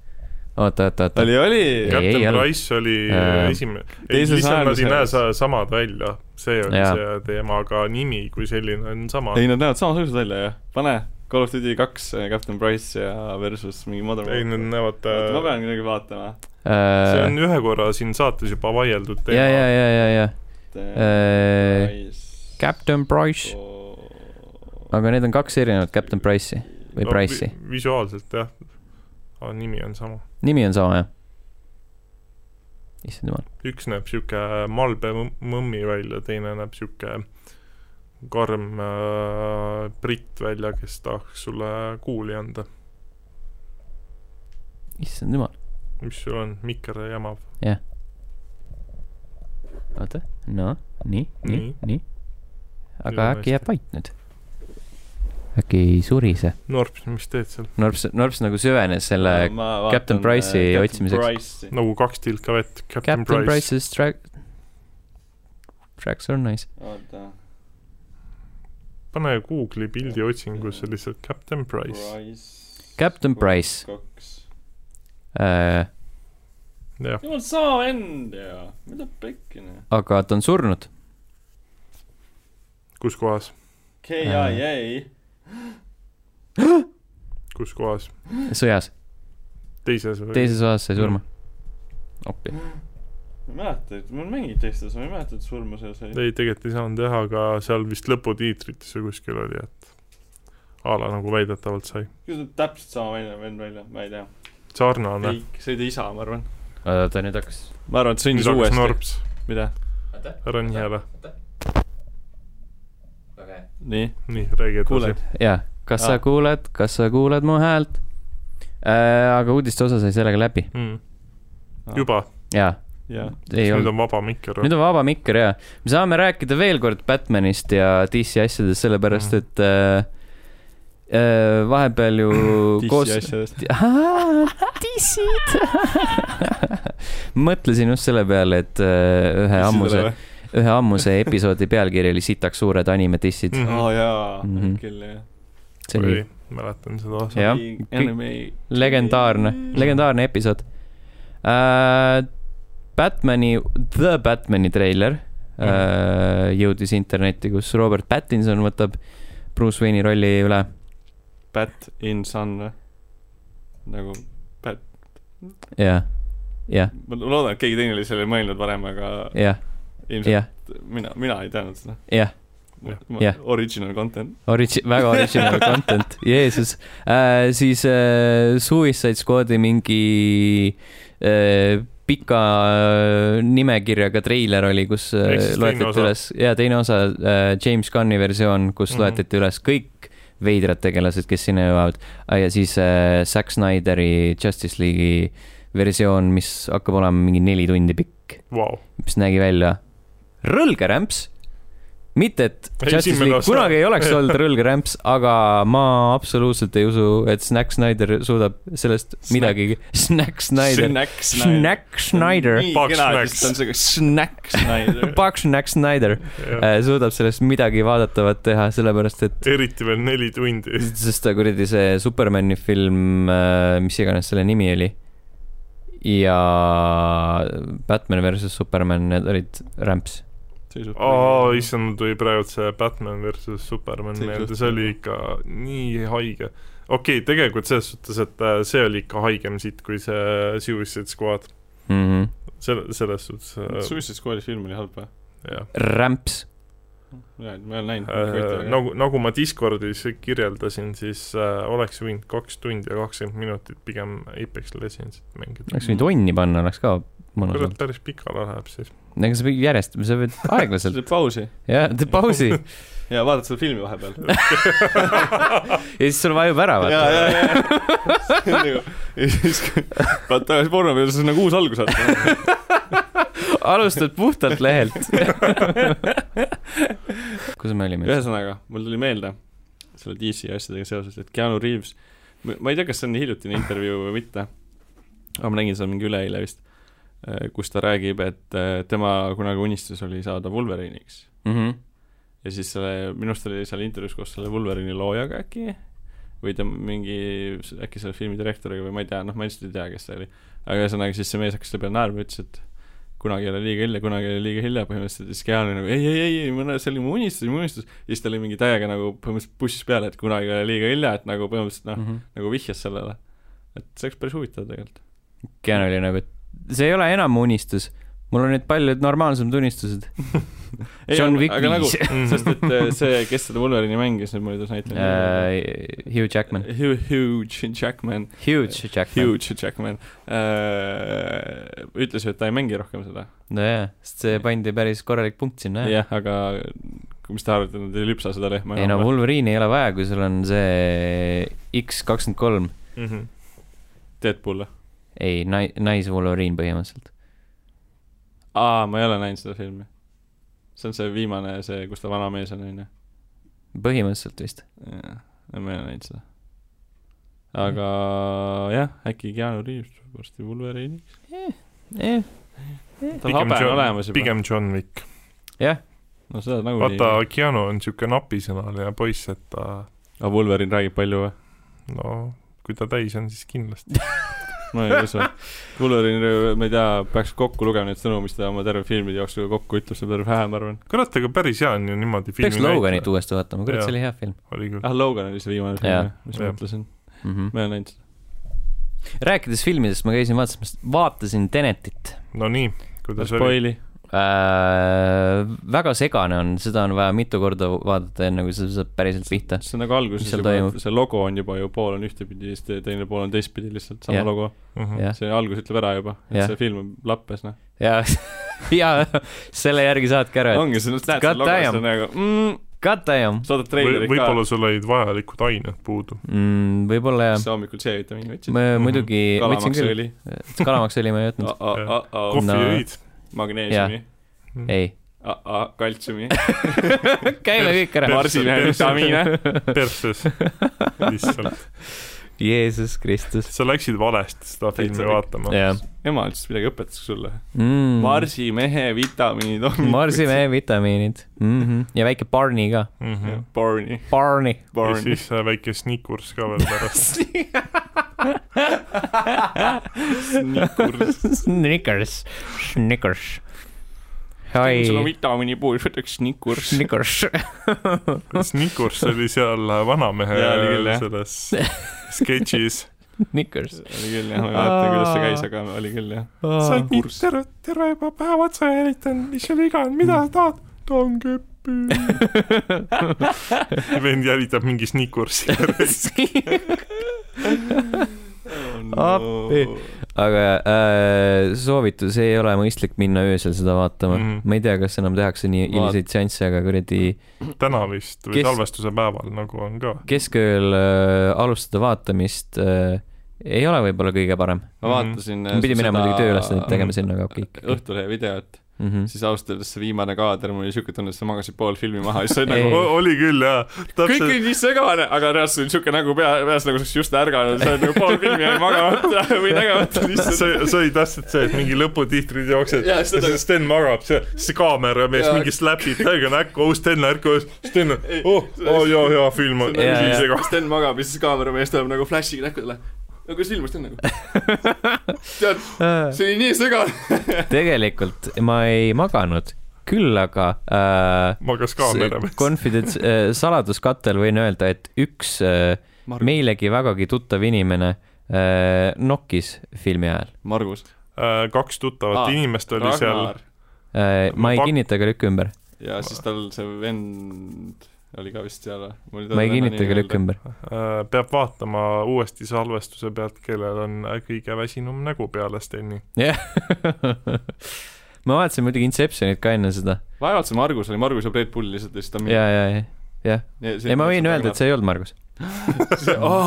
B: oota , oota , oota .
C: oli , oli .
B: Ei, ei
A: Captain
B: olnud.
A: Price oli
B: Äh,
A: esimene , ei
C: teises
A: lihtsalt nad ei näe
C: maailmasõjas.
A: sa- samad välja , see oli
B: Jaa.
A: see teema , aga nimi kui selline on sama .
C: ei , nad näevad samasugused välja ju . pane Call of Duty kaks , Captain Price ja versus mingi Modern
A: ei , nad näevad ,
C: Oota, ma
A: see
C: pean kuidagi vaatama .
A: on ühe korra siin saates juba vaieldud
B: Äh, ja , ja ,
A: teema .
B: ja , ja , ja Äh, Captain Price ,
C: Oh.
B: aga need on kaks erinevat Captain Price'i või
A: No,
B: Price'i ,
A: vi- visuaalselt jah , aga nimi on sama .
B: nimi on sama jah . issand jumal ,
A: üks näeb sihuke malbe mõm- mõmmi välja , teine näeb sihuke karm äh, britt välja , kes tahaks sulle kuuli anda .
B: issand jumal ,
A: mis sul on , mikker jamab .
B: oota , no nii , nii
A: Nii. ,
B: nii . aga
A: Jaa,
B: äkki jääb vait nüüd ? äkki ei surise ?
A: Norps , mis teed seal ?
B: Norps , Norps nagu süvenes selle
A: Äh,
C: eh,
B: Captain Price'i otsimiseks. .
A: nagu kaks tilka vett , Captain
B: Captain
A: Price .
B: Price's track , tracks are nice .
C: oota ,
A: pane Google'i pildi otsingusse lihtsalt Captain Price .
C: Price .
B: Captain Price.
C: kaks .
B: Äh,
A: jah ,
C: jumal , sama vend ju , mida pekki noh .
B: aga ta on surnud .
A: kus kohas ,
B: Äh.
C: KIA .
A: kus kohas ,
B: sõjas ,
A: teises või ? Mm.
B: teises osas sai surma . appi .
C: ma ei mäleta , et mul mängiti teistes , ma ei mäleta , et surma seal sai .
A: ei , tegelikult ei saanud teha , aga seal vist lõputiitrites või kuskil oli , et a la nagu väidetavalt sai .
C: kuidas nad täpselt sama välja , vend välja , ma ei tea .
A: sarnane .
C: ei , see oli ta isa , ma arvan .
B: oota , nüüd hakkas .
C: ma arvan , et
A: nüüd
C: sündis
A: hakkas
C: uuesti .
A: norps ,
C: mida ?
A: ära nii ära ,
C: nii ,
A: nii räägi edasi
C: kuuled ..
B: jaa , kas sa
A: Ah.
C: Aa.
B: kuuled , kas sa kuuled mu häält äh, ? aga uudiste osa sai sellega läbi .
A: Mm. juba ,
B: jaa ,
C: jah .
B: ei olnud
A: nüüd . on vaba mikker .
B: nüüd on vaba mikker ja me saame rääkida veel kord Batmanist ja DC asjadest , sellepärast
A: Mm.
B: et äh, äh, vahepeal ju koos
C: DC . asjadest .
B: DC-d . mõtlesin just selle peale , et äh, ühe ammuse , ühe ammuse episoodi pealkiri oli sitaks suured anime dissid .
A: Mhm.
C: aa jaa
B: Mhm. ,
C: küll jah .
B: see oli
A: mäletan seda osa .
B: Jah.
C: anime .
B: legendaarne , legendaarne episood uh, . Batman'i , The Batman'i treiler uh, jõudis internetti , kus Robert Pattinson võtab Bruce Wayne'i rolli üle .
C: Bat in sun või ? nagu ,
B: jah , jah ,
C: ma loodan , et keegi teine oli sellele mõelnud varem , aga
B: jah ,
C: ilmselt
B: jah ,
C: mina , mina ei teadnud seda .
B: jah . Jah.
C: Original content .
B: Origi- , väga original content , Jeesus äh, . siis äh, Suicide Squad'i mingi äh, pika äh, nimekirjaga treiler oli , kus
A: Ehk
B: äh,
A: siis teine
B: loetleti
A: osa.
B: üles , ja teine osa äh, , James Gunni versioon , kus
A: Mhm.
B: mm -hmm. loetleti üles kõik veidrad tegelased , kes sinna jõuavad . ja siis äh, Zack Snyderi Justice League'i versioon , mis hakkab olema mingi neli tundi pikk ,
A: Vau ,
B: mis nägi välja rõlge rämps . mitte , et
A: Ei,
B: Justice
A: esimene
B: League
A: osa.
B: kunagi ei oleks olnud rõlge rämps , aga ma absoluutselt ei usu , et Snack Snyder suudab sellest
C: Snack.
B: midagi . Snack Snyder ,
C: Snack Snyder .
B: Snack Snyder ,
C: nii
A: Buck
C: kena ,
A: Snacks.
C: sest ta on siuke Snack Snyder .
B: Buck Snack Snyder äh, suudab sellest midagi vaadatavat teha , sellepärast et
A: eriti veel neli
B: Mm.
A: tundi .
B: sest ta kuradi see Supermani film , mis iganes selle nimi oli , ja Batman versus Superman , need olid rämps .
A: aa , issand , mul tuli praegu see Batman versus Superman
C: See oli
A: meelde ,
C: suht-
A: see oli ikka nii haige . okei okay, , tegelikult selles suhtes , et äh, see oli ikka haigem siit kui see Suicide Squad ,
B: Mhm.
A: selle , selles suhtes äh, ,
C: Suicide Squad'i film oli halb või ?
A: jah .
B: rämps ,
C: ma ei ole näinud
A: Äh, . nagu , nagu ma Discordis kirjeldasin , siis äh, oleks võinud kaks tundi ja kakskümmend minutit pigem Apex Legendsit mängida .
B: oleks võinud onni panna , oleks ka mõnus
A: kurat
B: olnud .,
A: päris pikale läheb siis .
B: ega sa pead järjest , sa pead aeglaselt
C: teed pausi
B: jah , teed pausi ja
C: ja vaatad seda filmi vahepeal .
B: siis sul vajub ära ,
C: ja ,
B: vaata .
C: ja , ja , ja . nagu- ja siis , kui vaatad tagasi porno peale , siis on nagu uus algus , vaata .
B: alustad puhtalt lehelt . kus me olime ?
C: ühesõnaga , mul tuli meelde selle DC asjadega seoses , et Keanu Reaves , ma ei tea , kas see on nii hiljutine intervjuu või mitte , aga ma nägin seda mingi üleeile vist , kus ta räägib , et eh, tema kunagi unistus oli saada Wolveriniks
B: Mhm.
C: ja siis selle , minu arust oli seal intervjuus koos selle Wolverine'i loojaga äkki või ta mingi , äkki selle filmi direktoriga või ma ei tea , noh , ma lihtsalt ei tea , kes see oli . aga ühesõnaga siis see mees hakkas selle peale naerma , ütles , et kunagi ei ole liiga hilja , kunagi ei ole liiga hilja põhimõtteliselt ja siis Keanu oli nagu ei , ei , ei , ei , ma , see oli mu unistus , mu unistus . ja siis ta oli mingi täiega nagu põhimõtteliselt pussis peale , et kunagi ei ole liiga hilja , et nagu põhimõtteliselt
B: Mhm.
C: noh , nagu vihjas sellele . et see oleks päris huvitav tegelikult .
B: Kean oli nagu , et see ei ole enam mu unistus , mul on nüüd paljud normaalsemad unistused . John Wick
C: nagu,
B: viis .
C: sest et eh, see , kes seda Wolverine'i mängis , nüüd mul ei tule näitleja .
B: Hugh Äh, Jackman ,
C: Hugh , Hugh Jackman
B: Huge Jackman .
C: Huge Jackman äh, ütles ju , et ta ei mängi rohkem seda .
B: nojah , sest see pandi päris korralik punkt sinna jah .
C: jah , aga mis te arvate , nad ei lüpsa seda lehma
B: ei no Wolverine ei ole vaja , kui sul on see X kakskümmend kolm ,
C: Deadpool või ?
B: ei , nai- , nais Wolverine põhimõtteliselt .
C: aa , ma ei ole näinud seda filmi . see on see viimane , see , kus ta vana mees on , onju .
B: põhimõtteliselt vist .
C: jah , ma ei ole näinud seda . aga jah , äkki Keanu Reaves tuleb varsti Wolveriniks .
B: jah ,
C: tal habe on olemas juba .
A: pigem John Wick .
B: jah ,
C: no seda
A: vaata
C: nagunii .,
A: Keanu on siuke napisõnaline poiss , et ta ,
C: aga Ah, Wolverine räägib palju või ?
A: no kui ta täis on , siis kindlasti .
C: ma ei usu . Wolverine , ma ei tea , peaks kokku lugema neid sõnu , mis ta oma terve filmide jooksul kokku ütleb , see on päris vähe , ma arvan .
A: kurat , aga päris hea on ju niimoodi
B: peaks
A: filmi
B: Loganit uuesti vaatama , kurat ,
A: Jah.
B: see oli hea film
A: oli küll .
C: ah , Logan oli see viimane
B: Jaa.
C: film , mis ma
A: Jah.
C: mõtlesin .
B: mm . -hmm.
C: ma ei ole näinud seda .
B: rääkides filmidest , ma käisin vaatamas , vaatasin Tenetit
A: no nii , kuidas oli ?
C: Spoili .
B: äh, . väga segane on , seda on vaja mitu korda vaadata , enne kui sa saad päriselt pihta .
C: see on nagu alguses
B: Mis seal
C: juba
B: toimub? ,
C: see logo on juba ju , pool on ühtepidi , siis te- teine pool on teistpidi lihtsalt , sama
B: Jah.
C: yeah. logo .
A: Mhm.
B: jah ,
C: see algus ütleb ära juba ,
B: Jah.
C: et yeah. see film on lappes , noh .
B: ja , ja selle järgi saadki aru , et
C: ongi , sa näed
B: God
C: seda logo ,
B: damn.
C: siis on nagu mm,
B: God damn
C: saadad
A: või
C: treilerit ka
A: võib-olla sul olid vajalikud ained puudu .
B: mm, . võib-olla jah
C: sa hommikul C-vitamiini võtsid
B: ma muidugi võtsin
C: Mhm. kalamaks
B: küll ,
C: oli
B: kalamaksõli ma ei võtnud ,
C: Oh,
A: kohvi
B: No.
A: no. jõid .
C: magneesiumi
B: ei .
C: kaltsiumi
B: käime kõik ära .
C: marsiline vitamiine
A: perses , lihtsalt .
B: Jeesus Kristus .
A: sa läksid valesti seda filmi
C: Täitsa
A: vaatama .
B: jah .
C: ema ütles midagi õpetas sulle Mm. marsimehe vitamiinid on
B: Mm. marsimehe vitamiinid mm . -hmm. ja väike Barney ka .
C: Barney
B: Barney .
A: Mhm. ja
C: Barney
A: siis äh, väike snickers ka veel pärast .
C: Snickers.
B: Snickers , Snickers .
C: sul on
B: oi ,
C: vitamiini puudu võtaks Snickers
B: Snickers .
A: Snickers oli seal äh, vanamehe
C: Jaa, oli küll, jah.
A: selles sketšis .
B: Snickers .
C: oli küll jah ma ei mäleta kuidas see käis aga oli küll jah
A: sa oled nii terve , terve juba päev otsa jälitanud , mis sul viga on , mida sa tahad ? toon keppi . vend jälitab mingi snickersi .
B: Appi. aga äh, soovitus ei ole mõistlik minna öösel seda vaatama mm .
A: Mhm.
B: -hmm. ma ei tea , kas enam tehakse nii
C: Vaat-
B: hiliseid seansse , aga kuradi
A: täna vist või
B: Kes-
A: salvestuse päeval nagu on ka .
B: keskööl äh, alustada vaatamist äh, ei ole võib-olla kõige parem .
C: ma vaatasin äh, mm,
B: ma pidin minema muidugi tööülesandeid tegema
A: mhm.
B: sinna , aga okei okay. .
C: Õhtulehe videot
B: Mm -hmm.
C: siis ausalt öeldes see viimane kaader mul oli siuke tunne et sa magasid pool filmi maha ja siis sa olid
B: Ei.
C: nagu
A: oli küll jaa ,
C: kõik
A: täpselt
C: oli nii segane , aga reaalselt oli siuke nägu pea , peas nagu sa oleks just ärganud , sa oled nagu pool filmi jäi magamata või nägemata lihtsalt .
A: see , see oli täpselt see , et mingi lõputiitrid jooksid
C: Jaa,
A: ja
C: seda-
A: siis Sten magab , see , see kaameramees
C: Jaa.
A: mingi slapib täiega näkku , oh Sten ärka , Sten , oh , oh jaa , jaa , film
C: nagu
A: on
B: Jaa, jaa.
A: siis ega
C: Sten magab ja siis kaameramees tuleb nagu flash'iga näkku talle . no kuidas ilmus ta on nagu ? tead , see oli nii segane .
B: tegelikult ma ei maganud , küll aga äh,
A: magas kaameramees .
B: Confidence äh, , saladuskattel võin öelda , et üks äh, meilegi vägagi tuttav inimene äh, nokkis filmi ajal
C: Margus .
A: Äh, kaks tuttavat
B: Ah,
C: Aa,
A: inimest oli seal
C: Ragnar .
B: äh, . ma ei
A: Ma-
B: kinnita ega lükka ümber ,
C: ja siis tal see vend oli ka vist seal või ?
B: ma ei kinnita ega lükka . ümber .
A: Äh, peab vaatama uuesti salvestuse pealt , kellel on äh, kõige väsinum nägu peale Steni .
B: jah . ma vaatasin muidugi Inceptionit ka enne seda
C: vaevalt see Margus oli , Margus ja Brett Pull lihtsalt ja siis ta .
B: ja , ja , ja , jah . ei , ma võin öelda , et see ei olnud Margus .
C: see .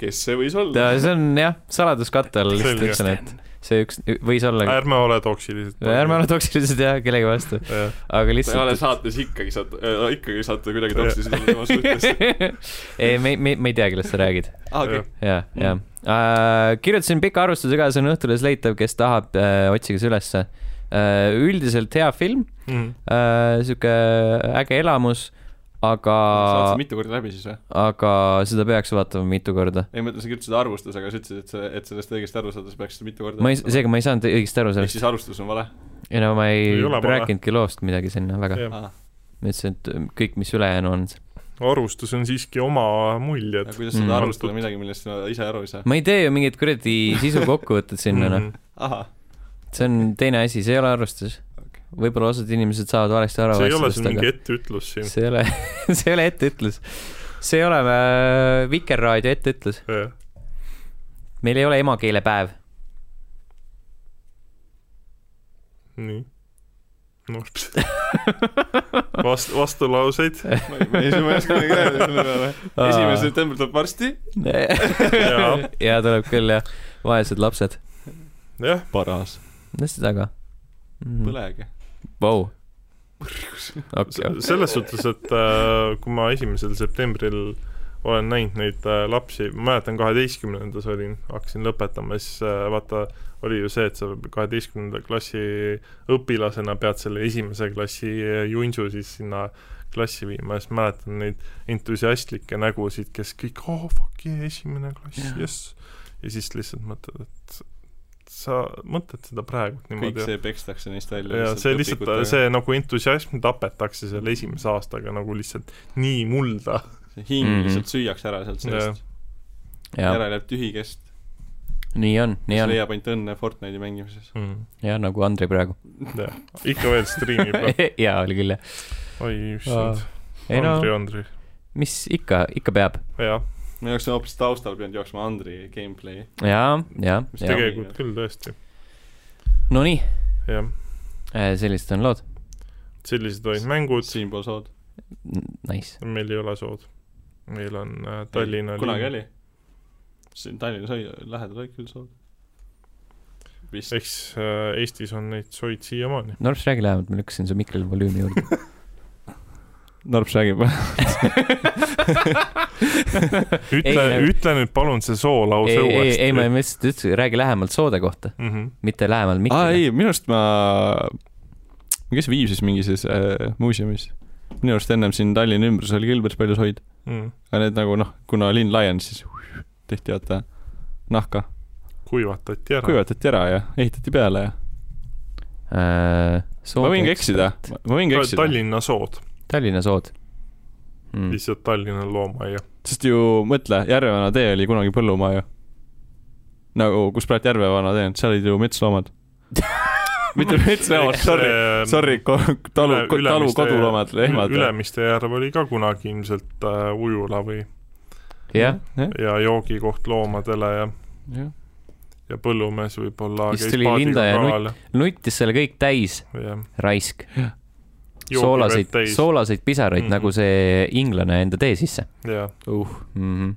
C: kes see võis olla ?
B: see on jah , saladuskatte all lihtsalt
A: Selge.
B: ütlesin , et see üks võis olla ,
A: ärme ole toksilised . Äh,
B: ärme ole toksilised jah kellegi vastu ,
A: ole .
B: aga
C: sa ei ole
B: lihtsalt .
C: saates ikkagi saate , ikkagi saate kuidagi toksilised olema oma suhtes .
B: ei , me , me , me ei tea , kellest sa räägid .
C: aa , okei .
B: ja , ja äh, kirjutasin pika arvustuse ka , see on Õhtulehes leitav , kes tahab äh, , otsige see ülesse äh, . üldiselt hea film
A: mm,
B: äh, , sihuke äge elamus ,
C: saad
B: aga
C: sa , mitu korda läbi siis või ?
B: aga seda peaks vaatama mitu korda .
C: ei , ma ütlen , sa kirjutasid arvustus , aga sa ütlesid , et sa , et sellest õigesti aru saada , sa peaksid mitu korda
B: ma ei , seega ma ei saanud õigesti aru
C: ehk
B: sellest ,
C: siis arvustus on vale ?
B: ei no ma ei,
A: Ei
B: ei
A: ole vale.
B: rääkinudki loost midagi sinna väga ,
A: Jah.
C: aga
B: ma ütlesin , et kõik , mis ülejäänu on .
A: arvustus on siiski oma muljed .
C: kuidas saad
B: Mm.
C: arvustada midagi , millest sa ise aru ei saa ?
B: ma ei tee ju mingeid kuradi sisu kokkuvõtteid
A: Mm.
B: sinna noh ,
C: ahah ,
B: see on teine asi , see ei ole arvustus . võib-olla osad inimesed saavad valesti aru .
A: see ei ole sul mingi etteütlus siin .
B: see ei ole , see ei ole etteütlus . see ei ole äh, Vikerraadio etteütlus .
A: Äh,
B: meil ei ole emakeelepäev .
A: nii . noh , vast- , vastulauseid
C: ma ei , ma ei ma ei oska midagi öelda selle peale .
B: Aa.
C: esimene september tuleb varsti .
A: ja
B: ja tuleb küll jah , vaesed lapsed .
A: jah ,
C: paras .
B: mis seda ka ?
C: Mm. põlege .
B: Vau . okei ,
A: selles suhtes , et äh, kui ma esimesel septembril olen näinud neid äh, lapsi , ma mäletan , kaheteistkümnendas olin , hakkasin lõpetama , siis äh, vaata , oli ju see , et sa kaheteistkümnenda klassi õpilasena pead selle esimese klassi äh, junsu siis sinna klassi viima ja siis mäletan neid entusiastlikke nägusid , kes kõik , oh fuck yeah , esimene klass , jess . ja siis lihtsalt mõtled , et sa mõtled seda praegu
C: kõik
A: niimoodi .
C: see pekstakse neist välja .
A: ja see lihtsalt , see nagu entusiasm tapetakse selle esimese aastaga nagu lihtsalt nii mulda .
C: hing
B: Mhm.
C: lihtsalt süüakse ära sealt seest .
B: ja
C: järele jääb tühi kest .
B: nii on , nii
C: siis
B: on
C: leiab ainult õnne Fortnite'i mängimises .
A: Mm.
B: ja nagu Andrei praegu .
A: jah , ikka veel striimib ,
B: ja oli küll jah .
A: oi issand ,
B: ei no
A: Andri , Andri ,
B: mis ikka , ikka peab .
A: jah ,
C: me oleks hoopis taustal pidanud jooksma Andri gameplay'i .
B: ja , ja ,
C: Mis
B: ja .
A: tegelikult küll tõesti ,
B: Nonii ,
A: jah ,
B: Äh, sellised on lood .
A: sellised olid mängud ,
C: siinpool sood .
B: nice .
A: meil ei ole sood . meil on äh, Tallinna
C: kunagi
A: linn.
C: oli . siin Tallinnas oli , lähedal oli küll soov . vist .
A: eks äh, Eestis on neid soid siiamaani .
B: Norps , räägi lähemalt , ma lükkasin su mikri volüümi juurde .
C: Norps räägib .
A: ütle
B: Ei, , ei-
A: ütle nüüd palun see soo
C: Oh,
A: lause
B: ei , ei ,
A: uuesti .
B: ei , ma lihtsalt ütlesin , räägi lähemalt soode kohta ,
A: -hmm.
B: mitte lähemalt
C: aa
B: mikrile .
C: ei , minu arust ma , kes Viimsis mingis äh, muuseumis , minu arust ennem siin Tallinna ümbruses oli küll päris palju soid ,
A: Mm.
C: aga need nagu noh , kuna linn laienes , siis tehti vaata nahka ,
A: kuivatati ära .
C: kuivatati ära ja ehitati peale ja .
B: Äh,
C: ma võin ka eksida , ma võin ka eksida ,
A: Tallinna sood
B: Tallinna sood mm.
A: mm. ,. lihtsalt Tallinna loomaaia .
C: sest ju mõtle , Järvevana tee oli kunagi põllumaa ju . nagu , kus praegu Järvevana tee on , seal olid ju metsloomad . mitte metsloomad , sorry ,
A: ähm,
C: sorry ,. talu , talu koduloomad , lehmad .
A: Ülemiste järv oli ka kunagi ilmselt äh, ujula või ,
B: jah ,
A: ja joogikoht loomadele ja ,
C: jah .
A: ja põllumees võib-olla
B: Siis
A: käis
B: tuli
A: paadiga
B: Linda ja
A: kohal
B: nuttis selle kõik täis ,
A: ja
B: raisk .
A: joogivett
B: soolaseid ,
A: täis.
B: soolaseid pisaraid
A: Mhm.
B: mm -hmm. nagu see inglane enda tee sisse
A: ja
B: uh. . Mm -hmm.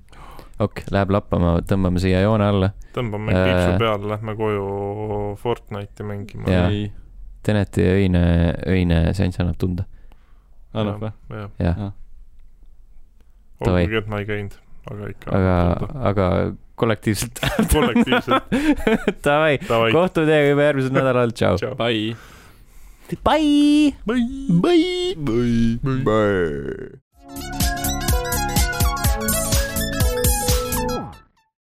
B: okei , läheb lappama , tõmbame siia joone alla .
A: tõmbame
B: Äh.
A: kriipsu peale , lähme koju Fortnite'i mängima .
B: Jaa.
C: ei ,
B: Teneti öine , öine seanss annab tunda ,
C: annab või ?
A: jah ,
B: jah , Davai.
A: olgugi , et ma ei käinud , aga
C: Ah,
A: ikka .
B: aga , aga kollektiivselt .
A: kollektiivselt ,
B: Davai ,
A: davai ,
B: kohtume teiega juba järgmisel nädalal , tšau .
A: tšau .
C: Bye.
B: Bye .
C: Bye. Bye. Bye.